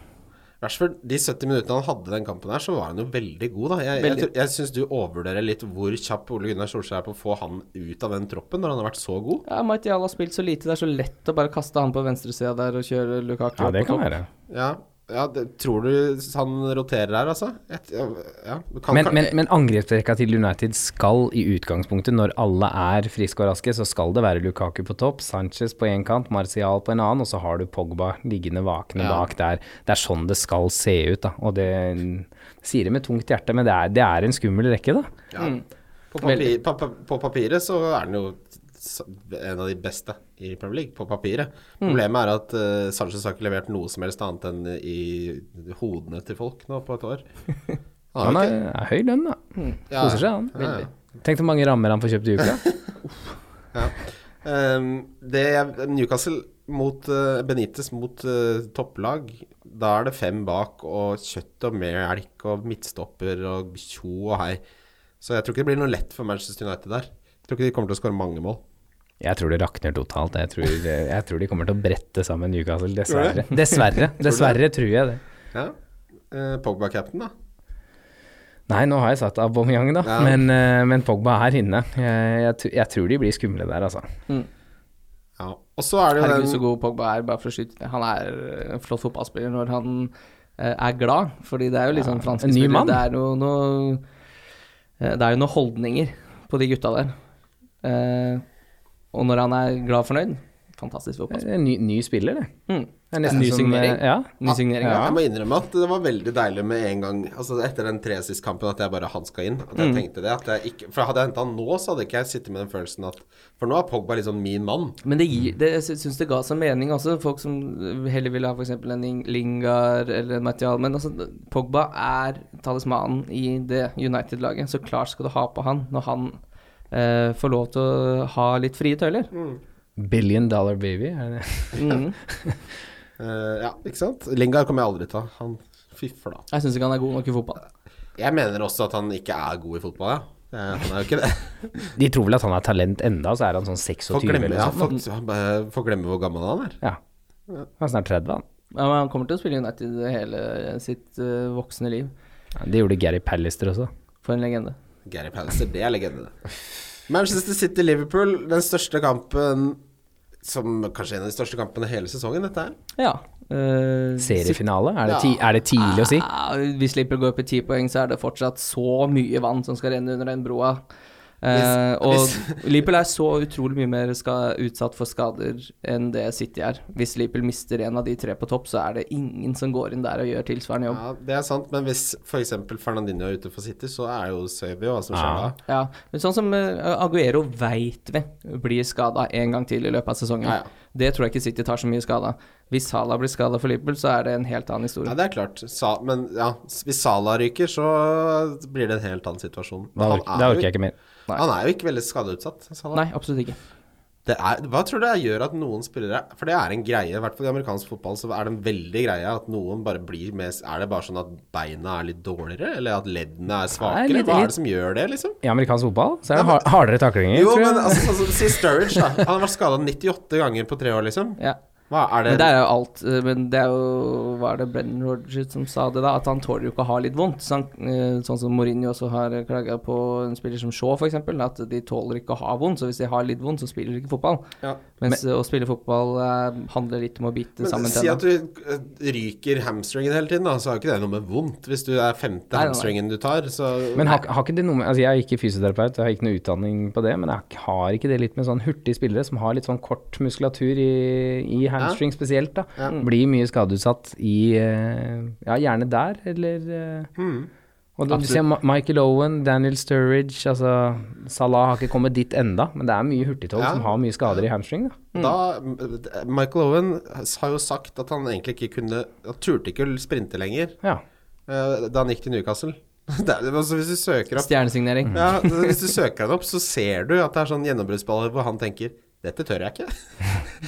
Speaker 3: Rashford, de 70 minuttene han hadde den kampen her, så var han jo veldig god, da. Jeg, jeg,
Speaker 4: Veldig.
Speaker 3: tror- jeg syns du overvurderer litt hvor kjapp Ole Gunnar Solskjær er på å få han ut av den troppen, når han har vært så god.
Speaker 4: Ja, Martial har spilt så lite, det er så lett å bare kaste han på venstresida der og kjøre Lukaku
Speaker 2: Ja,
Speaker 4: opp
Speaker 2: det
Speaker 4: på
Speaker 2: kan
Speaker 4: topp.
Speaker 2: være.
Speaker 3: Ja, ja det, tror du han roterer her, altså? Et, ja, ja. du Kan,
Speaker 2: Men,
Speaker 3: kan-
Speaker 2: men, men angrepsrekka til United skal i utgangspunktet, når alle er friske og raske, så skal det være Lukaku på topp, Sanchez på én kant, Martial på en annen, og så har du Pogba liggende vakne bak der. Det er sånn det skal se ut, da. Og det sier det med tungt hjerte, men mm. det er, det er en skummel rekke, da.
Speaker 3: ja. på, papir, pa, pa, på papiret så er han jo s- en av de beste i Premier League, på papiret.
Speaker 2: Mm.
Speaker 3: Problemet er at eh, Sanchez har ikke levert noe som helst annet enn i hodene til folk nå på et
Speaker 2: <laughs>
Speaker 3: år. Har
Speaker 2: Han
Speaker 3: han
Speaker 2: er,
Speaker 3: ikke?
Speaker 2: er høy lønn, da.
Speaker 3: Ja,
Speaker 2: Koser seg, han.
Speaker 3: ja, ja.
Speaker 2: Tenk hvor mange rammer han får kjøpt i uka.
Speaker 3: Ehm, det, Newcastle mot eh, Benitez mot eh, topplag, da er det fem bak og kjøtt og melk og midtstopper og tjo og hei. Så jeg tror ikke det blir noe lett for Manchester United der. Jeg tror ikke de kommer til å skåre mange mål.
Speaker 2: Jeg tror det rakner totalt. Jeg tror, jeg tror de kommer til å brette sammen Newcastle, dessverre. Dessverre, dessverre tror jeg det.
Speaker 3: Ja. Eh, Pogba-captain, da.
Speaker 2: Nei, nå har jeg satt Aubameyang, da,
Speaker 3: Ja.
Speaker 2: men, eh, men Pogba er her inne. Jeg, jeg, tr- jeg tror de blir skumle der, altså.
Speaker 3: Ja. Og så er det
Speaker 4: Herregud, så
Speaker 3: jo den
Speaker 4: god Pogba er, bare for å skyte det. Han er en flott fotballspiller når han eh, er glad, fordi det er jo liksom
Speaker 2: Ja,
Speaker 4: franske
Speaker 2: en ny
Speaker 4: spillere.
Speaker 2: mann.
Speaker 4: Det er jo noe eh, Det er jo noen holdninger på de gutta der. Eh, og når han er glad og fornøyd, fantastisk fotballspiller.
Speaker 2: Det er en ny, ny spiller, det.
Speaker 4: Mm.
Speaker 2: det er
Speaker 4: Ny
Speaker 2: som, eh,
Speaker 4: signering.
Speaker 2: Ja.
Speaker 4: Ny signering.
Speaker 3: ja.
Speaker 4: Ja.
Speaker 3: Jeg må innrømme at det var veldig deilig med en gang Altså etter den tresist-kampen at jeg bare han skal inn. At jeg
Speaker 4: Mm.
Speaker 3: tenkte det at jeg ikke, For hadde jeg henta han nå, så hadde ikke jeg sittet med den følelsen at For nå er Pogba liksom min mann.
Speaker 4: Men det gir, det, jeg sy- syns det ga seg mening også, folk som heller ville ha f.eks. en Ling- Lingard eller en Martial. Men altså, Pogba er talismanen i det United-laget. Så klart skal du ha på han når han eh, får lov til å ha litt frie tøyler.
Speaker 2: Billion dollar baby, er det det?
Speaker 4: Mm.
Speaker 3: Eh, ja, ikke sant? Lingard kommer jeg aldri til å ta. Han fiffer, da.
Speaker 4: <laughs> Jeg syns ikke han er god nok i fotball.
Speaker 3: Jeg mener også at han ikke er god i fotball, ja. Eh, Han er jo ikke det.
Speaker 2: De tror vel at han er talent enda, <laughs> så er han sånn 26
Speaker 3: Folk glemmer,
Speaker 2: eller
Speaker 3: ja,
Speaker 2: noe sånt.
Speaker 3: folk, eh, folk glemmer hvor gammel han er.
Speaker 2: Ja. Han er snart 30, han.
Speaker 4: Ja, men han kommer til å spille i United hele sitt eh, voksne liv.
Speaker 2: Ja, Det gjorde Gary Pallister også.
Speaker 4: For en legende.
Speaker 3: Gary Pallister, det er legende, det. Manchester City-Liverpool, den største kampen som kanskje en av de største kampene hele sesongen, dette her.
Speaker 4: Ja. eh,
Speaker 2: Seriefinale? Er det,
Speaker 3: Ja. Ah,
Speaker 2: ti, er det tidlig å si?
Speaker 4: Ja, vi slipper å gå opp i ti poeng, så er det fortsatt så mye vann som skal renne under den broa. Eh,
Speaker 3: Hvis-
Speaker 4: og
Speaker 3: hvis-
Speaker 4: Liverpool er så utrolig mye mer ska, utsatt for skader enn det City er. Hvis Liverpool mister en av de tre på topp, så er det ingen som går inn der og gjør tilsvarende jobb.
Speaker 3: Ja, Det er sant, men hvis f.eks. Fernandinho er ute for City, så er jo ser vi jo hva som skjer
Speaker 2: Ja.
Speaker 3: da.
Speaker 4: Ja, men Sånn som eh, Aguero veit vi blir skada en gang til i løpet av sesongen.
Speaker 3: Ja, ja.
Speaker 4: Det tror jeg ikke City tar så mye skade av. Hvis Salah blir skada for Liverpool, så er det en helt annen
Speaker 3: Ja,
Speaker 4: historie.
Speaker 3: det er klart. Sa, men ja, hvis Salah ryker, så blir det en helt annen situasjon.
Speaker 2: Da
Speaker 3: Han
Speaker 2: orker,
Speaker 3: er
Speaker 2: da
Speaker 3: jo-
Speaker 2: orker jeg ikke mer.
Speaker 4: Nei.
Speaker 3: Han er jo ikke veldig skadeutsatt. Salah.
Speaker 4: Nei, absolutt ikke.
Speaker 3: Det er, hva tror du det gjør at noen spillere For det er en greie, i hvert fall i amerikansk fotball, så er det en veldig greie at noen bare blir med Er det bare sånn at beina er litt dårligere, eller at leddene er svakere?
Speaker 2: litt-
Speaker 3: hva
Speaker 2: litt-
Speaker 3: er det som gjør det, liksom?
Speaker 2: I amerikansk fotball så er det har- hardere taklinger.
Speaker 3: Jo,
Speaker 2: tror jeg.
Speaker 3: men altså, altså, si Sturridge, da. Han har vært skada 98 ganger på tre år, liksom.
Speaker 4: Ja.
Speaker 3: Hva er
Speaker 4: Men
Speaker 3: det
Speaker 4: det er jo alt eh, Men det er jo Hva er det Brennan Rogers som sa det, da? At han tåler jo ikke å ha litt vondt. Så han, eh, sånn som Mourinho også har klaga på en spiller som Shaw, f.eks. At de tåler ikke å ha vondt. Så hvis de har litt vondt, så spiller de ikke fotball.
Speaker 3: Ja.
Speaker 4: Mens eh, å spille fotball eh, handler litt om å bite
Speaker 3: Men
Speaker 4: sammen
Speaker 3: si at
Speaker 4: tennene.
Speaker 3: du eh, ryker hamstringen hele tiden, da, så har jo ikke det noe med vondt. Hvis du er femte
Speaker 4: Nei, nei, nei.
Speaker 3: hamstringen du tar, så
Speaker 2: Men har, har ikke det noe med Altså, jeg er ikke fysioterapeut, jeg har ikke noe utdanning på det, men jeg har ikke det litt med sånn hurtige spillere som har litt sånn kort muskulatur i, i hamstring spesielt, da.
Speaker 3: Mm.
Speaker 2: Blir mye skadeutsatt i eh, Ja, gjerne der, eller eh,
Speaker 3: Mm.
Speaker 2: Og da, du ser Ma- Michael Owen, Daniel Sturridge, altså Salah har ikke kommet dit enda, men det er mye hurtigtog
Speaker 3: Ja.
Speaker 2: som har mye skader i hamstring, da.
Speaker 3: Da, Michael Owen har jo sagt at han egentlig ikke kunne Han turte ikke å sprinte lenger <laughs>
Speaker 2: Ja.
Speaker 3: eh, da han gikk til Newcastle. <laughs> Det er- altså hvis du søker opp
Speaker 4: Stjernesignering.
Speaker 3: ja, Hvis du søker han opp, så ser du at det er sånn gjennombruddsballer hvor han tenker dette tør jeg ikke.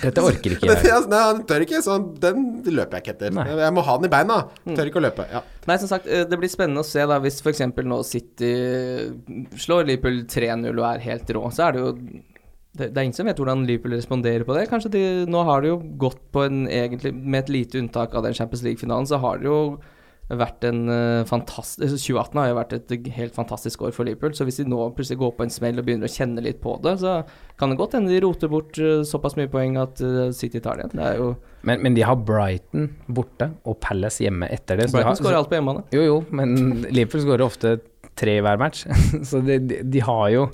Speaker 2: Dette orker
Speaker 3: <laughs>
Speaker 2: ikke
Speaker 3: Dette,
Speaker 2: jeg.
Speaker 3: nei, han tør ikke, så den løper jeg ikke etter.
Speaker 2: Nei. Mm.
Speaker 3: Jeg må ha den i beina. Tør ikke å løpe. Ja.
Speaker 4: Nei, som sagt, eh, det blir spennende å se da hvis f.eks. nå City eh, slår Liverpool 3-0 og er helt rå, så er det jo det, det er ingen som vet hvordan Liverpool responderer på det. Kanskje de Nå har de jo gått på en egentlig Med et lite unntak av den Champions League-finalen, så har det jo vært en eh, fantastisk 2018 har jo vært et helt fantastisk år for Liverpool. Så hvis de nå plutselig går på en smell og begynner å kjenne litt på det, så kan det godt hende de roter bort eh, såpass mye poeng at eh, City tar det igjen. Det er jo
Speaker 2: Men, men de har Brighton borte og Palace hjemme etter det. så de har-
Speaker 4: Brighton skårer alt på hjemmebane.
Speaker 2: <laughs> Jo, jo, men Liverpool skårer ofte tre i hver match. Så de, de, de har jo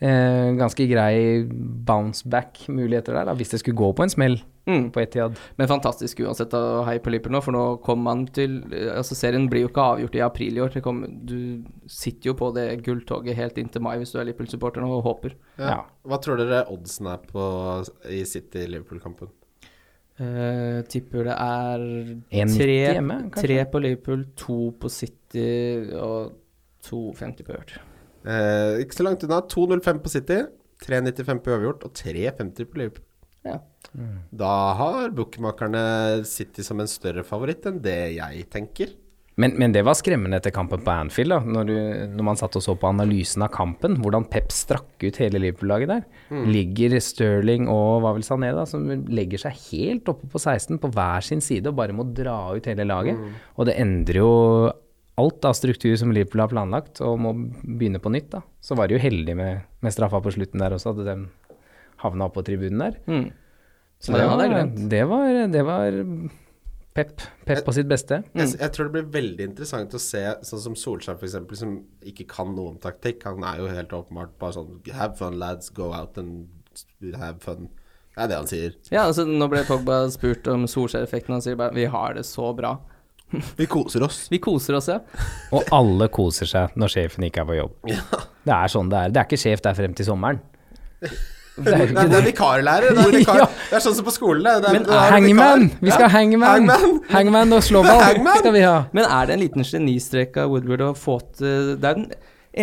Speaker 2: eh, ganske grei bounce back-muligheter der, da, hvis det skulle gå på en smell
Speaker 4: Mm.
Speaker 2: på Etiad.
Speaker 4: Men fantastisk uansett, og hei på Liverpool nå, for nå kommer man til Altså, serien blir jo ikke avgjort i april i år. Det kommer, du sitter jo på det gulltoget helt inntil mai hvis du er Liverpool-supporter nå og håper.
Speaker 3: Ja.
Speaker 2: Ja.
Speaker 3: Hva tror dere oddsen er på i City-Liverpool-kampen?
Speaker 4: Eh, tipper det er
Speaker 2: 1,90
Speaker 4: tre,
Speaker 2: hjemme, kanskje?
Speaker 4: tre på Liverpool, to på City og 2,50 på Hurt.
Speaker 3: Eh, ikke så langt unna. 2,05 på City, 3,95 på uavgjort og 3,50 på Liverpool.
Speaker 4: Ja.
Speaker 3: Da har bookmakerne City som en større favoritt enn det jeg tenker.
Speaker 2: Men, men det var skremmende etter kampen på Anfield, da, når, du, når man satt og så på analysen av kampen, hvordan Pep strakk ut hele Liverpool-laget der.
Speaker 4: Mm.
Speaker 2: Ligger Sterling og hva vel Sané, da, som legger seg helt oppe på 16 på hver sin side og bare må dra ut hele laget.
Speaker 4: Mm.
Speaker 2: Og det endrer jo alt av struktur som Liverpool har planlagt, og må begynne på nytt, da. Så var de jo heldige med, med straffa på slutten der også, at de havna oppå tribunen der.
Speaker 4: Mm.
Speaker 2: Så
Speaker 4: Ja, den
Speaker 2: det
Speaker 4: hadde
Speaker 2: var,
Speaker 4: jeg
Speaker 2: det var, det var Pep, Pep på sitt beste.
Speaker 3: Jeg, jeg tror det blir veldig interessant å se sånn som Solskjær f.eks., som ikke kan noe om taktikk. Han er jo helt åpenbart bare sånn Have fun, lads. Go out and have fun. Det er det han sier.
Speaker 4: ja, altså, nå ble Pogba spurt om Solskjær-effekten, han sier bare 'vi har det så bra'.
Speaker 3: Vi koser oss.
Speaker 4: Vi koser oss, ja.
Speaker 2: Og alle koser seg når sjefen ikke er på jobb. Det er sånn det er. Det er ikke sjef der frem til sommeren. Det er jo
Speaker 3: Nei,
Speaker 2: ikke
Speaker 3: <laughs> det
Speaker 2: det.
Speaker 3: er vikarlærer. Det er, vikar.
Speaker 2: <laughs> Ja.
Speaker 3: det er sånn som på skolen. Det er, det er,
Speaker 2: Men
Speaker 3: da har du
Speaker 2: hangman!
Speaker 3: vikar.
Speaker 2: Vi skal
Speaker 3: Ja.
Speaker 2: ha hangman.
Speaker 3: Hangman.
Speaker 2: Hangman og slåball
Speaker 3: Hangman.
Speaker 2: skal vi ha.
Speaker 4: Men er det en liten genistrek av Woodward å få til Det er den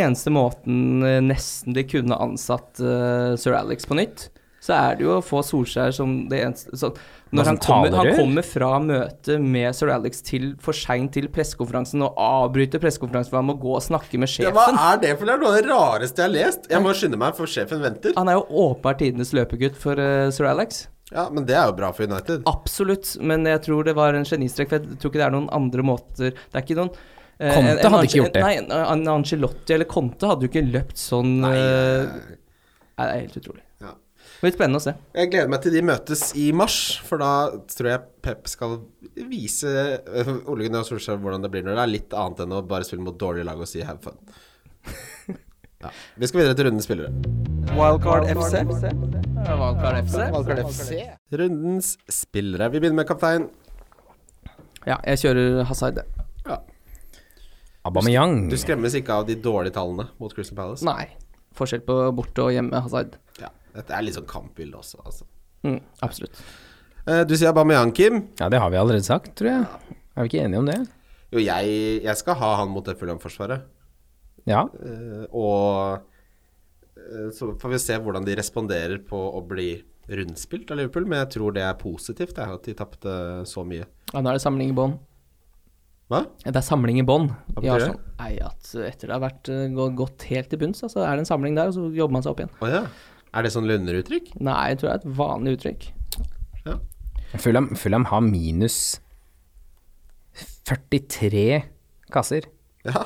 Speaker 4: eneste måten eh, nesten de kunne ansatt eh, sir Alex på nytt. Så er det jo å få Solskjær som det eneste så
Speaker 2: Hva
Speaker 4: Når
Speaker 2: som
Speaker 4: han kommer, han
Speaker 2: talerør?
Speaker 4: kommer fra møtet med sir Alex til for seint til pressekonferansen og avbryter pressekonferansen for han må gå og snakke med
Speaker 3: Ja,
Speaker 4: sjefen.
Speaker 3: hva er det for noe? Det er noe av det rareste jeg har lest. Jeg må skynde meg, for sjefen venter.
Speaker 4: Han er jo åpenbart tidenes løpegutt for eh, sir Alex.
Speaker 3: Ja, men det er jo bra for United.
Speaker 4: Absolutt, men jeg tror det var en genistrek, for jeg tror ikke det er noen andre måter Det er ikke noen eh,
Speaker 2: Conte
Speaker 4: en- en
Speaker 2: hadde ikke
Speaker 4: Ange-
Speaker 2: gjort det.
Speaker 4: Nei, en- en Angelotti eller Conte hadde jo ikke løpt sånn Nei,
Speaker 2: eh,
Speaker 4: nei, det er helt utrolig.
Speaker 3: Ja.
Speaker 4: Det blir spennende å se.
Speaker 3: Jeg gleder meg til de møtes i mars, for da tror jeg Pep skal vise øh, Ole Gunnar Solskjær hvordan det blir når det er litt annet enn å bare spille mot dårlige lag og si have fun. Ja. Vi skal videre til rundens spillere.
Speaker 1: Wildcard FC.
Speaker 4: Valkar FC.
Speaker 3: Rundens spillere. Vi begynner med kaptein.
Speaker 4: Ja, jeg kjører Hazard.
Speaker 2: Aubameyang.
Speaker 3: Du skremmes ikke av de dårlige tallene mot Crystal Palace?
Speaker 4: Nei. Forskjell på borte og hjemme Hazard.
Speaker 3: Ja. Dette er litt sånn kampbilde også, altså.
Speaker 4: Mm, absolutt.
Speaker 3: Eh, Du sier Aubameyang, Kim.
Speaker 2: Ja, det har vi allerede sagt, tror jeg. Er vi ikke enige om det?
Speaker 3: Jo, jeg, jeg skal ha han mot det Fulham-forsvaret.
Speaker 2: Ja.
Speaker 3: Eh, og eh, så får vi se hvordan de responderer på å bli rundspilt av Liverpool, men jeg tror det er positivt jeg, at de tapte så mye.
Speaker 4: Ja, nå er det samling i bånn.
Speaker 3: Hva?
Speaker 4: Det er samling i bånn
Speaker 3: Hva
Speaker 4: i
Speaker 3: betyr det?
Speaker 4: Arsenal. Nei, at etter det har vært eh, gå- gått helt til bunns, så altså, er det en samling der, og så jobber man seg opp igjen.
Speaker 3: Å ja. Er det sånn Lunder-uttrykk?
Speaker 4: Nei, jeg tror det er et vanlig uttrykk.
Speaker 2: Fulham, Fulham har minus 43 kasser.
Speaker 3: Ja.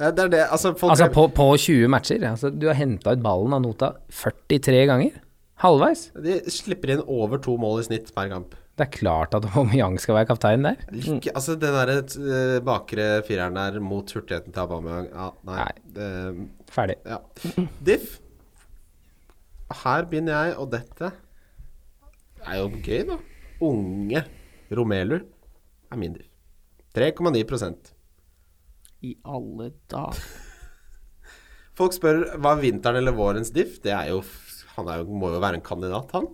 Speaker 3: Eh, Det er det. Altså, folk
Speaker 2: Altså på, på 20 matcher. Altså, du har henta ut ballen av nota 43 ganger. Halvveis.
Speaker 3: de slipper inn over to mål i snitt per kamp.
Speaker 2: Det er klart at Aubameyang skal være kaptein der.
Speaker 3: Ikke, altså, den der eh, bakre fireren der mot hurtigheten til Aubameyang ja, Nei.
Speaker 2: Nei.
Speaker 3: Det-
Speaker 2: Ferdig.
Speaker 3: Ja. Diff. Her begynner jeg, og dette er jo gøy, da. Unge Romelu er min diff. 3,9
Speaker 4: I alle dager.
Speaker 3: Folk spør hva er vinteren eller vårens diff. Det er jo Han er jo, må jo være en kandidat, han.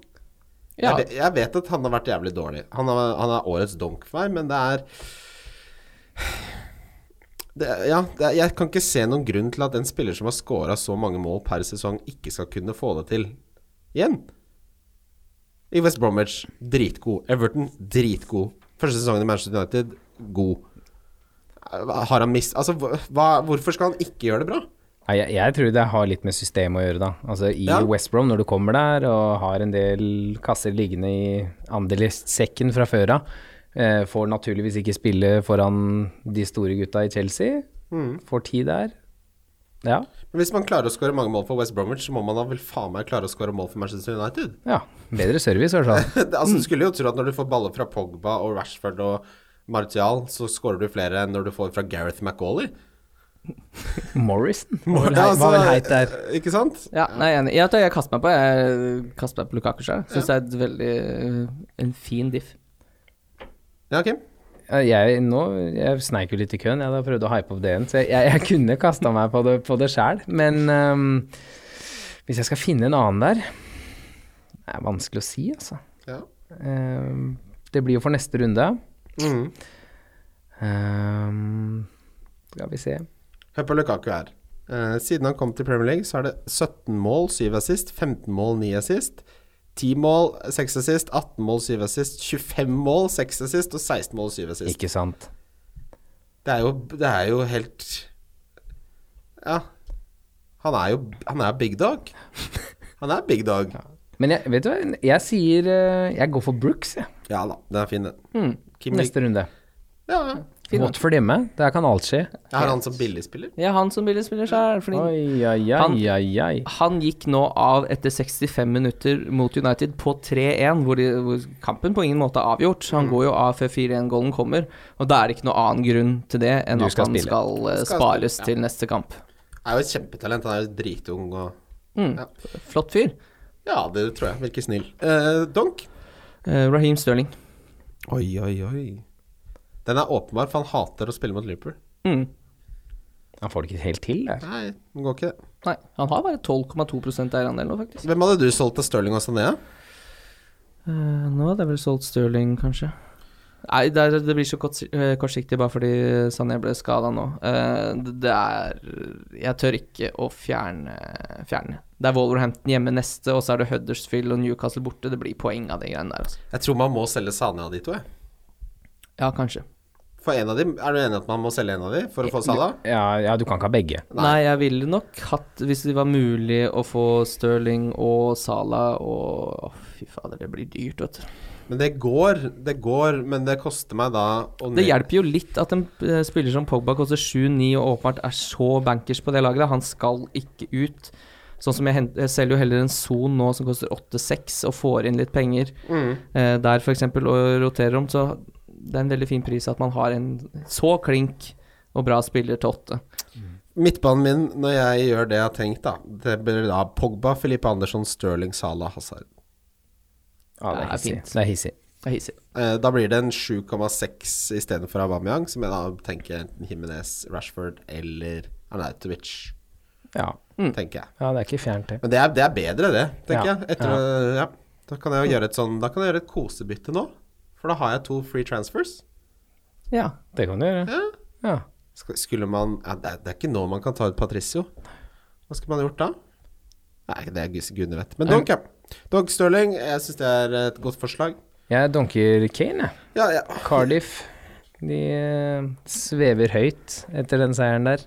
Speaker 4: Ja,
Speaker 3: Jeg, ve- jeg vet at han har vært jævlig dårlig. Han, har, han er årets donk for meg, men det er det, er- ja, det er, jeg kan ikke se noen grunn til at en spiller som har scora så mange mål per sesong, ikke skal kunne få det til igjen. I West Bromwich, dritgod. Everton, dritgod. Første sesongen i Manchester United, god. Har han mist Altså, hva- hva, hvorfor skal han ikke gjøre det bra?
Speaker 2: Nei, jeg, jeg tror det har litt med systemet å gjøre, da. Altså i
Speaker 3: Ja.
Speaker 2: West Brom, når du kommer der og har en del kasser liggende i Anderlecht-sekken fra før av, eh, får naturligvis ikke spille foran de store gutta i Chelsea.
Speaker 3: Mm.
Speaker 2: Får tid der. Ja.
Speaker 3: Men hvis man klarer å skåre mange mål for West Bromwich, så må man da vel faen meg klare å skåre mål for Manchester United.
Speaker 2: ja. Bedre service, i hvert fall.
Speaker 3: Det- <laughs> altså, du skulle jo tro at når du får baller fra Pogba og Rashford og Martial, så scorer du flere enn når du får fra Gareth McAuley.
Speaker 2: Morrison? Hva
Speaker 3: Ja, <laughs>
Speaker 2: var vel hei- hva vel heit der?
Speaker 3: altså, Ikke sant?
Speaker 4: Ja, nei, jeg er enig. Jeg, tror jeg kaster meg på Jeg kaster meg på Lukaku sjøl. Syns det er et veldig eh, en fin diff.
Speaker 3: Ja, Kim?
Speaker 2: Ja, Jeg, nå, jeg sneik jo litt i køen, jeg da prøvde å hype opp det igjen. Så jeg, jeg, jeg kunne kasta meg på det, på det sjæl, men ehm, hvis jeg skal finne en annen der Det er vanskelig å si, altså.
Speaker 3: Ja.
Speaker 2: Ehm, det blir jo for neste runde.
Speaker 3: Mm.
Speaker 2: Ehm, skal vi se.
Speaker 3: Hør på Lukaku her. Eh, siden han kom til Premier League, så er det 17 mål, 7 assist, 15 mål, 9 assist, 10 mål, 6 assist, 18 mål, 7 assist, 25 mål, 6 assist og 16 mål, 7 assist.
Speaker 2: Ikke sant.
Speaker 3: Det er jo, det er jo helt Ja. Han er jo han er big dog. Han er big dog.
Speaker 2: Men jeg, vet du hva, jeg sier eh, Jeg går for Brooks, jeg.
Speaker 3: Ja da, den er fin, den. Kim Lik-
Speaker 2: Neste runde.
Speaker 3: Ja, ja.
Speaker 2: Watford hjemme. Der kan alt skje.
Speaker 3: Jeg har han som billigspiller.
Speaker 4: Ja, han som ville spille sjøl. Fordi
Speaker 2: Oi, oi,
Speaker 4: Han-
Speaker 2: oi, oi, oi.
Speaker 4: han gikk nå av etter 65 minutter mot United på 3-1, hvor, de- hvor kampen på ingen måte er avgjort. Han går jo av før 4-1-gålen kommer, og da er det ikke noe annen grunn til det enn
Speaker 2: Du
Speaker 4: at
Speaker 2: skal
Speaker 4: han
Speaker 2: spille.
Speaker 4: skal, eh,
Speaker 3: Skal
Speaker 4: spares
Speaker 3: spille, ja.
Speaker 4: til neste kamp.
Speaker 3: Er jo et kjempetalent. Han er jo dritung og
Speaker 4: Flott fyr.
Speaker 3: Ja, det tror jeg. Virker snill. Eh, donk?
Speaker 4: Eh, Raheem Sterling.
Speaker 3: Oi, oi, oi. Den er åpenbar, for han hater å spille mot Liverpool.
Speaker 4: Mm.
Speaker 2: Han får det ikke helt til, der.
Speaker 3: Nei, den går ikke det.
Speaker 4: Nei, han har bare 12,2 eierandel nå, faktisk.
Speaker 3: Hvem hadde du solgt til Stirling og Sané?
Speaker 4: Eh, nå hadde jeg vel solgt Sterling, kanskje. Nei, det, er, det blir så kort, eh, kortsiktig bare fordi Sané ble skada nå. Eh, det det er Jeg tør ikke å fjerne Fjerne. Det er Wolverhampton hjemme neste, og så er det Huddersfield og Newcastle borte. Det blir poeng av de greiene der, altså.
Speaker 3: Jeg tror man må selge Sané av de to. jeg.
Speaker 4: Ja, kanskje.
Speaker 3: For en av dem, Er du enig i at man må selge en av de for å få Salah?
Speaker 2: Ja, ja, du kan ikke ha begge.
Speaker 4: Nei, jeg ville nok hatt Hvis det var mulig å få Sterling og Salah og Å, Fy fader, det blir dyrt, vet du.
Speaker 3: Men det går, det går, men det koster meg da å
Speaker 4: Det hjelper jo litt at en eh, spiller som Pogba koster 7-9 og åpenbart er så bankers på det laget. da. Han skal ikke ut. Sånn som jeg, hent- jeg selger jo heller en Son nå som koster 8-6 og får inn litt penger
Speaker 3: Mm.
Speaker 4: eh, der f.eks. og roterer om, så det er en veldig fin pris at man har en så klink og bra spiller til 8.
Speaker 3: Midtbanen min, når jeg gjør det jeg har tenkt, da Det blir da Pogba, Filippe Andersson, Stirling, Salah, Hazard.
Speaker 2: Ja, det
Speaker 4: Det
Speaker 2: er
Speaker 4: er
Speaker 2: hissig.
Speaker 4: fint.
Speaker 2: Det er hissig.
Speaker 4: Det er hissig.
Speaker 3: Eh, Da blir det en 7,6 istedenfor Aubameyang, som jeg da tenker enten Jimenez, Rashford eller Arnautovic,
Speaker 2: Ja.
Speaker 3: tenker jeg.
Speaker 2: ja, det er ikke fjernt, det.
Speaker 3: Men det er, det er bedre, det, tenker
Speaker 2: Mm. Ja,
Speaker 3: jeg. Etter, å- ja. Da kan jeg jo gjøre et sånn Da kan jeg gjøre et kosebytte nå. For da har jeg to free transfers.
Speaker 4: Ja.
Speaker 2: Det kan du gjøre.
Speaker 3: Ja.
Speaker 2: Ja.
Speaker 3: Sk- Skulle man ja, det, er, det er ikke nå man kan ta ut Patricio. Hva skulle man gjort da? Nei, det er gus- gudene vet. Men Donk, ja. Donk Stirling, jeg syns det er et godt forslag.
Speaker 2: Jeg donker Kane, jeg.
Speaker 3: Ja, ja.
Speaker 2: Cardiff. De eh, svever høyt etter den seieren der.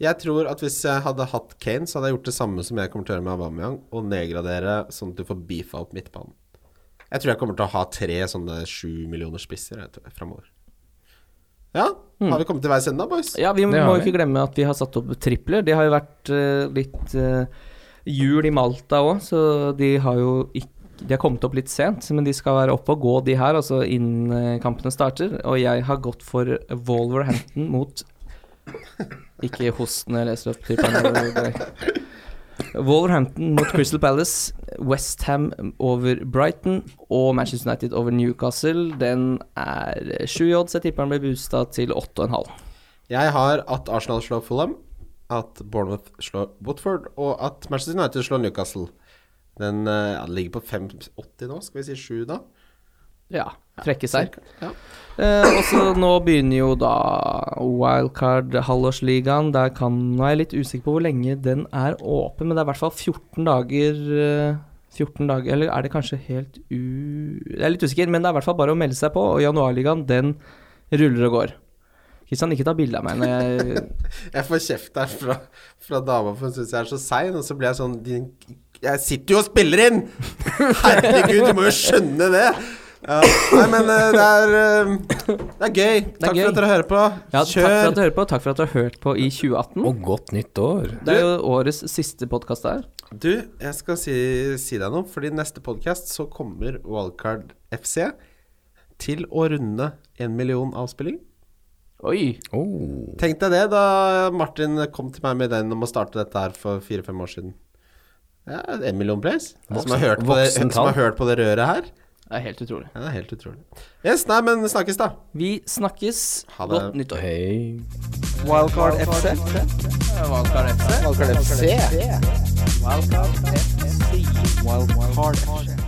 Speaker 3: Jeg tror at hvis jeg hadde hatt Kane, så hadde jeg gjort det samme som jeg kommer til å gjøre med Aubameyang, og nedgradere sånn at du får beefa opp midtbanen. Jeg tror jeg kommer til å ha tre sånne sju millioner spisser jeg tror, framover. Ja, har vi kommet til veis ende da, boys?
Speaker 4: Ja, vi må
Speaker 2: Det har
Speaker 4: jo
Speaker 2: vi.
Speaker 4: ikke glemme at vi har satt opp tripler. Det har jo vært eh, litt eh, jul i Malta òg, så de har jo ikke De har kommet opp litt sent, men de skal være oppe og gå, de her, altså innen eh, kampene starter. Og jeg har gått for Wolverhampton mot Ikke host når jeg leser opp triplene. Wolverhampton mot Crystal Palace, Westham over Brighton og Manchester United over Newcastle. Den er eh, sju i odds. Jeg tipper den blir boosta til åtte og en halv.
Speaker 3: Jeg har at Arsenal slår Fulham, at Bournemouth slår Watford, og at Manchester United slår Newcastle. Den eh, ja, den ligger på 5,80 nå, skal vi si 7 da?
Speaker 4: Ja, trekke seg.
Speaker 3: Ja.
Speaker 4: Eh, og så nå begynner jo da wildcard-halvårsligaen. Der kan Nå er jeg litt usikker på hvor lenge den er åpen, men det er i hvert fall 14 dager eh, 14 dager, Eller er det kanskje helt u... Jeg er litt usikker, men det er i hvert fall bare å melde seg på. Og januarligaen, den ruller og går. Kristian, ikke ta bilde av meg når jeg
Speaker 3: Jeg får kjeft der fra, fra dama, for hun syns jeg er så sein. Og så blir jeg sånn din, Jeg sitter jo og spiller inn! <laughs> Herregud, du må jo skjønne det! Ja. Nei, men eh, det er eh, Det er gøy. Takk
Speaker 4: gøy.
Speaker 3: for at dere hører på.
Speaker 4: ja, Takk for at
Speaker 3: Kjør.
Speaker 4: du hører på, takk for at du har hørt på i 2018.
Speaker 2: Og godt nytt år.
Speaker 4: Det er jo årets siste podkast her.
Speaker 3: Du, jeg skal si, si deg noe, fordi neste podkast så kommer Wildcard FC til å runde en million avspilling.
Speaker 4: Oi.
Speaker 2: Oh.
Speaker 3: Tenk deg det da Martin kom til meg med den om å starte dette her for fire-fem år siden. Ja, en million plays. Den Som har hørt på det,
Speaker 2: Voksen-
Speaker 3: som har hørt på det røret her.
Speaker 4: Det er helt utrolig.
Speaker 3: Ja, det er helt utrolig. Yes, nei, men snakkes, da.
Speaker 4: Vi snakkes.
Speaker 3: Ha det.
Speaker 4: Godt nyttår.
Speaker 2: Hei.
Speaker 1: Wildcard FC.
Speaker 4: Valgkar FC.
Speaker 1: Wildcard FC. Wildcard FC. Wildcard FC.